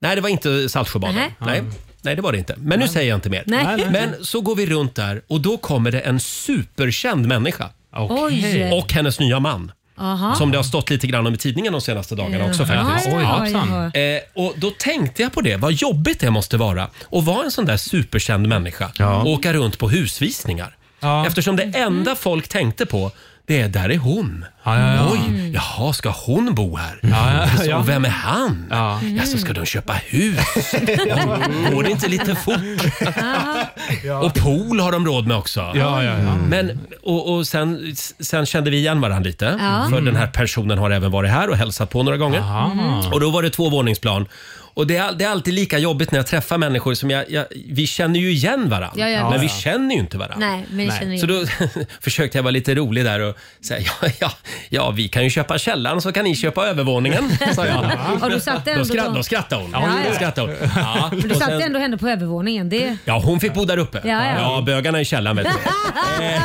[SPEAKER 1] Nej, det var inte Saltsjöbaden.
[SPEAKER 3] Nähä.
[SPEAKER 1] Nej. Nej, det var det inte. Men nu säger jag inte mer.
[SPEAKER 3] Nej. Nej, nej, nej.
[SPEAKER 1] Men så går vi runt där och då kommer det en superkänd människa.
[SPEAKER 3] Okej. Oj.
[SPEAKER 1] Och hennes nya man.
[SPEAKER 3] Aha.
[SPEAKER 1] Som det har stått lite grann om i tidningen de senaste dagarna också
[SPEAKER 3] Jaha.
[SPEAKER 1] faktiskt.
[SPEAKER 3] Oj,
[SPEAKER 1] Ja.
[SPEAKER 3] oj, oj.
[SPEAKER 1] Eh, och då tänkte jag på det, vad jobbigt det måste vara att vara en sån där superkänd människa och åka runt på husvisningar. Eftersom det enda folk tänkte på det är, där är hon.
[SPEAKER 6] ja, ja.
[SPEAKER 1] Oj, jaha, ska hon bo här?
[SPEAKER 6] ja,
[SPEAKER 1] Så,
[SPEAKER 6] ja.
[SPEAKER 1] Vem är han? Ja.
[SPEAKER 6] Mm.
[SPEAKER 1] så ska de köpa hus? Går det inte lite fort? Och pool har de råd med också.
[SPEAKER 6] ja, ja.
[SPEAKER 1] Men, och, och sen, sen kände vi igen varandra lite.
[SPEAKER 6] Ja.
[SPEAKER 1] För den här personen har även varit här och hälsat på några gånger.
[SPEAKER 6] Mm.
[SPEAKER 1] Och då var det två våningsplan. Och det är, all- det är alltid lika jobbigt när jag träffar människor som jag, jag vi känner ju igen varandra.
[SPEAKER 3] Ja, ja,
[SPEAKER 1] men vi
[SPEAKER 3] visst.
[SPEAKER 1] känner ju inte varandra.
[SPEAKER 3] Nej, men vi känner ju-
[SPEAKER 1] Så då försökte jag vara lite rolig där och säga ja, ja, ja, vi kan ju köpa källaren så kan ni köpa övervåningen. Sa jag.
[SPEAKER 3] Ja, du satte
[SPEAKER 1] då,
[SPEAKER 3] ändå
[SPEAKER 1] skratt,
[SPEAKER 3] på-
[SPEAKER 1] då skrattade hon.
[SPEAKER 3] Ja, ja.
[SPEAKER 1] Då skrattade hon. Ja.
[SPEAKER 3] Men du
[SPEAKER 1] och
[SPEAKER 3] satte
[SPEAKER 1] sen-
[SPEAKER 3] ändå henne på övervåningen. Det...
[SPEAKER 1] Ja, hon fick bo där uppe.
[SPEAKER 3] Ja, ja.
[SPEAKER 1] bögarna i källaren vet du. Eh,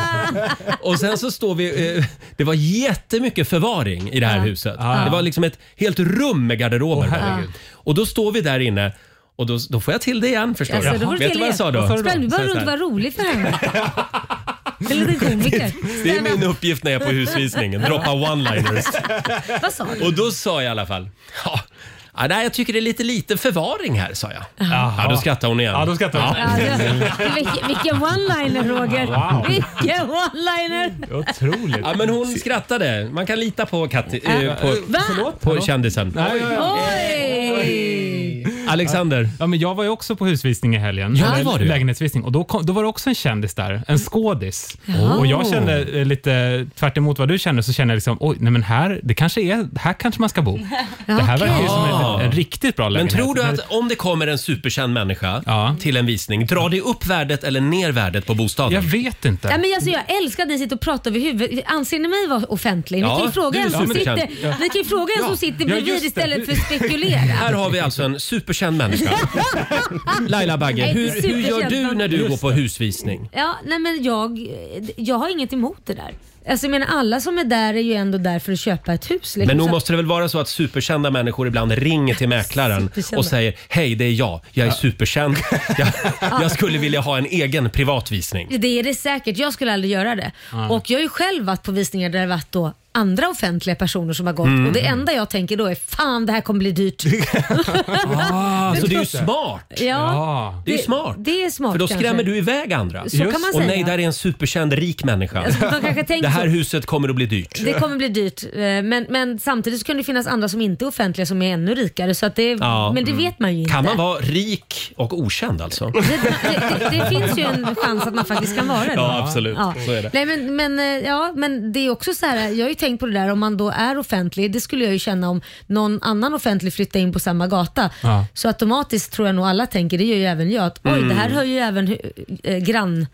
[SPEAKER 1] och sen så står vi... Eh, det var jättemycket förvaring i det här huset.
[SPEAKER 6] Ja.
[SPEAKER 1] Det var liksom ett helt rum med garderober.
[SPEAKER 6] Åh,
[SPEAKER 1] bara.
[SPEAKER 6] herregud.
[SPEAKER 1] och då står vi där inne och då, då får jag till det igen förstår
[SPEAKER 3] Alltså,
[SPEAKER 1] du.
[SPEAKER 3] då var det
[SPEAKER 1] vet
[SPEAKER 3] fel
[SPEAKER 1] du vad jag
[SPEAKER 3] igen.
[SPEAKER 1] sa då?
[SPEAKER 3] Sprang du
[SPEAKER 1] Så
[SPEAKER 3] bara
[SPEAKER 1] här,
[SPEAKER 3] runt och var rolig för henne? En liten komiker.
[SPEAKER 1] Det är min uppgift när jag är på husvisningen. Droppa one-liners.
[SPEAKER 3] Vad sa du?
[SPEAKER 1] Och då sa jag i alla fall, ja, ja, nej, jag tycker det är lite lite förvaring här sa jag. Ja, då skrattar hon igen. Ja, då skrattar hon.
[SPEAKER 3] Ja, det- vilken- Vilken one-liner Roger!
[SPEAKER 1] Wow.
[SPEAKER 3] Vilken one-liner!
[SPEAKER 1] Otroligt. Ja, men hon skrattade. Man kan lita på, Katti, eh, på,
[SPEAKER 3] Va?
[SPEAKER 1] på kändisen.
[SPEAKER 3] Oj!
[SPEAKER 1] Alexander.
[SPEAKER 6] Ja, men jag var ju också på husvisning i helgen.
[SPEAKER 1] Ja,
[SPEAKER 6] Eller
[SPEAKER 1] det var du.
[SPEAKER 6] Lägenhetsvisning. Och då, kom, då var det också en kändis där, en skådis.
[SPEAKER 1] Jaha.
[SPEAKER 6] Och jag kände eh, lite, tvärt emot vad du kände, så kände jag liksom, oj, nej men här, det kanske är, här kanske man ska bo. Det här verkar ju som en, en riktigt bra
[SPEAKER 1] Men
[SPEAKER 6] lägenhet.
[SPEAKER 1] tror du att om det kommer en superkänd människa till en visning, drar det upp värdet eller ner värdet på bostaden? Jag
[SPEAKER 6] vet inte.
[SPEAKER 3] Ja, men alltså, jag älskar att ni sitter och pratar över huvudet. Anser ni mig vara offentlig?
[SPEAKER 1] Ja,
[SPEAKER 3] vi kan ju fråga
[SPEAKER 1] du är
[SPEAKER 3] en som
[SPEAKER 1] superkänd.
[SPEAKER 3] sitter,
[SPEAKER 1] Ja.
[SPEAKER 3] vi kan ju fråga en
[SPEAKER 1] Ja.
[SPEAKER 3] som sitter
[SPEAKER 1] Ja,
[SPEAKER 3] bredvid
[SPEAKER 1] just det.
[SPEAKER 3] istället för att spekulera.
[SPEAKER 1] Här har vi alltså en känd människa. Laila Bagge,
[SPEAKER 3] Nej, inte
[SPEAKER 1] hur, hur gör
[SPEAKER 3] superkänd,
[SPEAKER 1] du
[SPEAKER 3] men-
[SPEAKER 1] när du
[SPEAKER 3] Just
[SPEAKER 1] går på husvisning?
[SPEAKER 3] Ja, nej men jag, jag har inget emot det där. Alltså jag menar alla som är där är ju ändå där för att köpa ett hus. liksom.
[SPEAKER 1] Men nog
[SPEAKER 3] Så-
[SPEAKER 1] måste det väl vara så att superkända människor ibland ringer till mäklaren
[SPEAKER 3] Superkända.
[SPEAKER 1] och säger Hej, det är jag. Jag är superkänd. Jag, jag skulle vilja ha en egen privatvisning.
[SPEAKER 3] Det är det säkert. Jag skulle aldrig göra det.
[SPEAKER 1] Nej.
[SPEAKER 3] Och jag har ju själv varit på visningar där det varit då andra offentliga personer som har gått
[SPEAKER 1] Mm.
[SPEAKER 3] och det enda jag tänker då är fan det här kommer bli dyrt.
[SPEAKER 1] Ah, så det är ju smart.
[SPEAKER 3] Ja.
[SPEAKER 6] Ah,
[SPEAKER 3] Ja.
[SPEAKER 1] Det är ju
[SPEAKER 3] Det-
[SPEAKER 1] smart.
[SPEAKER 3] det är smart
[SPEAKER 1] För då skrämmer
[SPEAKER 3] kanske.
[SPEAKER 1] du iväg andra.
[SPEAKER 3] Så kan man
[SPEAKER 1] och
[SPEAKER 3] säga.
[SPEAKER 1] nej, där är en superkänd rik människa.
[SPEAKER 3] Alltså, de kanske tänker
[SPEAKER 1] det här
[SPEAKER 3] så.
[SPEAKER 1] huset kommer att bli dyrt.
[SPEAKER 3] Det kommer bli dyrt eh, men, men samtidigt så kan det finnas andra som inte är offentliga som är ännu rikare. Så att det,
[SPEAKER 1] Ja,
[SPEAKER 3] men det
[SPEAKER 1] mm.
[SPEAKER 3] vet man ju inte.
[SPEAKER 1] Kan man vara rik och okänd alltså?
[SPEAKER 3] det, det finns ju en chans att man faktiskt kan vara det.
[SPEAKER 1] Ja, absolut. Så är det.
[SPEAKER 3] Nej, men, men, eh, ja, men det är också så här, jag har ju tänkt på det där om man då är offentlig, det skulle jag ju känna om någon annan offentlig flyttar in på samma gata.
[SPEAKER 1] Ja.
[SPEAKER 3] Så automatiskt tror jag nog alla tänker, det gör ju även jag, att oj
[SPEAKER 6] Mm.
[SPEAKER 3] det här hör ju även eh, grann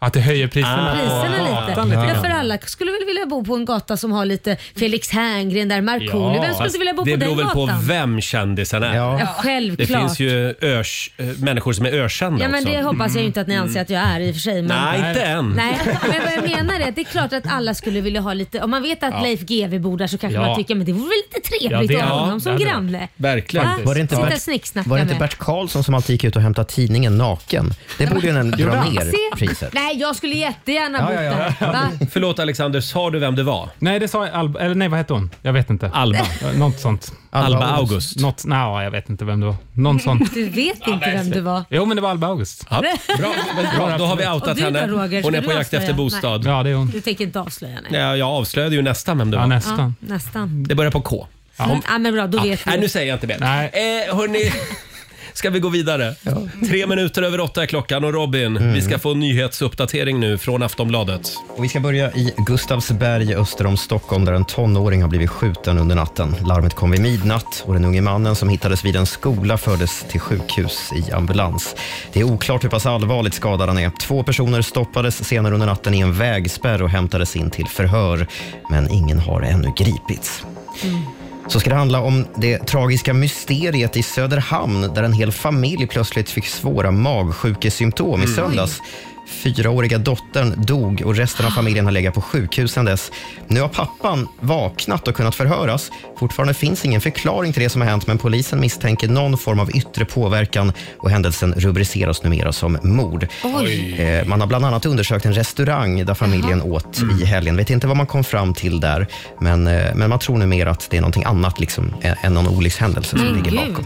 [SPEAKER 6] Att det höjer priserna,
[SPEAKER 3] priserna
[SPEAKER 6] på
[SPEAKER 3] lite.
[SPEAKER 6] gatan
[SPEAKER 3] Ja,
[SPEAKER 6] grann.
[SPEAKER 3] för alla skulle väl vilja bo på en gata som har lite Felix Herngren där, Markoolio.
[SPEAKER 1] Ja,
[SPEAKER 3] Vem skulle
[SPEAKER 1] fast
[SPEAKER 3] inte vilja bo på
[SPEAKER 1] det
[SPEAKER 3] den
[SPEAKER 1] beror väl på
[SPEAKER 3] gatan?
[SPEAKER 1] vem kändisen är.
[SPEAKER 3] Ja, självklart.
[SPEAKER 1] Det finns ju örs, eh, människor som är ökända
[SPEAKER 3] Ja men
[SPEAKER 1] också. Mm.
[SPEAKER 3] det hoppas jag ju inte att ni anser att jag är i och för sig. Men...
[SPEAKER 1] Nej, inte än.
[SPEAKER 3] Nej, men vad jag menar är att det är klart att alla skulle vilja ha lite, om man vet att
[SPEAKER 1] Ja.
[SPEAKER 3] Leif GW bor där så kanske
[SPEAKER 1] Ja.
[SPEAKER 3] man tycker men det vore väl lite trevligt
[SPEAKER 2] Ja, det-
[SPEAKER 3] att ha
[SPEAKER 2] ja,
[SPEAKER 3] honom som
[SPEAKER 2] det hade
[SPEAKER 3] granne.
[SPEAKER 1] Verkligen.
[SPEAKER 3] Va?
[SPEAKER 2] Var det inte
[SPEAKER 3] Sitta och
[SPEAKER 2] Bert,
[SPEAKER 3] snicksnacka
[SPEAKER 2] var det inte
[SPEAKER 3] med.
[SPEAKER 2] Bert Karlsson som alltid gick ut och hämtade tidningen naken? Det borde ju den dra ner
[SPEAKER 3] Se?
[SPEAKER 2] priset.
[SPEAKER 3] Nej, jag skulle jättegärna bott där. Va?
[SPEAKER 1] Förlåt Alexander, sa du vem det var?
[SPEAKER 6] Nej, det sa jag- Alba, eller nej vad hette hon? Jag vet inte.
[SPEAKER 1] Alba.
[SPEAKER 6] Något sånt.
[SPEAKER 1] Alba Alba August. August.
[SPEAKER 6] Något, nej, jag vet inte vem det var. Någon sån.
[SPEAKER 3] Du vet inte vem det var.
[SPEAKER 6] Jo, men det var Alba August.
[SPEAKER 1] Ja, bra, bra, då har vi outat
[SPEAKER 3] Och du då,
[SPEAKER 1] henne.
[SPEAKER 3] Roger?
[SPEAKER 1] hon är
[SPEAKER 3] Ska
[SPEAKER 1] på
[SPEAKER 3] du
[SPEAKER 1] jakt efter
[SPEAKER 3] avslöja?
[SPEAKER 1] bostad.
[SPEAKER 3] Nej.
[SPEAKER 6] Ja, det är hon.
[SPEAKER 3] Du tänker inte avslöja? Nej.
[SPEAKER 1] Ja, jag avslöjade ju nästan vem det var.
[SPEAKER 3] Ja, nästan.
[SPEAKER 1] Det börjar på K.
[SPEAKER 3] Mm, Ja. men bra, då vet vi.
[SPEAKER 1] Nej, nu säger jag inte mer. Nej. Eh, hörni, ska vi gå vidare? Tre minuter över åtta är klockan och Robin, vi ska få en nyhetsuppdatering nu från Aftonbladet.
[SPEAKER 2] Och vi ska börja i Gustavsberg öster om Stockholm där en tonåring har blivit skjuten under natten. Larmet kom vid midnatt och den unge mannen som hittades vid en skola fördes till sjukhus i ambulans. Det är oklart hur pass allvarligt skadad han är. Två personer stoppades senare under natten i en vägspärr och hämtades in till förhör, men ingen har ännu gripits. Så ska det handla om det tragiska mysteriet i Söderhamn där en hel familj plötsligt fick svåra magsjukesymptom i
[SPEAKER 17] Mm.
[SPEAKER 2] söndags. Fyraåriga dottern dog och resten av familjen har legat på sjukhus sedan dess. Nu har pappan vaknat och kunnat förhöras. Fortfarande finns ingen förklaring till det som har hänt men polisen misstänker någon form av yttre påverkan och händelsen rubriceras numera som mord.
[SPEAKER 4] Oj.
[SPEAKER 2] Eh, Man har bland annat undersökt en restaurang där familjen åt i helgen. Vet inte vad man kom fram till där, men, eh, men man tror numera att det är någonting annat liksom, ä- än någon olyckshändelse
[SPEAKER 3] Mm.
[SPEAKER 2] som ligger bakom.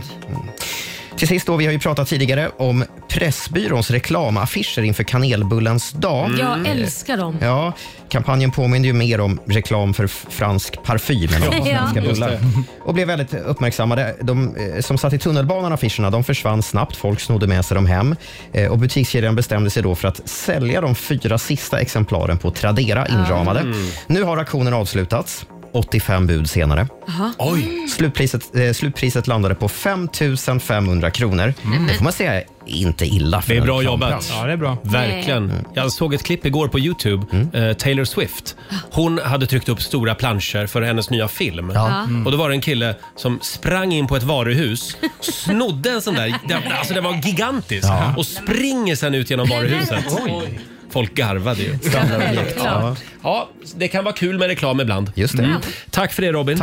[SPEAKER 2] Till sist då, vi har ju pratat tidigare om Pressbyråns reklamaffischer inför kanelbullens dag.
[SPEAKER 1] Mm.
[SPEAKER 3] Jag älskar dem.
[SPEAKER 2] Ja, kampanjen påminner ju mer om reklam för f- fransk parfym än om
[SPEAKER 3] Ja,
[SPEAKER 2] svenska
[SPEAKER 3] just
[SPEAKER 2] bullar.
[SPEAKER 3] det.
[SPEAKER 2] Och blev väldigt uppmärksammade. De eh, som satt i tunnelbanan, affischerna, de försvann snabbt. Folk snodde med sig dem hem. Eh, Och butikskedjan bestämde sig då för att sälja de fyra sista exemplaren på Tradera
[SPEAKER 3] Ah.
[SPEAKER 2] inramade.
[SPEAKER 4] Mm.
[SPEAKER 2] Nu har auktionen avslutats. 85 bud senare.
[SPEAKER 4] Jaha. Oj.
[SPEAKER 2] Slutpriset, eh, slutpriset landade på 5 500 kronor.
[SPEAKER 3] Mm.
[SPEAKER 2] Det får man säga är inte illa. för
[SPEAKER 1] Det är
[SPEAKER 2] en
[SPEAKER 1] bra
[SPEAKER 2] reklamplan.
[SPEAKER 1] jobbat. Verkligen. Jag såg ett klipp igår på Youtube. Eh, Taylor Swift. Hon hade tryckt upp stora planscher för hennes nya film.
[SPEAKER 4] Ja. Mm.
[SPEAKER 1] Och då var det en kille som sprang in på ett varuhus, snodde en sån där, den, alltså den var gigantisk, och springer sen ut genom varuhuset.
[SPEAKER 4] Oj.
[SPEAKER 1] Folk garvade ju.
[SPEAKER 4] Standardobjekt.
[SPEAKER 1] Ja. ja, det kan vara kul med reklam ibland.
[SPEAKER 2] Just det.
[SPEAKER 1] Tack för det Robin.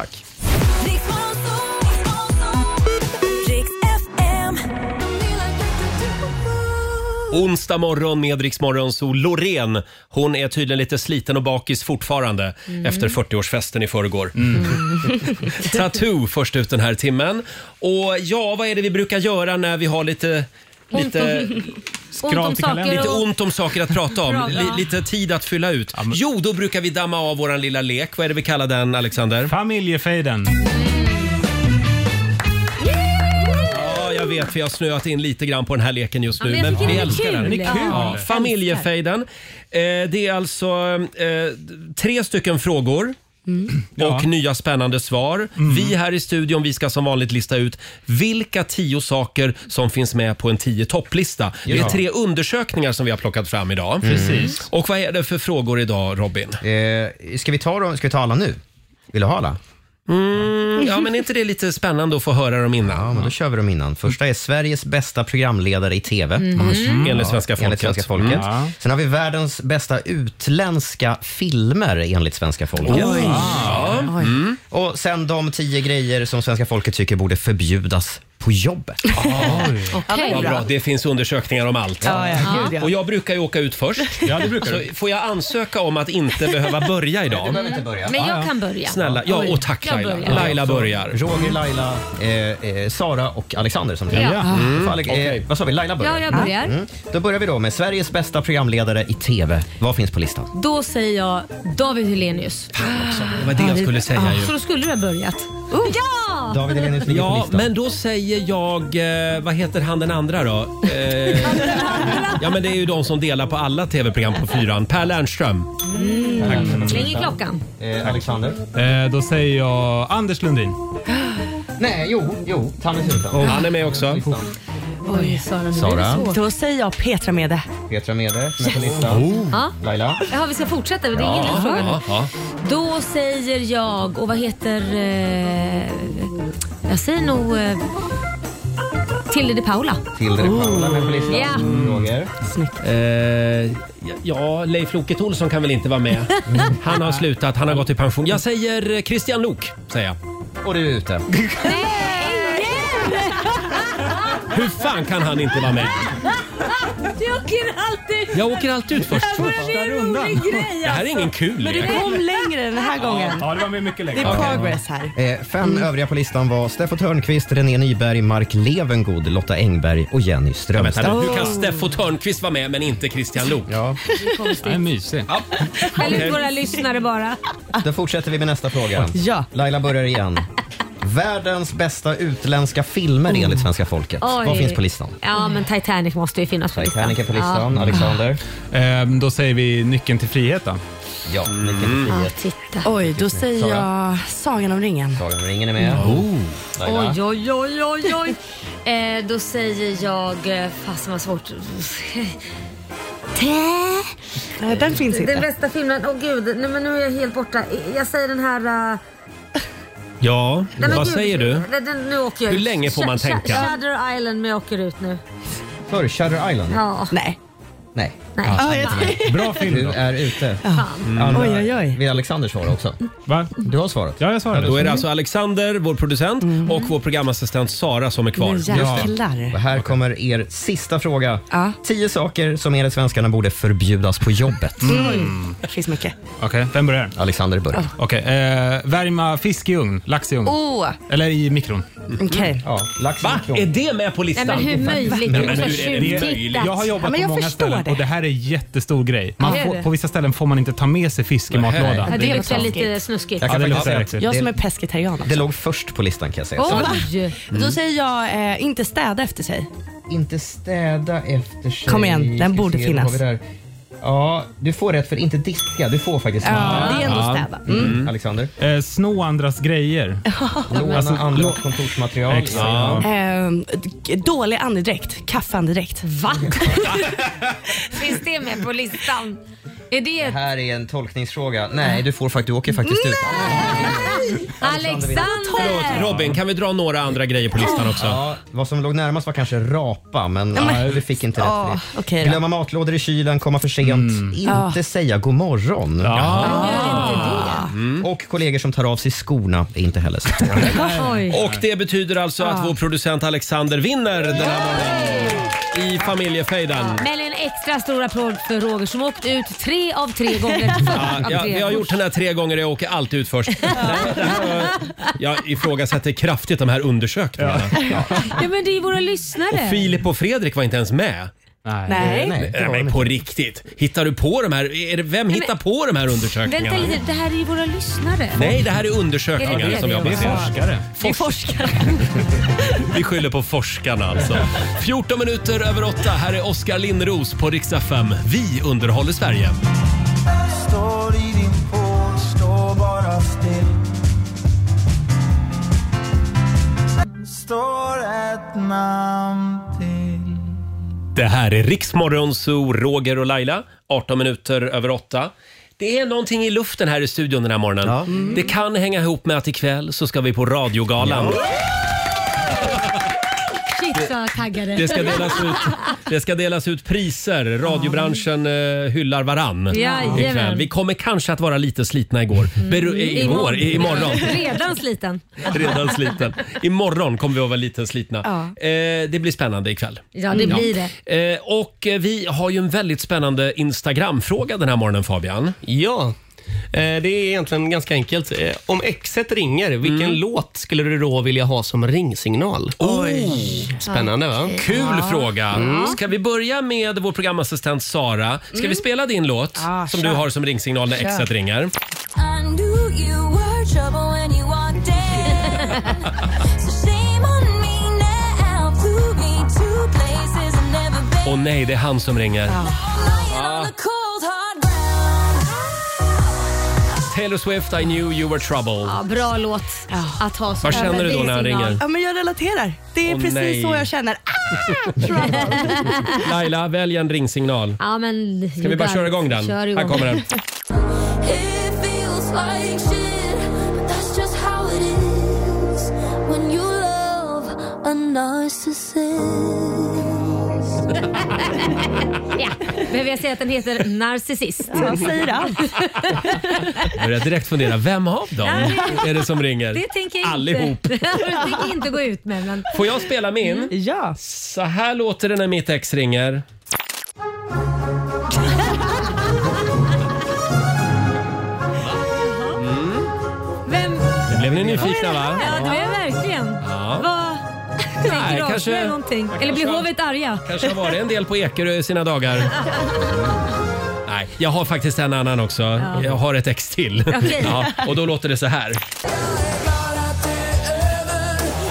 [SPEAKER 1] Onsdag morgon med Rix Morgon, så Loreen, hon är tydligen lite sliten och bakis fortfarande
[SPEAKER 4] Mm.
[SPEAKER 1] efter 40-årsfesten i förrgår. Tattoo först ut den här timmen. Och ja, vad är det vi brukar göra när vi har lite...
[SPEAKER 4] Ont om-
[SPEAKER 1] Lite,
[SPEAKER 4] ont om saker
[SPEAKER 1] lite
[SPEAKER 4] och-
[SPEAKER 1] ont om saker att prata om.
[SPEAKER 4] Bra, bra.
[SPEAKER 1] Li- lite tid att fylla ut. Jo, då brukar vi damma av våran lilla lek. Vad är det vi kallar den, Alexander? Familjefejden. Ja, jag vet, vi har snöat in lite grann på den här leken just
[SPEAKER 4] Ja,
[SPEAKER 1] nu.
[SPEAKER 4] men jag
[SPEAKER 1] men
[SPEAKER 4] tycker
[SPEAKER 1] vi
[SPEAKER 4] den är
[SPEAKER 1] älskar
[SPEAKER 4] kul.
[SPEAKER 1] den.
[SPEAKER 4] Den är kul.
[SPEAKER 1] Ja, familjefejden. Eh, det är alltså eh, tre stycken frågor.
[SPEAKER 2] Mm.
[SPEAKER 1] Och nya spännande svar. Vi här i studion vi ska som vanligt lista ut vilka tio saker som finns med på en tio topplista. Det är
[SPEAKER 2] Ja.
[SPEAKER 1] tre undersökningar som vi har plockat fram idag.
[SPEAKER 2] Mm. Precis.
[SPEAKER 1] Och vad är det för frågor idag Robin?
[SPEAKER 2] Eh, ska, vi ta dem, ska vi ta alla nu? Vill du ha alla?
[SPEAKER 1] Mm, ja, men är inte det lite spännande att få höra dem innan?
[SPEAKER 2] Ja, men då kör vi dem innan. Första är Sveriges bästa programledare i TV.
[SPEAKER 1] Mhm. Mhm. Enligt svenska
[SPEAKER 2] Mm. Enligt
[SPEAKER 1] folket.
[SPEAKER 2] svenska folket.
[SPEAKER 1] Mm. Ja.
[SPEAKER 2] Sen har vi världens bästa utländska filmer enligt svenska folket.
[SPEAKER 1] Oj.
[SPEAKER 2] Ja. Mm. Och sen de tio grejer som svenska folket tycker borde förbjudas på jobbet.
[SPEAKER 1] Vad bra. Det finns undersökningar om allt.
[SPEAKER 2] Ja, ja, gud, ja.
[SPEAKER 1] Och jag brukar ju åka ut först.
[SPEAKER 2] Ja, det brukar
[SPEAKER 1] så
[SPEAKER 2] du.
[SPEAKER 1] får jag ansöka om att inte behöva börja idag?
[SPEAKER 2] Du behöver inte börja.
[SPEAKER 3] Men jag kan börja.
[SPEAKER 1] Snälla. Ja, och tack
[SPEAKER 3] Jag
[SPEAKER 1] Laila.
[SPEAKER 3] börjar.
[SPEAKER 1] Laila börjar.
[SPEAKER 2] Roger, Laila, eh, eh, Sara och Alexander som
[SPEAKER 3] Ja.
[SPEAKER 2] tävlar.
[SPEAKER 3] Mm.
[SPEAKER 2] Fall- eh, Vad sa vi? Laila börjar. Mm.
[SPEAKER 3] Ja, jag börjar.
[SPEAKER 2] Då börjar vi då med Sveriges bästa programledare i TV. Vad finns på listan?
[SPEAKER 3] Då säger jag David Hellenius.
[SPEAKER 1] Det var det jag skulle säga
[SPEAKER 3] Så
[SPEAKER 1] ju. Oh.
[SPEAKER 3] då skulle du ha börjat. Ja!
[SPEAKER 2] David Hellenius ligger på
[SPEAKER 1] Ja,
[SPEAKER 2] listan.
[SPEAKER 1] men då säger jag... Eh, vad heter han den andra då? Eh, ja, men det är ju de som delar på alla tv-program på fyran. Per Lernström.
[SPEAKER 3] Mm. Släng i klockan.
[SPEAKER 2] Eh, Alexander?
[SPEAKER 6] Eh, då säger jag Anders Lundin.
[SPEAKER 2] Nej, jo, jo. Tanne Sultan.
[SPEAKER 1] Och han är med också.
[SPEAKER 3] Oj, Sara. Nu
[SPEAKER 2] Sara.
[SPEAKER 3] Sara. Det svårt.
[SPEAKER 7] Då säger jag Petra Mede.
[SPEAKER 2] Petra Mede som är på listan.
[SPEAKER 3] Ja.
[SPEAKER 2] Laila?
[SPEAKER 3] Jaha, vi ska fortsätta. Det är ingen lätt fråga nu. Då säger jag, och vad heter... Eh, jag säger nog eh, Tilde de Paula.
[SPEAKER 2] Tilde de Paula med på listan. Mm.
[SPEAKER 3] Ja.
[SPEAKER 2] Roger?
[SPEAKER 1] Eh, ja, Leif Loket Olsson kan väl inte vara med. Han har slutat, han har gått i pension. Jag säger eh, Christian Lok, säger jag.
[SPEAKER 2] Och du är ute.
[SPEAKER 1] Hur fan kan han inte vara med?
[SPEAKER 3] Du åker alltid...
[SPEAKER 1] Jag åker alltid ut först.
[SPEAKER 3] Det här börjar bli en rolig grej. alltså.
[SPEAKER 1] Det här är ingen kul
[SPEAKER 7] Men du
[SPEAKER 1] lek.
[SPEAKER 7] kom längre den här gången.
[SPEAKER 6] Ja, det var med mycket
[SPEAKER 7] Det
[SPEAKER 6] längre.
[SPEAKER 7] är
[SPEAKER 2] Okej.
[SPEAKER 7] progress här.
[SPEAKER 2] Eh, fem övriga på listan var Steffo Törnqvist, René Nyberg, Mark Levengood, Lotta Engberg och Jenny
[SPEAKER 1] Ja, men,
[SPEAKER 2] Strömstedt.
[SPEAKER 1] här, hur kan Steffo Törnqvist vara med men inte Christian Lok?
[SPEAKER 2] Ja.
[SPEAKER 6] Det är mysig.
[SPEAKER 3] Eller
[SPEAKER 2] Okej.
[SPEAKER 3] våra lyssnare bara.
[SPEAKER 2] Då fortsätter vi med nästa fråga.
[SPEAKER 7] Ja.
[SPEAKER 2] Laila börjar igen. Världens bästa utländska filmer enligt svenska folket. Vad finns på listan?
[SPEAKER 3] Ja, men Titanic måste ju finnas på listan.
[SPEAKER 2] Titanic är på listan. Alexander?
[SPEAKER 6] Ehm, då säger vi Nyckeln till frihet då.
[SPEAKER 2] Ja, Nyckeln till frihet.
[SPEAKER 3] titta.
[SPEAKER 7] Oj, då säger jag Sagan om ringen.
[SPEAKER 2] Sagan om ringen är med. Laila?
[SPEAKER 3] Oj, oj, oj, oj, oj. Eh, då säger jag... eh, Fasen vad svårt. Tä-
[SPEAKER 7] Nej, den finns
[SPEAKER 3] Den
[SPEAKER 7] inte.
[SPEAKER 3] bästa filmen, åh gud, nej, men nu är jag helt borta. Jag säger den här... eh,
[SPEAKER 1] Ja,
[SPEAKER 3] nej, men
[SPEAKER 1] vad
[SPEAKER 3] gud,
[SPEAKER 1] säger du?
[SPEAKER 3] Den, den, nu åker jag
[SPEAKER 1] Hur
[SPEAKER 3] ut.
[SPEAKER 1] länge får man
[SPEAKER 3] Sh- sh-
[SPEAKER 1] tänka?
[SPEAKER 3] Shutter Island, men jag åker ut nu.
[SPEAKER 2] För Shutter Island?
[SPEAKER 3] Ja.
[SPEAKER 7] Nej.
[SPEAKER 2] Nej.
[SPEAKER 3] Nej.
[SPEAKER 6] Bra film
[SPEAKER 2] Du
[SPEAKER 6] då.
[SPEAKER 2] är ute. Mm.
[SPEAKER 3] Fan.
[SPEAKER 2] Andra,
[SPEAKER 7] Oj, oj, oj.
[SPEAKER 2] Vill Alexander svara också?
[SPEAKER 6] Va?
[SPEAKER 2] Du har svarat.
[SPEAKER 6] Ja, jag svarade.
[SPEAKER 1] Då är det alltså Alexander, vår producent,
[SPEAKER 3] Mm.
[SPEAKER 1] och vår programassistent Sara som är kvar.
[SPEAKER 7] Nu jäklar.
[SPEAKER 2] Och här kommer er sista fråga.
[SPEAKER 7] Ja.
[SPEAKER 2] Tio saker som enligt svenskarna borde förbjudas på jobbet.
[SPEAKER 7] Mm. Det finns mycket.
[SPEAKER 6] Okej, vem börjar?
[SPEAKER 2] Alexander börjar.
[SPEAKER 6] Okej, eh, värma fisk i ugn, lax i ugn.
[SPEAKER 7] Åh,
[SPEAKER 6] Eller i mikron.
[SPEAKER 7] okej.
[SPEAKER 2] Ja, lax
[SPEAKER 1] Va? Är det med på
[SPEAKER 3] Nej
[SPEAKER 1] listan?
[SPEAKER 3] men hur möjligt?
[SPEAKER 1] Nej,
[SPEAKER 3] Nej,
[SPEAKER 1] men
[SPEAKER 3] men
[SPEAKER 1] hur är det möjligt?
[SPEAKER 6] Jag har jobbat
[SPEAKER 7] Ja, men jag
[SPEAKER 6] på många
[SPEAKER 7] förstår
[SPEAKER 6] ställen
[SPEAKER 7] det.
[SPEAKER 6] och det här är en jättestor grej. Man
[SPEAKER 3] Ja, det är
[SPEAKER 6] får,
[SPEAKER 3] det.
[SPEAKER 6] på vissa ställen får man inte ta med sig fisk i
[SPEAKER 2] Nej.
[SPEAKER 6] matlådan.
[SPEAKER 3] Ja,
[SPEAKER 6] Det
[SPEAKER 3] det
[SPEAKER 6] är
[SPEAKER 3] luktar
[SPEAKER 6] liksom-
[SPEAKER 3] lite snuskigt.
[SPEAKER 2] Jag
[SPEAKER 6] Ja,
[SPEAKER 2] kan
[SPEAKER 6] det
[SPEAKER 2] faktiskt
[SPEAKER 6] luktar
[SPEAKER 2] säga
[SPEAKER 6] äckligt.
[SPEAKER 7] Jag som
[SPEAKER 2] Det-
[SPEAKER 7] är pescetarian
[SPEAKER 2] Det
[SPEAKER 7] också.
[SPEAKER 2] låg först på listan kan jag säga. Så att
[SPEAKER 3] Oj!
[SPEAKER 7] Då säger jag eh, inte städa efter sig.
[SPEAKER 2] Inte städa efter sig.
[SPEAKER 7] Kom igen, den
[SPEAKER 2] Ska
[SPEAKER 7] borde
[SPEAKER 2] se,
[SPEAKER 7] finnas.
[SPEAKER 2] vad har vi där? Ja, du får rätt för inte diska. Du får faktiskt
[SPEAKER 7] Ja, det är ändå
[SPEAKER 6] Ja.
[SPEAKER 7] städa.
[SPEAKER 2] Mm. Alexander.
[SPEAKER 6] Eh, sno andras grejer. Alltså,
[SPEAKER 2] Låna andra kontorsmaterial.
[SPEAKER 6] Exakt.
[SPEAKER 2] Ja.
[SPEAKER 7] Mm. Eh, d- dålig andedräkt, kaffeandedräkt.
[SPEAKER 3] Va? Finns det med på listan? Är
[SPEAKER 2] Det
[SPEAKER 3] det
[SPEAKER 2] här är en tolkningsfråga. Nej, du, får, fakt- du åker faktiskt ut.
[SPEAKER 1] Förlåt,
[SPEAKER 3] Alexander?
[SPEAKER 1] Robin, kan vi dra några andra grejer på listan också?
[SPEAKER 2] Ja, vad som låg närmast var kanske rapa, men ja, vi fick inte rätt för
[SPEAKER 7] Ja,
[SPEAKER 2] det.
[SPEAKER 7] okej då.
[SPEAKER 2] Glömma matlådor i kylen, komma för sent, inte säga god morgon. Och kollegor som tar av sig skorna är inte heller så.
[SPEAKER 3] Oj.
[SPEAKER 1] Och det betyder alltså att vår producent Alexander vinner den här morgonen i familjefejden.
[SPEAKER 3] Men en extra stor applåd för Roger som åkt ut tre av tre gånger.
[SPEAKER 1] Ja, jag, jag har gjort den här tre gånger och jag åker alltid ut först. Det här- det här var- Jag ifrågasätter kraftigt de här undersökningarna.
[SPEAKER 3] Ja men det är ju våra lyssnare.
[SPEAKER 1] Filip och Fredrik var inte ens med.
[SPEAKER 7] Nej.
[SPEAKER 2] Nej, det
[SPEAKER 1] Nej,
[SPEAKER 2] var de
[SPEAKER 1] men
[SPEAKER 2] inte.
[SPEAKER 1] på riktigt. Hittar du på de här? Är det, vem hittar på de här
[SPEAKER 3] Vänta
[SPEAKER 1] undersökningarna?
[SPEAKER 3] lite, det här är ju våra lyssnare.
[SPEAKER 1] Nej, det här är
[SPEAKER 3] Är det
[SPEAKER 1] undersökningar
[SPEAKER 3] det
[SPEAKER 1] som jag
[SPEAKER 3] vi gör?
[SPEAKER 1] baserar.
[SPEAKER 6] Forskare.
[SPEAKER 7] Vi forskar.
[SPEAKER 1] Vi skyller på forskarna alltså. 14 minuter över 8. Här är Oskar Lindros på riksdag 5. Vi underhåller Sverige.
[SPEAKER 4] Står i din pool, stå bara still Står ett namn till
[SPEAKER 1] Det här är Riksmorgon Zoo, Roger och Laila. 18 minuter över 8. Det är någonting i luften här i studion den här morgonen. Mm. Det kan hänga ihop med att ikväll så ska vi på radiogalan.
[SPEAKER 3] Shit vad taggade.
[SPEAKER 1] Det ska delas ut, det ska delas ut priser. Radiobranschen eh, hyllar varann
[SPEAKER 3] Jajamän. Mm.
[SPEAKER 1] ikväll. Vi kommer kanske att vara lite slitna igår. Beru- eh, igår? I- Imorgon.
[SPEAKER 3] Redan sliten.
[SPEAKER 1] Redan sliten. Imorgon kommer vi att vara lite slitna.
[SPEAKER 3] Ja.
[SPEAKER 1] Eh, det blir spännande ikväll.
[SPEAKER 3] Ja, det blir det.
[SPEAKER 1] Eh, och eh, vi har ju en väldigt spännande Instagram-fråga den här morgonen Fabian.
[SPEAKER 10] Ja, eh, det är egentligen ganska enkelt. Eh, Om exet ringer, vilken
[SPEAKER 1] Mm.
[SPEAKER 10] låt skulle du då vilja ha som ringsignal?
[SPEAKER 1] Oj!
[SPEAKER 10] Spännande va? Mm.
[SPEAKER 1] Kul fråga! Ska vi börja med vår programassistent Sara? Ska vi spela din låt
[SPEAKER 4] Ah,
[SPEAKER 1] som
[SPEAKER 4] kör.
[SPEAKER 1] du har som ringsignal när
[SPEAKER 4] Kör.
[SPEAKER 1] exet ringer?
[SPEAKER 4] I knew you were trouble when you walked in. so shame on me now. Flew me to places I've never been.
[SPEAKER 1] Åh nej, det är han som ringer.
[SPEAKER 4] On
[SPEAKER 1] Ah,
[SPEAKER 4] the cold hard ground.
[SPEAKER 1] Taylor Swift, I knew you were trouble.
[SPEAKER 3] Ja, bra låt att ha som
[SPEAKER 1] Vad känner du då när han ringer?
[SPEAKER 7] Ja, men jag relaterar. Det är
[SPEAKER 1] Åh,
[SPEAKER 7] precis
[SPEAKER 1] nej.
[SPEAKER 7] så jag känner. Ah,
[SPEAKER 1] Laila, välj en ringsignal.
[SPEAKER 3] Ja, men,
[SPEAKER 1] Ska vi bara köra igång den?
[SPEAKER 3] Kör igång.
[SPEAKER 1] Här kommer den.
[SPEAKER 4] It feels like shit, but that's just how it is when you love a narcissist.
[SPEAKER 3] ja. Behöver jag säga att den heter Narcissist?
[SPEAKER 4] Ja, säger
[SPEAKER 7] allt.
[SPEAKER 1] Jag börjar direkt fundera, vem av dem är det som ringer?
[SPEAKER 3] Det tänker jag inte.
[SPEAKER 1] Allihop.
[SPEAKER 3] Det tänker jag inte gå ut med. Men...
[SPEAKER 1] Får jag spela min?
[SPEAKER 7] Mm, Ja.
[SPEAKER 1] Så här låter det när mitt ex ringer.
[SPEAKER 3] Vem?
[SPEAKER 1] Nu blev ni nyfikna va?
[SPEAKER 3] Ja, det är jag verkligen.
[SPEAKER 1] Ja.
[SPEAKER 3] Vad tänker du
[SPEAKER 1] kanske-
[SPEAKER 3] avslöja någonting?
[SPEAKER 1] jag
[SPEAKER 3] Eller blir
[SPEAKER 1] kanske-
[SPEAKER 3] hovet arga?
[SPEAKER 1] Kanske har varit en del på Ekerö i sina dagar. Nej, jag har faktiskt en annan också. Jag har ett ex till.
[SPEAKER 4] Okej.
[SPEAKER 1] Ja, och då låter det så här.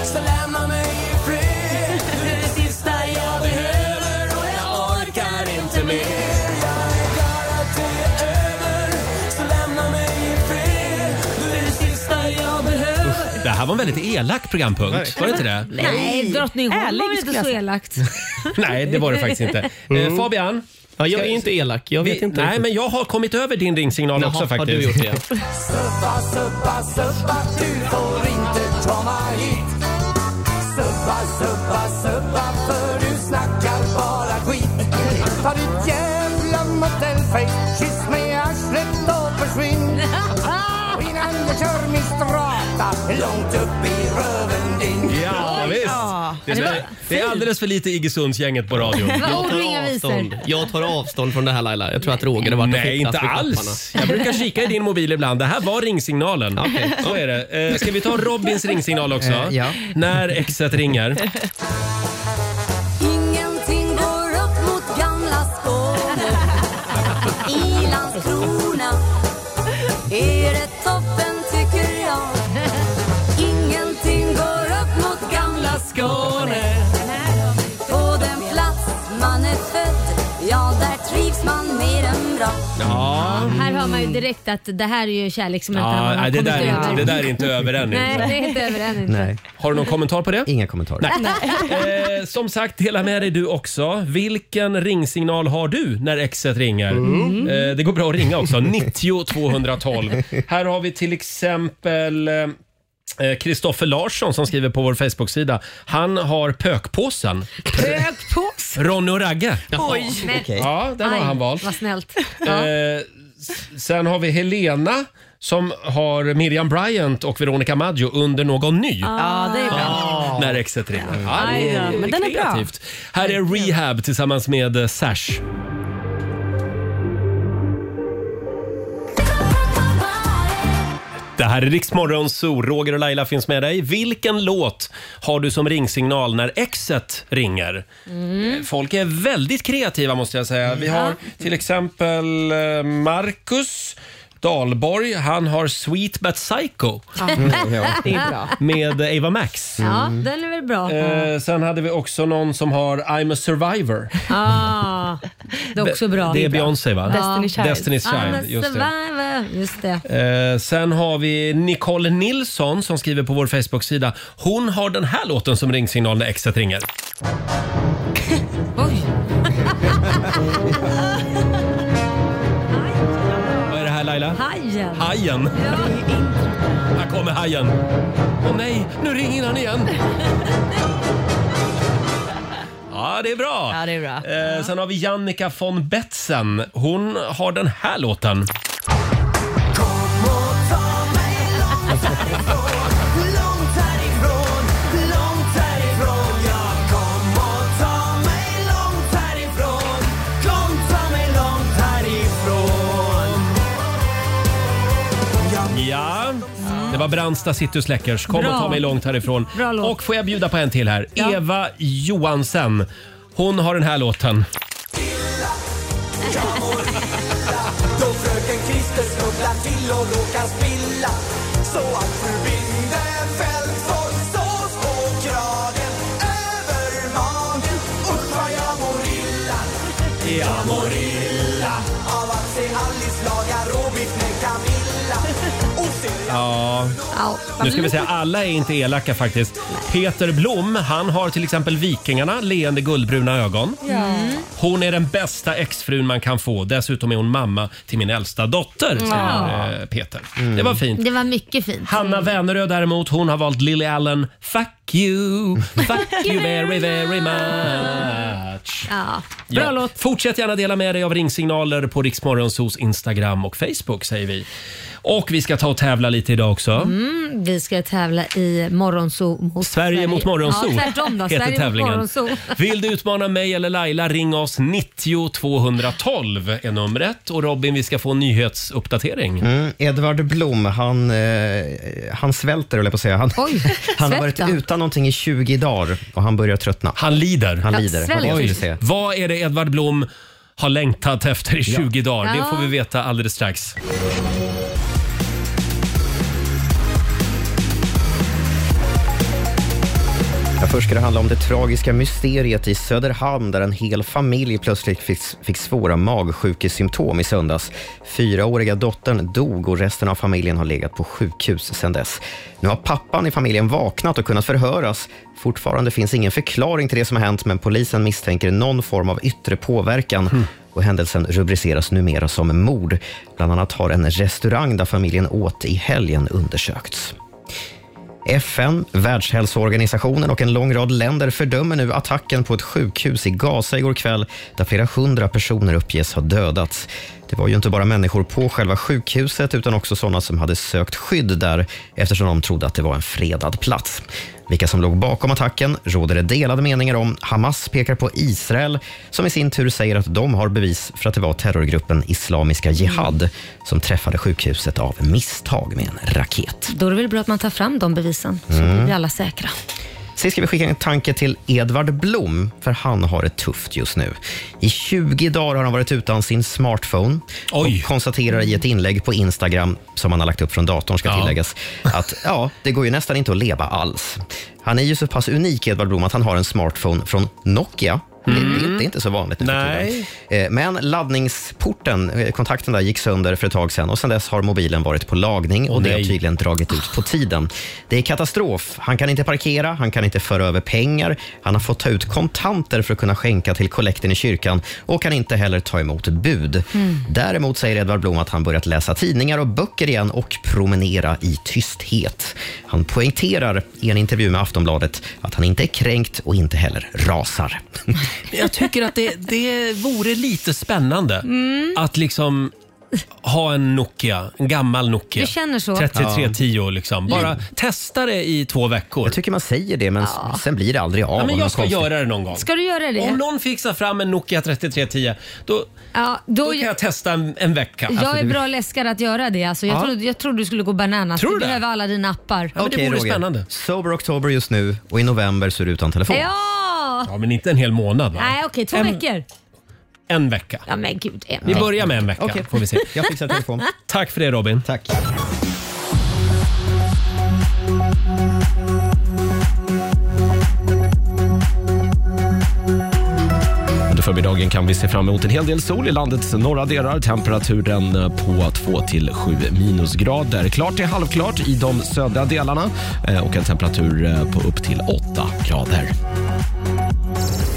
[SPEAKER 4] Så lämna mig i fred. Du är det sista jag behöver och jag orkar inte mer. Jag är glad att det är över. Så lämna mig i fred. Du är det sista jag behöver.
[SPEAKER 1] Det här var en väldigt elak programpunkt. Var det inte det?
[SPEAKER 3] Nej, Drottningholm
[SPEAKER 7] Ärlig
[SPEAKER 3] var väl
[SPEAKER 7] skulle
[SPEAKER 3] inte
[SPEAKER 7] jag
[SPEAKER 3] så
[SPEAKER 7] säga.
[SPEAKER 3] elakt?
[SPEAKER 1] Nej, det var det faktiskt inte. Eh, Fabian?
[SPEAKER 10] Ja, jag är inte elak. Mm. Jag vet
[SPEAKER 1] vi,
[SPEAKER 10] inte
[SPEAKER 1] Nej,
[SPEAKER 10] riktigt.
[SPEAKER 1] men jag har kommit över din ringsignal
[SPEAKER 10] Jaha,
[SPEAKER 1] också
[SPEAKER 10] har
[SPEAKER 1] faktiskt.
[SPEAKER 10] du gjort det?
[SPEAKER 4] Subba, subba, subba, du får inte komma hit. Subba, subba, subba, för du snackar bara skit. Ta ditt jävla motellfejk, kyss mig i arslet och försvinn. Och innan du kör min strata, långt upp i röven din.
[SPEAKER 1] Ja, visst. Det, är, det är alldeles för lite Iggesundsgänget på radion.
[SPEAKER 4] Vad
[SPEAKER 10] Jag
[SPEAKER 4] oringa
[SPEAKER 10] tar,
[SPEAKER 4] visor.
[SPEAKER 10] avstånd. jag tar avstånd från det här Laila. Jag tror att Roger har varit och
[SPEAKER 1] Nej,
[SPEAKER 10] fäktats
[SPEAKER 1] inte
[SPEAKER 10] med
[SPEAKER 1] alls.
[SPEAKER 10] knapparna.
[SPEAKER 1] Jag brukar kika i din mobil ibland. Det här var ringsignalen.
[SPEAKER 10] Okej.
[SPEAKER 1] Så är det. Eh, Ska vi ta Robins ringsignal också?
[SPEAKER 10] Eh, ja.
[SPEAKER 1] När exet ringer.
[SPEAKER 4] Ingenting går upp mot gamla Skåne. I Landskrona är det toppen tycker jag. Ingenting går upp mot gamla Skåne. På den plats man är född, ja där trivs man mer än bra.
[SPEAKER 1] Ja.
[SPEAKER 3] Här hör man ju direkt att det här är ju kärlek som inte
[SPEAKER 1] Mm. Ja,
[SPEAKER 3] har
[SPEAKER 1] nej, det,
[SPEAKER 3] kommit
[SPEAKER 1] där är
[SPEAKER 3] över.
[SPEAKER 1] inte, det där är inte över än.
[SPEAKER 3] Nej,
[SPEAKER 1] inte.
[SPEAKER 3] det är inte över än.
[SPEAKER 1] Nej. Har du någon kommentar på det?
[SPEAKER 2] Inga kommentarer.
[SPEAKER 1] Nej. Eh, som sagt, dela med dig du också. Vilken ringsignal har du när exet ringer?
[SPEAKER 4] Mm.
[SPEAKER 1] Eh, det går bra att ringa också. 90 212. Här har vi till exempel eh, Kristoffer Larsson som skriver på vår Facebook-sida. Han har pökpåsen.
[SPEAKER 3] Pökpås?
[SPEAKER 1] Ronny och Ragge.
[SPEAKER 3] Oj! Men-
[SPEAKER 1] Ja, den har
[SPEAKER 3] Aj,
[SPEAKER 1] han valt.
[SPEAKER 3] Vad snällt.
[SPEAKER 1] Eh, s- sen har vi Helena som har Miriam Bryant och Veronica Maggio under någon ny.
[SPEAKER 7] Ja, det är bra.
[SPEAKER 1] Ah. När exet ringer. Ja, det
[SPEAKER 7] Aj,
[SPEAKER 1] är
[SPEAKER 7] ja. Men den är bra.
[SPEAKER 1] kreativt. Här är Rehab tillsammans med eh, Sash. Det här är Riksmorgon Zoo. Roger och Laila finns med dig. Vilken låt har du som ringsignal när exet ringer? Eh,
[SPEAKER 4] Mm.
[SPEAKER 1] Folk är väldigt kreativa måste jag säga. Vi har till exempel eh, Marcus Dahlborg. Han har Sweet But Psycho.
[SPEAKER 3] Ja. Mm, ja. Det är bra.
[SPEAKER 1] Med eh, Ava Max.
[SPEAKER 3] Ja, den är väl bra.
[SPEAKER 1] Eh, sen hade vi också någon som har I'm a survivor.
[SPEAKER 3] Ah, det är också bra.
[SPEAKER 1] Det är Beyoncé va?
[SPEAKER 3] Destiny's Child.
[SPEAKER 1] Destiny's Child,
[SPEAKER 3] I'm a
[SPEAKER 1] just det.
[SPEAKER 3] survivor. Just det.
[SPEAKER 1] Eh, sen har vi Nicole Nilsson som skriver på vår Facebook-sida. Hon har den här låten som ringsignal när exet ringer.
[SPEAKER 4] Oj.
[SPEAKER 1] Vad är det här
[SPEAKER 3] Hajen.
[SPEAKER 1] Hajen. Här kommer hajen. Åh nej, nu ringer han igen. Ja, det är bra.
[SPEAKER 8] Ja, det är bra.
[SPEAKER 1] Eh, sen har vi Jannica von Betzen. Hon har den här låten.
[SPEAKER 4] Långt härifrån, långt härifrån Ja, kom och ta mig långt härifrån Kom, ta mig långt härifrån
[SPEAKER 1] Ja, det var Brandsta City Släckers. Kom
[SPEAKER 4] Bra.
[SPEAKER 1] och ta mig långt härifrån.
[SPEAKER 4] Bra låt.
[SPEAKER 1] Och får jag bjuda på en till här. Eva Johansen. Hon har den här låten.
[SPEAKER 4] Jag mår illa Då fröken Christer snubblar till och råkar spilla Så att fru Bindenfeldt får sås på kragen Över magen Usch vad jag mår illa Jag mår illa Av att se Alice laga råbiff med Camilla Och se
[SPEAKER 1] Ja. Nu ska vi säga, alla är inte elaka faktiskt. Peter Blom, han har till exempel Vikingarna, leende guldbruna ögon. Hon är den bästa exfrun man kan få. Dessutom är hon mamma till min äldsta dotter, säger
[SPEAKER 3] Ja.
[SPEAKER 1] eh, Peter. Det var fint.
[SPEAKER 3] Det var mycket fint.
[SPEAKER 1] Hanna Vänerö däremot, hon har valt Lily Allen. Fuck you, fuck you very very much.
[SPEAKER 3] Ja.
[SPEAKER 1] Ja.
[SPEAKER 3] Bra låt.
[SPEAKER 1] Fortsätt gärna dela med dig av ringsignaler på Riksmorgonsos Instagram och Facebook säger vi. Och vi ska ta och tävla lite idag också.
[SPEAKER 3] Mm, vi ska tävla i Morgonzoo mot
[SPEAKER 1] Sverige, mot Morgonzoo
[SPEAKER 3] Ja, tvärtom då.
[SPEAKER 1] heter
[SPEAKER 3] Sverige mot
[SPEAKER 1] tävlingen.
[SPEAKER 3] Morgonzoo.
[SPEAKER 1] Vill du utmana mig eller Laila, ring oss 90 212 är numret. Och Robin, vi ska få en nyhetsuppdatering.
[SPEAKER 2] Mm, Edvard Blom, han, eh, han svälter, höll jag på att säga. Han, han har varit
[SPEAKER 1] svälter han?
[SPEAKER 2] utan någonting i 20 dagar och han börjar tröttna.
[SPEAKER 1] Han lider.
[SPEAKER 2] Han lider. Vad ska vi se?
[SPEAKER 1] Vad är det Edvard Blom har längtat efter i 20 dagar? Det
[SPEAKER 2] Ja.
[SPEAKER 1] får vi veta alldeles strax.
[SPEAKER 2] Ja, först ska det handla om det tragiska mysteriet i Söderhamn där en hel familj plötsligt fick, fick svåra magsjukesymptom i söndags. Fyraåriga dottern dog och resten av familjen har legat på sjukhus sedan dess. Nu har pappan i familjen vaknat och kunnat förhöras. Fortfarande finns ingen förklaring till det som har hänt men polisen misstänker någon form av yttre påverkan. Och händelsen rubriceras numera som mord. Bland annat har en restaurang där familjen åt i helgen undersökts. FN, Världshälsoorganisationen och en lång rad länder fördömer nu attacken på ett sjukhus i Gaza igår kväll där flera hundra personer uppges ha dödats. Det var ju inte bara människor på själva sjukhuset utan också sådana som hade sökt skydd där eftersom de trodde att det var en fredad plats. Vilka som låg bakom attacken råder det delade meningar om. Hamas pekar på Israel som i sin tur säger att de har bevis för att det var terrorgruppen Islamiska Jihad som träffade sjukhuset av misstag med en raket.
[SPEAKER 3] Då är det väl bra att man tar fram de bevisen så
[SPEAKER 2] Mm.
[SPEAKER 3] blir vi alla säkra.
[SPEAKER 2] Sen ska vi skicka en tanke till Edvard Blom, för han har det tufft just nu. I 20 dagar har han varit utan sin smartphone och konstaterar i ett inlägg på Instagram, som han har lagt upp från datorn, ska tilläggas, att ja, det går ju nästan inte att leva alls. Han är ju så pass unik, Edvard Blom, att han har en smartphone från Nokia. Det, det, det är inte så vanligt nu för tiden. Eh, Men laddningsporten, eh, kontakten där, gick sönder för ett tag sedan och sedan dess har mobilen varit på lagning och
[SPEAKER 1] Åh,
[SPEAKER 2] det har
[SPEAKER 1] nej.
[SPEAKER 2] tydligen dragit ut på tiden. Det är katastrof. Han kan inte parkera, han kan inte föra över pengar, han har fått ta ut kontanter för att kunna skänka till kollekten i kyrkan och kan inte heller ta emot bud.
[SPEAKER 4] Mm.
[SPEAKER 2] Däremot säger Edvard Blom att han börjat läsa tidningar och böcker igen och promenera i tysthet. Han poängterar i en intervju med Aftonbladet att han inte är kränkt och inte heller rasar.
[SPEAKER 1] Jag tycker att det, det vore lite spännande
[SPEAKER 3] Mm.
[SPEAKER 1] att liksom ha en Nokia, en gammal Nokia.
[SPEAKER 3] Du känner så?
[SPEAKER 1] 3310 liksom. Bara
[SPEAKER 2] Lite.
[SPEAKER 1] testa det i två veckor. Jag
[SPEAKER 2] tycker man säger det men
[SPEAKER 1] Ja.
[SPEAKER 2] sen blir det aldrig av.
[SPEAKER 1] Ja, men
[SPEAKER 2] av
[SPEAKER 1] jag
[SPEAKER 2] något
[SPEAKER 1] ska
[SPEAKER 2] konstigt.
[SPEAKER 1] göra det någon gång.
[SPEAKER 3] Ska du göra det?
[SPEAKER 1] Om någon fixar fram en Nokia 3310 då,
[SPEAKER 3] Ja, då,
[SPEAKER 1] då kan jag testa en, en vecka. Alltså,
[SPEAKER 3] jag är bra läskare att göra det. Alltså, jag,
[SPEAKER 2] Ja.
[SPEAKER 3] trodde, jag trodde du skulle gå bananas.
[SPEAKER 2] Tror du
[SPEAKER 3] du
[SPEAKER 2] det?
[SPEAKER 3] behöver alla dina appar.
[SPEAKER 2] Okej, Roger. Sober October just nu och i november så är du utan telefon.
[SPEAKER 3] Ja!
[SPEAKER 1] men inte en hel månad
[SPEAKER 3] Nej, okej. två veckor.
[SPEAKER 1] En vecka.
[SPEAKER 3] Ja, men gud. En
[SPEAKER 1] Vi
[SPEAKER 3] vecka.
[SPEAKER 1] börjar med en vecka
[SPEAKER 3] Okej.
[SPEAKER 1] får vi se.
[SPEAKER 2] Jag fixar telefon.
[SPEAKER 1] Tack för det Robin.
[SPEAKER 2] Tack.
[SPEAKER 17] Under förmiddagen kan vi se fram emot en hel del sol i landets norra delar. Temperaturen på 2 till 7 minusgrader. Klart till halvklart i de södra delarna eh, och en temperatur eh, på upp till 8 grader.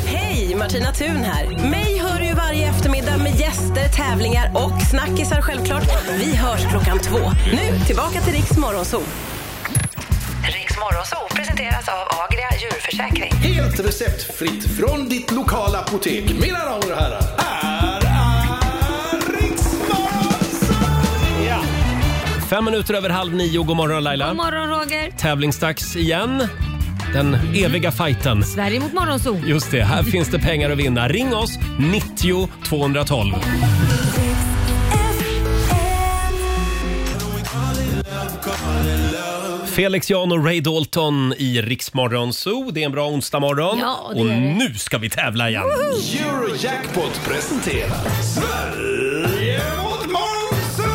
[SPEAKER 18] Hej, Martina Thun här. Mig hör du ju varje varje eftermiddag med gäster, tävlingar och snackisar självklart. Vi hörs klockan två. Nu tillbaka till Riks Morgonzoo.
[SPEAKER 19] Riks Morgonzoo presenteras av Agria djurförsäkring.
[SPEAKER 20] Helt receptfritt från ditt lokala apotek. Mina damer och herrar, här är Riksmorgon! Ja.
[SPEAKER 1] Fem minuter över halv nio. God morgon Laila.
[SPEAKER 3] God morgon Roger.
[SPEAKER 1] Tävlingsdags igen. Den eviga fighten.
[SPEAKER 3] Sverige mot Morgonzoo.
[SPEAKER 1] Just det, här finns det pengar att vinna. Ring oss, 90 212. Felix Jan och Ray Dalton i Riksmorgon Zoo. Det är en bra onsdagmorgon.
[SPEAKER 20] Ja, det
[SPEAKER 1] och
[SPEAKER 20] är det.
[SPEAKER 1] nu ska vi tävla igen.
[SPEAKER 20] Eurojackpot presenterar Sverige mot Monzo!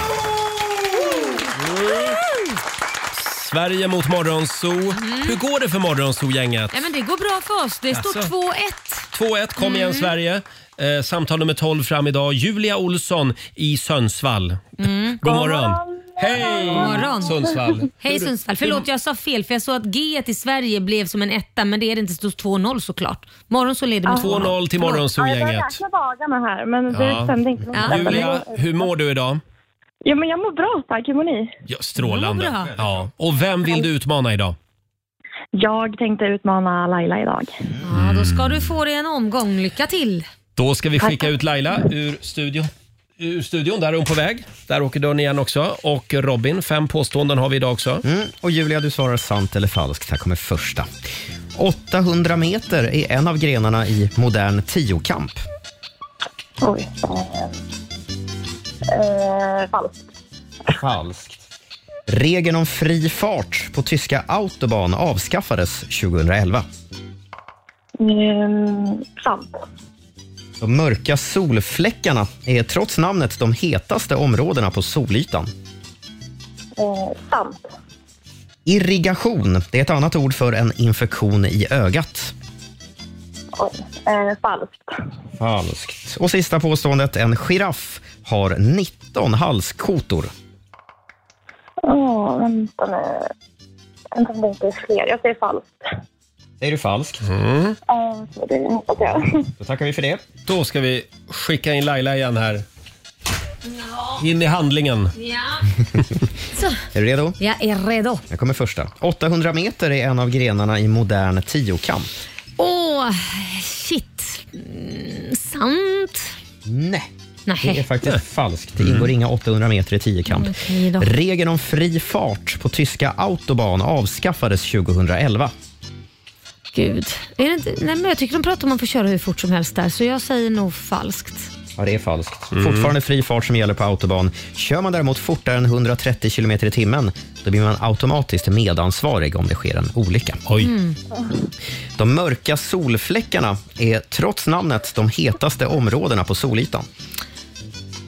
[SPEAKER 1] Sverige mot Morgonzoo.
[SPEAKER 20] Mhm.
[SPEAKER 1] Hur går det för Morgonzoo-gänget?
[SPEAKER 3] Ja, men det går bra för oss. Det står
[SPEAKER 1] Alltså.
[SPEAKER 3] 2-1.
[SPEAKER 1] 2-1, kom igen
[SPEAKER 3] Mm.
[SPEAKER 1] Sverige. Eh, samtal nummer 12 fram idag. Julia Olsson i Sundsvall.
[SPEAKER 3] Mm.
[SPEAKER 1] God morgon. Hej!
[SPEAKER 3] God morgon.
[SPEAKER 1] Sundsvall.
[SPEAKER 3] Hej Sundsvall. Förlåt, jag sa fel för jag såg att G i Sverige blev som en etta men det är det inte. Det stod 2-0 såklart. Morgon så leder med 2-0.
[SPEAKER 1] 2-0 till
[SPEAKER 5] Ja, jag
[SPEAKER 1] Morgonzoo-gänget.
[SPEAKER 5] var jäkla vaga med här, men det
[SPEAKER 1] Ja.
[SPEAKER 5] stämde inte.
[SPEAKER 1] Julia, hur mår du idag?
[SPEAKER 5] Ja, men jag mår bra tack. Hur mår ni?
[SPEAKER 1] Ja,
[SPEAKER 5] Jag mår
[SPEAKER 1] strålande.
[SPEAKER 5] bra.
[SPEAKER 1] Ja. Och vem vill du utmana idag?
[SPEAKER 5] Jag tänkte utmana Laila idag.
[SPEAKER 3] Ja, då ska du få dig en omgång. Lycka till!
[SPEAKER 1] Då ska vi skicka ut Laila ur studion. Ur studion, där är hon på väg. Där åker dörren igen också. Och Robin, fem påståenden har vi idag också.
[SPEAKER 2] Mm. Och Julia, du svarar sant eller falskt. Här kommer första. 800 meter är en av grenarna i modern tiokamp.
[SPEAKER 5] Oj. Eh, eh, falskt.
[SPEAKER 2] Falskt. Regeln om fri fart på tyska autobahn avskaffades 2011.
[SPEAKER 5] Mm, sant.
[SPEAKER 2] De mörka solfläckarna är trots namnet de hetaste områdena på solytan.
[SPEAKER 5] Eh, sant.
[SPEAKER 2] Irrigation, det är ett annat ord för en infektion i ögat.
[SPEAKER 5] Oj. Eh, falskt.
[SPEAKER 2] Falskt. Och sista påståendet, en giraff har 19 halskotor.
[SPEAKER 5] Åh, vänta nu. Vänta om det inte är fler. Jag säger falskt.
[SPEAKER 2] Säger du falskt?
[SPEAKER 5] Eh, så det hoppas jag.
[SPEAKER 2] Då tackar vi för det.
[SPEAKER 1] Då ska vi skicka in Laila igen här. In i handlingen.
[SPEAKER 3] Så,
[SPEAKER 2] Är du redo?
[SPEAKER 3] jag är redo.
[SPEAKER 2] Här kommer första. 800 meter är en av grenarna i modern tiokamp.
[SPEAKER 3] Åh, shit. Mm, sant?
[SPEAKER 2] Nej.
[SPEAKER 3] Nej.
[SPEAKER 2] Det är faktiskt falskt. Det ingår inga 800 meter i tiokamp.
[SPEAKER 3] Okej då.
[SPEAKER 2] Regeln om fri fart på tyska autobahn avskaffades 2011.
[SPEAKER 3] Gud. Är det inte, nej, men jag tycker de pratar om att man får köra hur fort som helst där, så jag säger nog falskt.
[SPEAKER 2] Ja, det är falskt. Fortfarande fri fart som gäller på autobahn. Kör man däremot fortare än 130 km i timmen, då blir man automatiskt medansvarig om det sker en olycka.
[SPEAKER 3] Mm.
[SPEAKER 2] De mörka solfläckarna är trots namnet de hetaste områdena på solytan.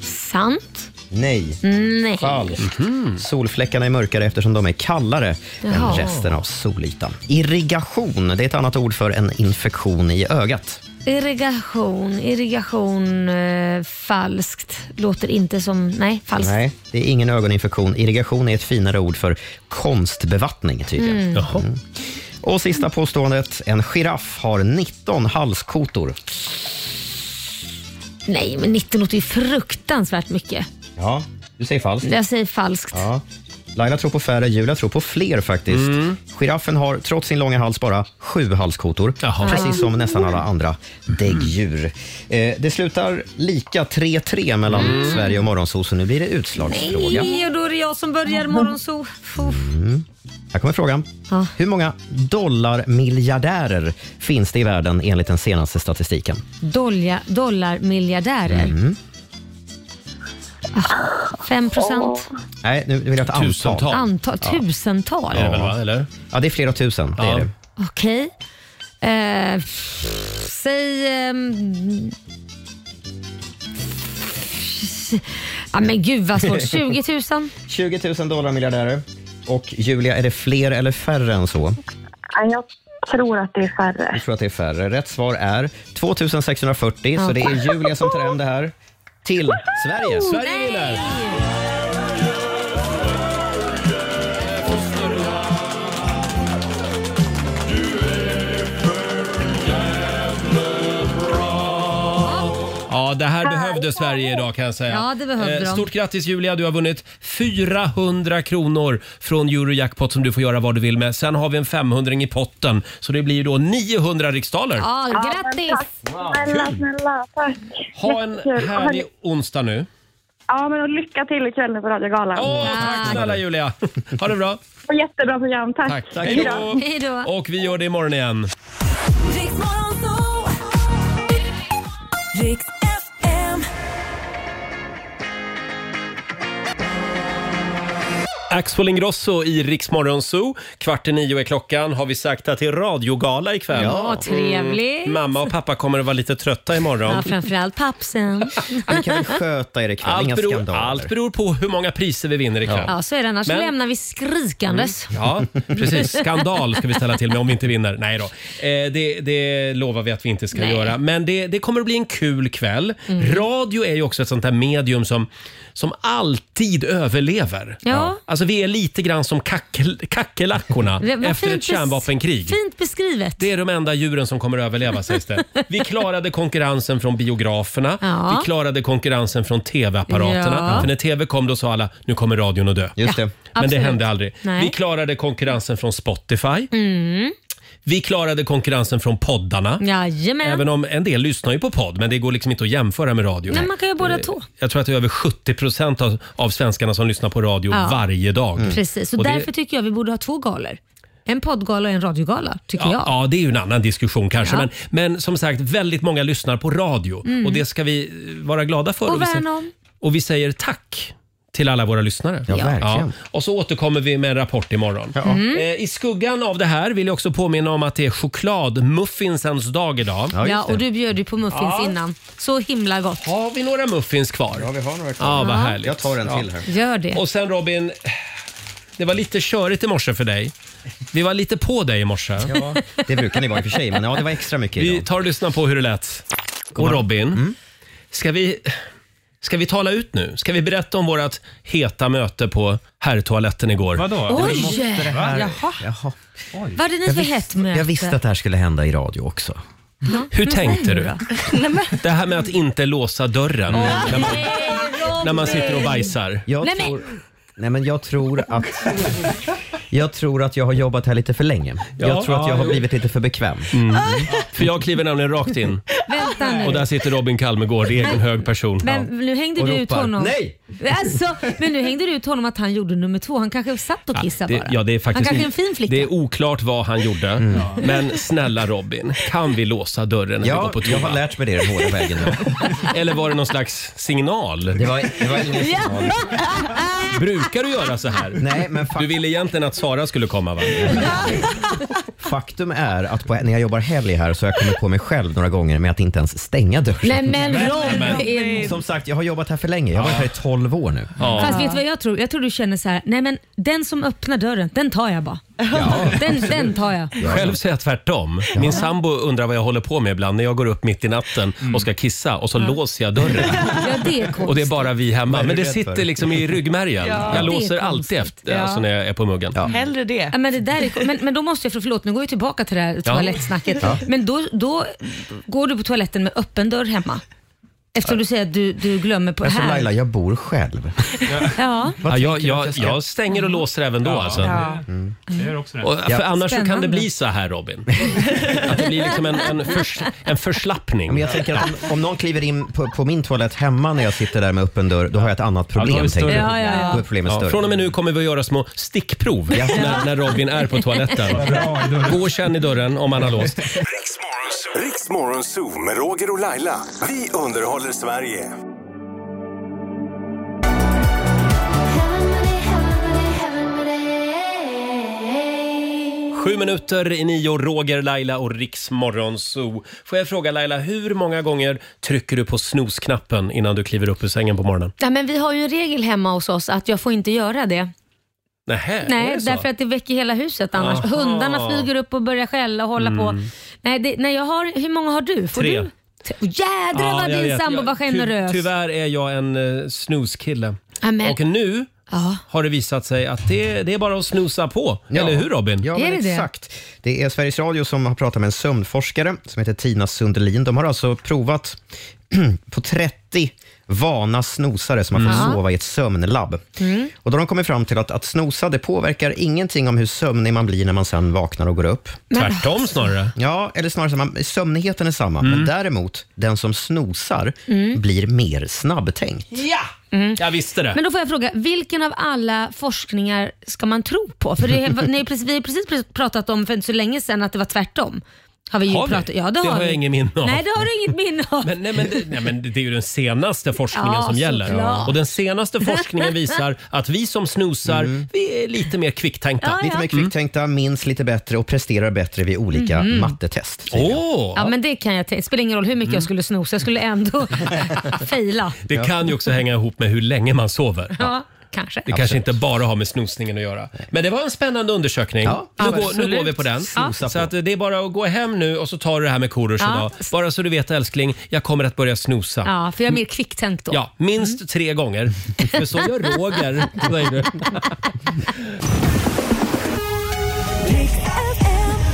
[SPEAKER 3] Sant?
[SPEAKER 2] Nej.
[SPEAKER 3] Nej.
[SPEAKER 2] Falskt. Mhm. Solfläckarna är mörkare eftersom de är kallare
[SPEAKER 3] Jaha.
[SPEAKER 2] än resten av solytan. Irrigation, det är ett annat ord för en infektion i ögat.
[SPEAKER 3] Irrigation, irrigation, eh, falskt. Låter inte som, nej, falskt.
[SPEAKER 2] Nej, det är ingen ögoninfektion. Irrigation är ett finare ord för konstbevattning tydligen.
[SPEAKER 3] Mm. Jaha.
[SPEAKER 2] Mm. Och sista påståendet, en giraff har 19 halskotor.
[SPEAKER 3] Nej, men 19 låter ju fruktansvärt mycket.
[SPEAKER 2] Ja, du säger falskt.
[SPEAKER 3] Jag säger falskt.
[SPEAKER 2] Ja. Laila tror på färre, Julia tror på fler faktiskt. Giraffen har trots sin långa hals bara sju halskotor. Precis som nästan alla andra däggdjur. Eh, det slutar lika 3-3 mellan Sverige och Morgonzoo, så nu blir det utslagsfråga.
[SPEAKER 3] Nej, och då är det jag som börjar morgonso. Fuh.
[SPEAKER 2] Mm. Här kommer frågan. Hur många dollarmiljardärer finns det i världen enligt den senaste statistiken?
[SPEAKER 3] Dolja, dollarmiljardärer.
[SPEAKER 2] Mm.
[SPEAKER 3] Ah, 5 procent.
[SPEAKER 2] Nej, nu vill jag ett antal.
[SPEAKER 3] Antal. tusental?
[SPEAKER 2] Eller? Ja, det är flera tusen. Det är det.
[SPEAKER 3] Okej. Eh, pff, säg... ehm, ja, men gud vad svårt. 20 000?
[SPEAKER 2] 20 000 dollarmiljardärer. Och Julia, är det fler eller färre än så?
[SPEAKER 5] Nej, Jag tror att det är färre.
[SPEAKER 2] Jag tror att det är färre. Rätt svar är 2640, så
[SPEAKER 5] Ja.
[SPEAKER 2] det är Julia som tar hem det här till Sverige.
[SPEAKER 1] Sverige vinner! Ja, Ja, det här behövde Sverige idag kan jag säga. Eh,
[SPEAKER 3] Ja, det behövde de.
[SPEAKER 1] Stort grattis Julia, du har vunnit 400 kronor från Eurojackpot som du får göra vad du vill med. Sen har vi en 500 i potten, så det blir ju då 900 riksdaler.
[SPEAKER 3] Ja, grattis!
[SPEAKER 15] Snälla, snälla, tack.
[SPEAKER 1] Ah, Ha en
[SPEAKER 15] Jättekul.
[SPEAKER 1] härlig onsdag nu.
[SPEAKER 15] Ja, men och lycka till ikväll nu på Radiogalan.
[SPEAKER 1] Tack snälla Julia. Ha det bra.
[SPEAKER 15] Och jättebra program, tack.
[SPEAKER 1] Tack. Tack.
[SPEAKER 15] Hej då.
[SPEAKER 1] Hej då. Och vi gör det imorgon igen.
[SPEAKER 4] Riks FM.
[SPEAKER 1] Axel Ingrosso i Rix Morgon Zoo. Kvart i nio är klockan. Har vi sagt att det är radiogala ikväll?
[SPEAKER 3] Ja, trevligt.
[SPEAKER 1] Mm. Mamma och pappa kommer att vara lite trötta imorgon.
[SPEAKER 3] Ja, framförallt pappsen.
[SPEAKER 1] sköta er
[SPEAKER 2] ikväll,
[SPEAKER 1] Allt
[SPEAKER 2] inga
[SPEAKER 1] beror,
[SPEAKER 2] skandaler.
[SPEAKER 1] Allt beror på hur många priser vi vinner ikväll.
[SPEAKER 3] Ja, så är det. Annars
[SPEAKER 1] Men- Mm.
[SPEAKER 3] lämnar vi skrikandes.
[SPEAKER 1] Ja, precis. Skandal ska vi ställa till med om vi inte vinner. Nej då. Eh, det, det lovar vi att vi inte ska
[SPEAKER 3] Nej. Mm.
[SPEAKER 1] göra. Men det, det kommer att bli en kul kväll. Radio är ju också ett sånt här medium som, som alltid överlever.
[SPEAKER 3] Ja.
[SPEAKER 1] Alltså vi är lite grann som kackel, kackerlackorna
[SPEAKER 3] Det var
[SPEAKER 1] efter
[SPEAKER 3] fint
[SPEAKER 1] ett
[SPEAKER 3] bes-
[SPEAKER 1] kärnvapenkrig.
[SPEAKER 3] Fint beskrivet.
[SPEAKER 1] Det är de enda djuren som kommer att överleva sägs det. Vi klarade konkurrensen från biograferna.
[SPEAKER 3] Ja.
[SPEAKER 1] Vi klarade konkurrensen från tv-apparaterna.
[SPEAKER 3] Ja.
[SPEAKER 1] För när tv kom då sa alla, nu kommer radion att dö.
[SPEAKER 3] Just det. Ja,
[SPEAKER 1] Men
[SPEAKER 3] absolut.
[SPEAKER 1] det hände aldrig.
[SPEAKER 3] Nej.
[SPEAKER 1] Vi klarade konkurrensen från Spotify.
[SPEAKER 3] Mm.
[SPEAKER 1] Vi klarade konkurrensen från poddarna.
[SPEAKER 3] Jajamän.
[SPEAKER 1] Även om en del lyssnar ju på podd, men det går liksom inte att jämföra med radio.
[SPEAKER 3] Nej, man kan ju båda
[SPEAKER 1] Eh,
[SPEAKER 3] två.
[SPEAKER 1] Jag tror att det är över 70 procent av, av svenskarna som lyssnar på radio
[SPEAKER 3] Ja. Mm.
[SPEAKER 1] varje dag.
[SPEAKER 3] Precis, och,
[SPEAKER 1] Och det-
[SPEAKER 3] därför tycker jag vi borde ha två galor. En poddgala och en radiogala, tycker
[SPEAKER 1] Ja,
[SPEAKER 3] jag.
[SPEAKER 1] ja, det är ju en annan diskussion kanske.
[SPEAKER 3] Ja.
[SPEAKER 1] Men, men som sagt, väldigt många lyssnar på radio
[SPEAKER 3] Mm.
[SPEAKER 1] och det ska vi eh, vara glada för.
[SPEAKER 3] och
[SPEAKER 1] vi,
[SPEAKER 3] värna
[SPEAKER 1] säger,
[SPEAKER 3] om.
[SPEAKER 1] och vi säger tack till alla våra lyssnare.
[SPEAKER 2] Ja, verkligen.
[SPEAKER 1] Och så återkommer vi med en rapport imorgon.
[SPEAKER 2] Ja. Mm.
[SPEAKER 1] Eh, I skuggan av det här vill jag också påminna om att det är chokladmuffinsens dag idag.
[SPEAKER 3] Ja, och du bjöd ju på muffins
[SPEAKER 1] Ja.
[SPEAKER 3] innan. Så himla gott.
[SPEAKER 1] Har vi några muffins kvar? Ja,
[SPEAKER 2] vi har några
[SPEAKER 1] Ja, vad härligt.
[SPEAKER 2] Jag tar en till här.
[SPEAKER 3] Gör det.
[SPEAKER 1] Och sen Robin, det var lite körigt i morse för dig. Vi var lite på dig i morse.
[SPEAKER 2] Ja, det brukar ni vara i och för sig, men ja, det var extra mycket
[SPEAKER 1] Vi
[SPEAKER 2] idag.
[SPEAKER 1] tar och lyssnar på hur det lät. Och Robin,
[SPEAKER 2] Mm.
[SPEAKER 1] ska, vi, ska vi tala ut nu? Ska vi berätta om vårt heta möte på herrtoaletten igår?
[SPEAKER 2] Vadå?
[SPEAKER 3] Oj! Jaha.
[SPEAKER 2] Jaha.
[SPEAKER 3] Vad hade ni för
[SPEAKER 2] Jag visste-
[SPEAKER 3] hett möte? Mm.
[SPEAKER 2] Jag visste att det här skulle hända i radio också.
[SPEAKER 3] Ja.
[SPEAKER 1] Hur
[SPEAKER 3] Men
[SPEAKER 1] tänkte
[SPEAKER 3] säg
[SPEAKER 1] du?
[SPEAKER 3] då.
[SPEAKER 1] Det här med att inte låsa dörren när, man,
[SPEAKER 3] Nej,
[SPEAKER 1] när man sitter och
[SPEAKER 3] Robin.
[SPEAKER 1] bajsar.
[SPEAKER 2] Jag
[SPEAKER 3] Nej, men-
[SPEAKER 2] tror, nej men jag tror att jag tror att jag har jobbat här lite för länge.
[SPEAKER 1] Ja.
[SPEAKER 2] jag tror att jag
[SPEAKER 1] Ja,
[SPEAKER 2] har
[SPEAKER 1] jo.
[SPEAKER 2] blivit lite för bekväm.
[SPEAKER 1] För jag kliver nämligen rakt in
[SPEAKER 3] Vänta
[SPEAKER 1] och
[SPEAKER 3] nu.
[SPEAKER 1] där sitter Robin Kalmegård i egen hög person.
[SPEAKER 3] Men nu hängde
[SPEAKER 1] Och
[SPEAKER 3] du ut
[SPEAKER 1] ropar,
[SPEAKER 3] honom.
[SPEAKER 1] "Nej!"
[SPEAKER 3] Alltså, men nu hängde du ut honom att han gjorde nummer två. Han kanske satt och kissade
[SPEAKER 1] Det,
[SPEAKER 3] bara.
[SPEAKER 1] ja, det är faktiskt,
[SPEAKER 3] han kanske är en fin flicka. Mm.
[SPEAKER 1] Det är oklart vad han gjorde. Men snälla Robin, kan vi låsa dörren när vi
[SPEAKER 2] Ja,
[SPEAKER 1] går på toa?
[SPEAKER 2] jag har lärt mig det den hårda vägen
[SPEAKER 1] Eller var det någon slags signal? Det
[SPEAKER 2] var, det var ingen signal.
[SPEAKER 1] Brukar du göra så här?
[SPEAKER 2] Nej, men
[SPEAKER 1] du ville egentligen att Sara skulle komma va?
[SPEAKER 2] Faktum är att på, när jag jobbar helg här så har jag kommit på mig själv några gånger med att inte ens stänga dörren.
[SPEAKER 3] Nej men Robin!
[SPEAKER 2] Som sagt, jag har jobbat här för länge. Jag har varit här i 12 år nu.
[SPEAKER 3] Fast vet du vad jag tror? Jag tror du känner så här, nej men den som öppnar dörren, den tar jag bara. den, den tar jag.
[SPEAKER 1] Själv säger jag tvärtom. Min sambo undrar vad jag håller på med ibland när jag går upp mitt i natten och ska kissa och så
[SPEAKER 2] Mm.
[SPEAKER 1] låser jag dörren.
[SPEAKER 3] Ja, det är
[SPEAKER 1] Och det är
[SPEAKER 3] konstigt.
[SPEAKER 1] bara vi hemma.
[SPEAKER 2] Vad är
[SPEAKER 1] Men
[SPEAKER 2] du
[SPEAKER 1] det
[SPEAKER 2] rädd
[SPEAKER 1] sitter
[SPEAKER 2] för?
[SPEAKER 1] liksom i ryggmärgen.
[SPEAKER 3] Ja.
[SPEAKER 1] Jag
[SPEAKER 3] Det är
[SPEAKER 1] låser alltid
[SPEAKER 3] konstigt.
[SPEAKER 1] efter, alltså
[SPEAKER 3] Ja.
[SPEAKER 1] när jag är på muggen.
[SPEAKER 7] Hellre det.
[SPEAKER 3] Ja, men, det där är, men, men då måste jag, för förlåt nu går jag tillbaka till det här toalettsnacket.
[SPEAKER 1] Ja.
[SPEAKER 3] Men då, då går du på toaletten med öppen dörr hemma? Eftersom du säger att du, du glömmer på
[SPEAKER 2] Alltså
[SPEAKER 3] här.
[SPEAKER 2] Laila, jag bor själv.
[SPEAKER 3] Ja.
[SPEAKER 1] Ja, jag,
[SPEAKER 2] tänker du att
[SPEAKER 1] jag,
[SPEAKER 2] jag ska-
[SPEAKER 1] jag stänger och låser även då. Alltså.
[SPEAKER 3] Mm. Ja.
[SPEAKER 1] Mm.
[SPEAKER 6] också
[SPEAKER 1] Och,
[SPEAKER 2] Ja.
[SPEAKER 1] för annars så kan det
[SPEAKER 2] Spännande.
[SPEAKER 1] bli så här Robin. Att det blir liksom en, en, förs, en förslappning.
[SPEAKER 2] Men jag tänker att om, om någon kliver in på, på min toalett hemma när jag sitter där med öppen dörr, då har jag ett annat problem.
[SPEAKER 1] Ja, då är det större
[SPEAKER 2] tänker
[SPEAKER 1] problem.
[SPEAKER 2] jag. Då är problemet större.
[SPEAKER 1] Från och med nu kommer vi att göra små stickprov
[SPEAKER 2] Ja.
[SPEAKER 1] när, när Robin är på toaletten. Gå och känn i dörren om han har låst.
[SPEAKER 14] Riks Morgonzoo med Roger och Laila. Vi underhåller Sverige.
[SPEAKER 1] Sju minuter i nio, Roger, Laila och Riks Morgonzoo. Får jag fråga Laila, hur många gånger trycker du på snosknappen innan du kliver upp ur sängen på morgonen?
[SPEAKER 3] Nej, men vi har ju en regel hemma hos oss att jag får inte göra det.
[SPEAKER 1] Nähä, är
[SPEAKER 3] Nej,
[SPEAKER 1] det så?
[SPEAKER 3] därför att det väcker hela huset annars.
[SPEAKER 1] Aha.
[SPEAKER 3] Hundarna flyger upp och börjar skälla och hålla
[SPEAKER 1] Mm.
[SPEAKER 3] på. Nej, det, nej, jag har, hur många har du? Får
[SPEAKER 1] Tre.
[SPEAKER 3] Du? T- Jädrar
[SPEAKER 1] Ja,
[SPEAKER 3] vad
[SPEAKER 1] jag
[SPEAKER 3] din
[SPEAKER 1] vet.
[SPEAKER 3] sambo var
[SPEAKER 1] Jag- ty-
[SPEAKER 3] generös.
[SPEAKER 1] Tyvärr är jag en eh, snuskille.
[SPEAKER 3] Amen.
[SPEAKER 1] Och nu har det visat sig att det, det är bara att snusa på.
[SPEAKER 2] Ja.
[SPEAKER 1] Eller hur Robin?
[SPEAKER 2] Ja, men exakt. Det? är Sveriges Radio som har pratat med en sömnforskare som heter Tina Sundelin. De har alltså provat på 30 vana snosare som har fått
[SPEAKER 4] Mm.
[SPEAKER 2] sova i ett sömnlabb.
[SPEAKER 4] Mm.
[SPEAKER 2] Och då har de kommit fram till att, att snosa det påverkar ingenting om hur sömnig man blir när man sen vaknar och går upp.
[SPEAKER 1] Men- Tvärtom snarare.
[SPEAKER 3] Mm.
[SPEAKER 2] Ja, eller snarare så här, man, sömnigheten är samma, men däremot den som snosar
[SPEAKER 3] Mm.
[SPEAKER 2] blir mer snabbtänkt.
[SPEAKER 3] Ja!
[SPEAKER 1] Jag visste det.
[SPEAKER 3] Men då får jag fråga, vilken av alla forskningar ska man tro på? För det, är- nej, precis, vi har precis pratat om för inte så länge sedan att det var tvärtom. Har vi ju
[SPEAKER 1] Har vi?
[SPEAKER 3] pratat, Ja, det,
[SPEAKER 1] Det
[SPEAKER 3] har
[SPEAKER 1] har
[SPEAKER 3] vi.
[SPEAKER 1] jag ingen minne av.
[SPEAKER 3] Nej, det har du inget minne av.
[SPEAKER 1] Men, nej, men, det, nej, men det är ju den senaste forskningen
[SPEAKER 3] Ja,
[SPEAKER 1] som gäller.
[SPEAKER 3] såklart.
[SPEAKER 1] Och den senaste forskningen visar att vi som snusar,
[SPEAKER 2] Mm.
[SPEAKER 1] vi är lite mer kvicktänkta.
[SPEAKER 2] Lite mer kvicktänkta, minns lite bättre och presterar bättre vid olika
[SPEAKER 3] Mhm.
[SPEAKER 2] mattetest.
[SPEAKER 1] Åh!
[SPEAKER 3] Ja, men det kan jag tänka. spelar ingen roll hur mycket jag skulle snosa, jag skulle ändå fejla.
[SPEAKER 1] Mm. Det kan ju också hänga ihop med hur länge man sover.
[SPEAKER 3] Ja, kanske.
[SPEAKER 1] Det kanske inte bara har med snosningen att göra. Men det var en spännande undersökning. nu, går, nu
[SPEAKER 3] Absolut.
[SPEAKER 1] går vi på den.
[SPEAKER 3] Ja.
[SPEAKER 1] Så att det är bara att gå hem nu och så tar du det här med Korosh
[SPEAKER 3] Ja.
[SPEAKER 1] idag. Bara så du vet älskling, jag kommer att börja snosa.
[SPEAKER 3] Ja, för jag är mer kvicktänkt då.
[SPEAKER 1] Ja, minst tre gånger. För så gör Roger. Så är det.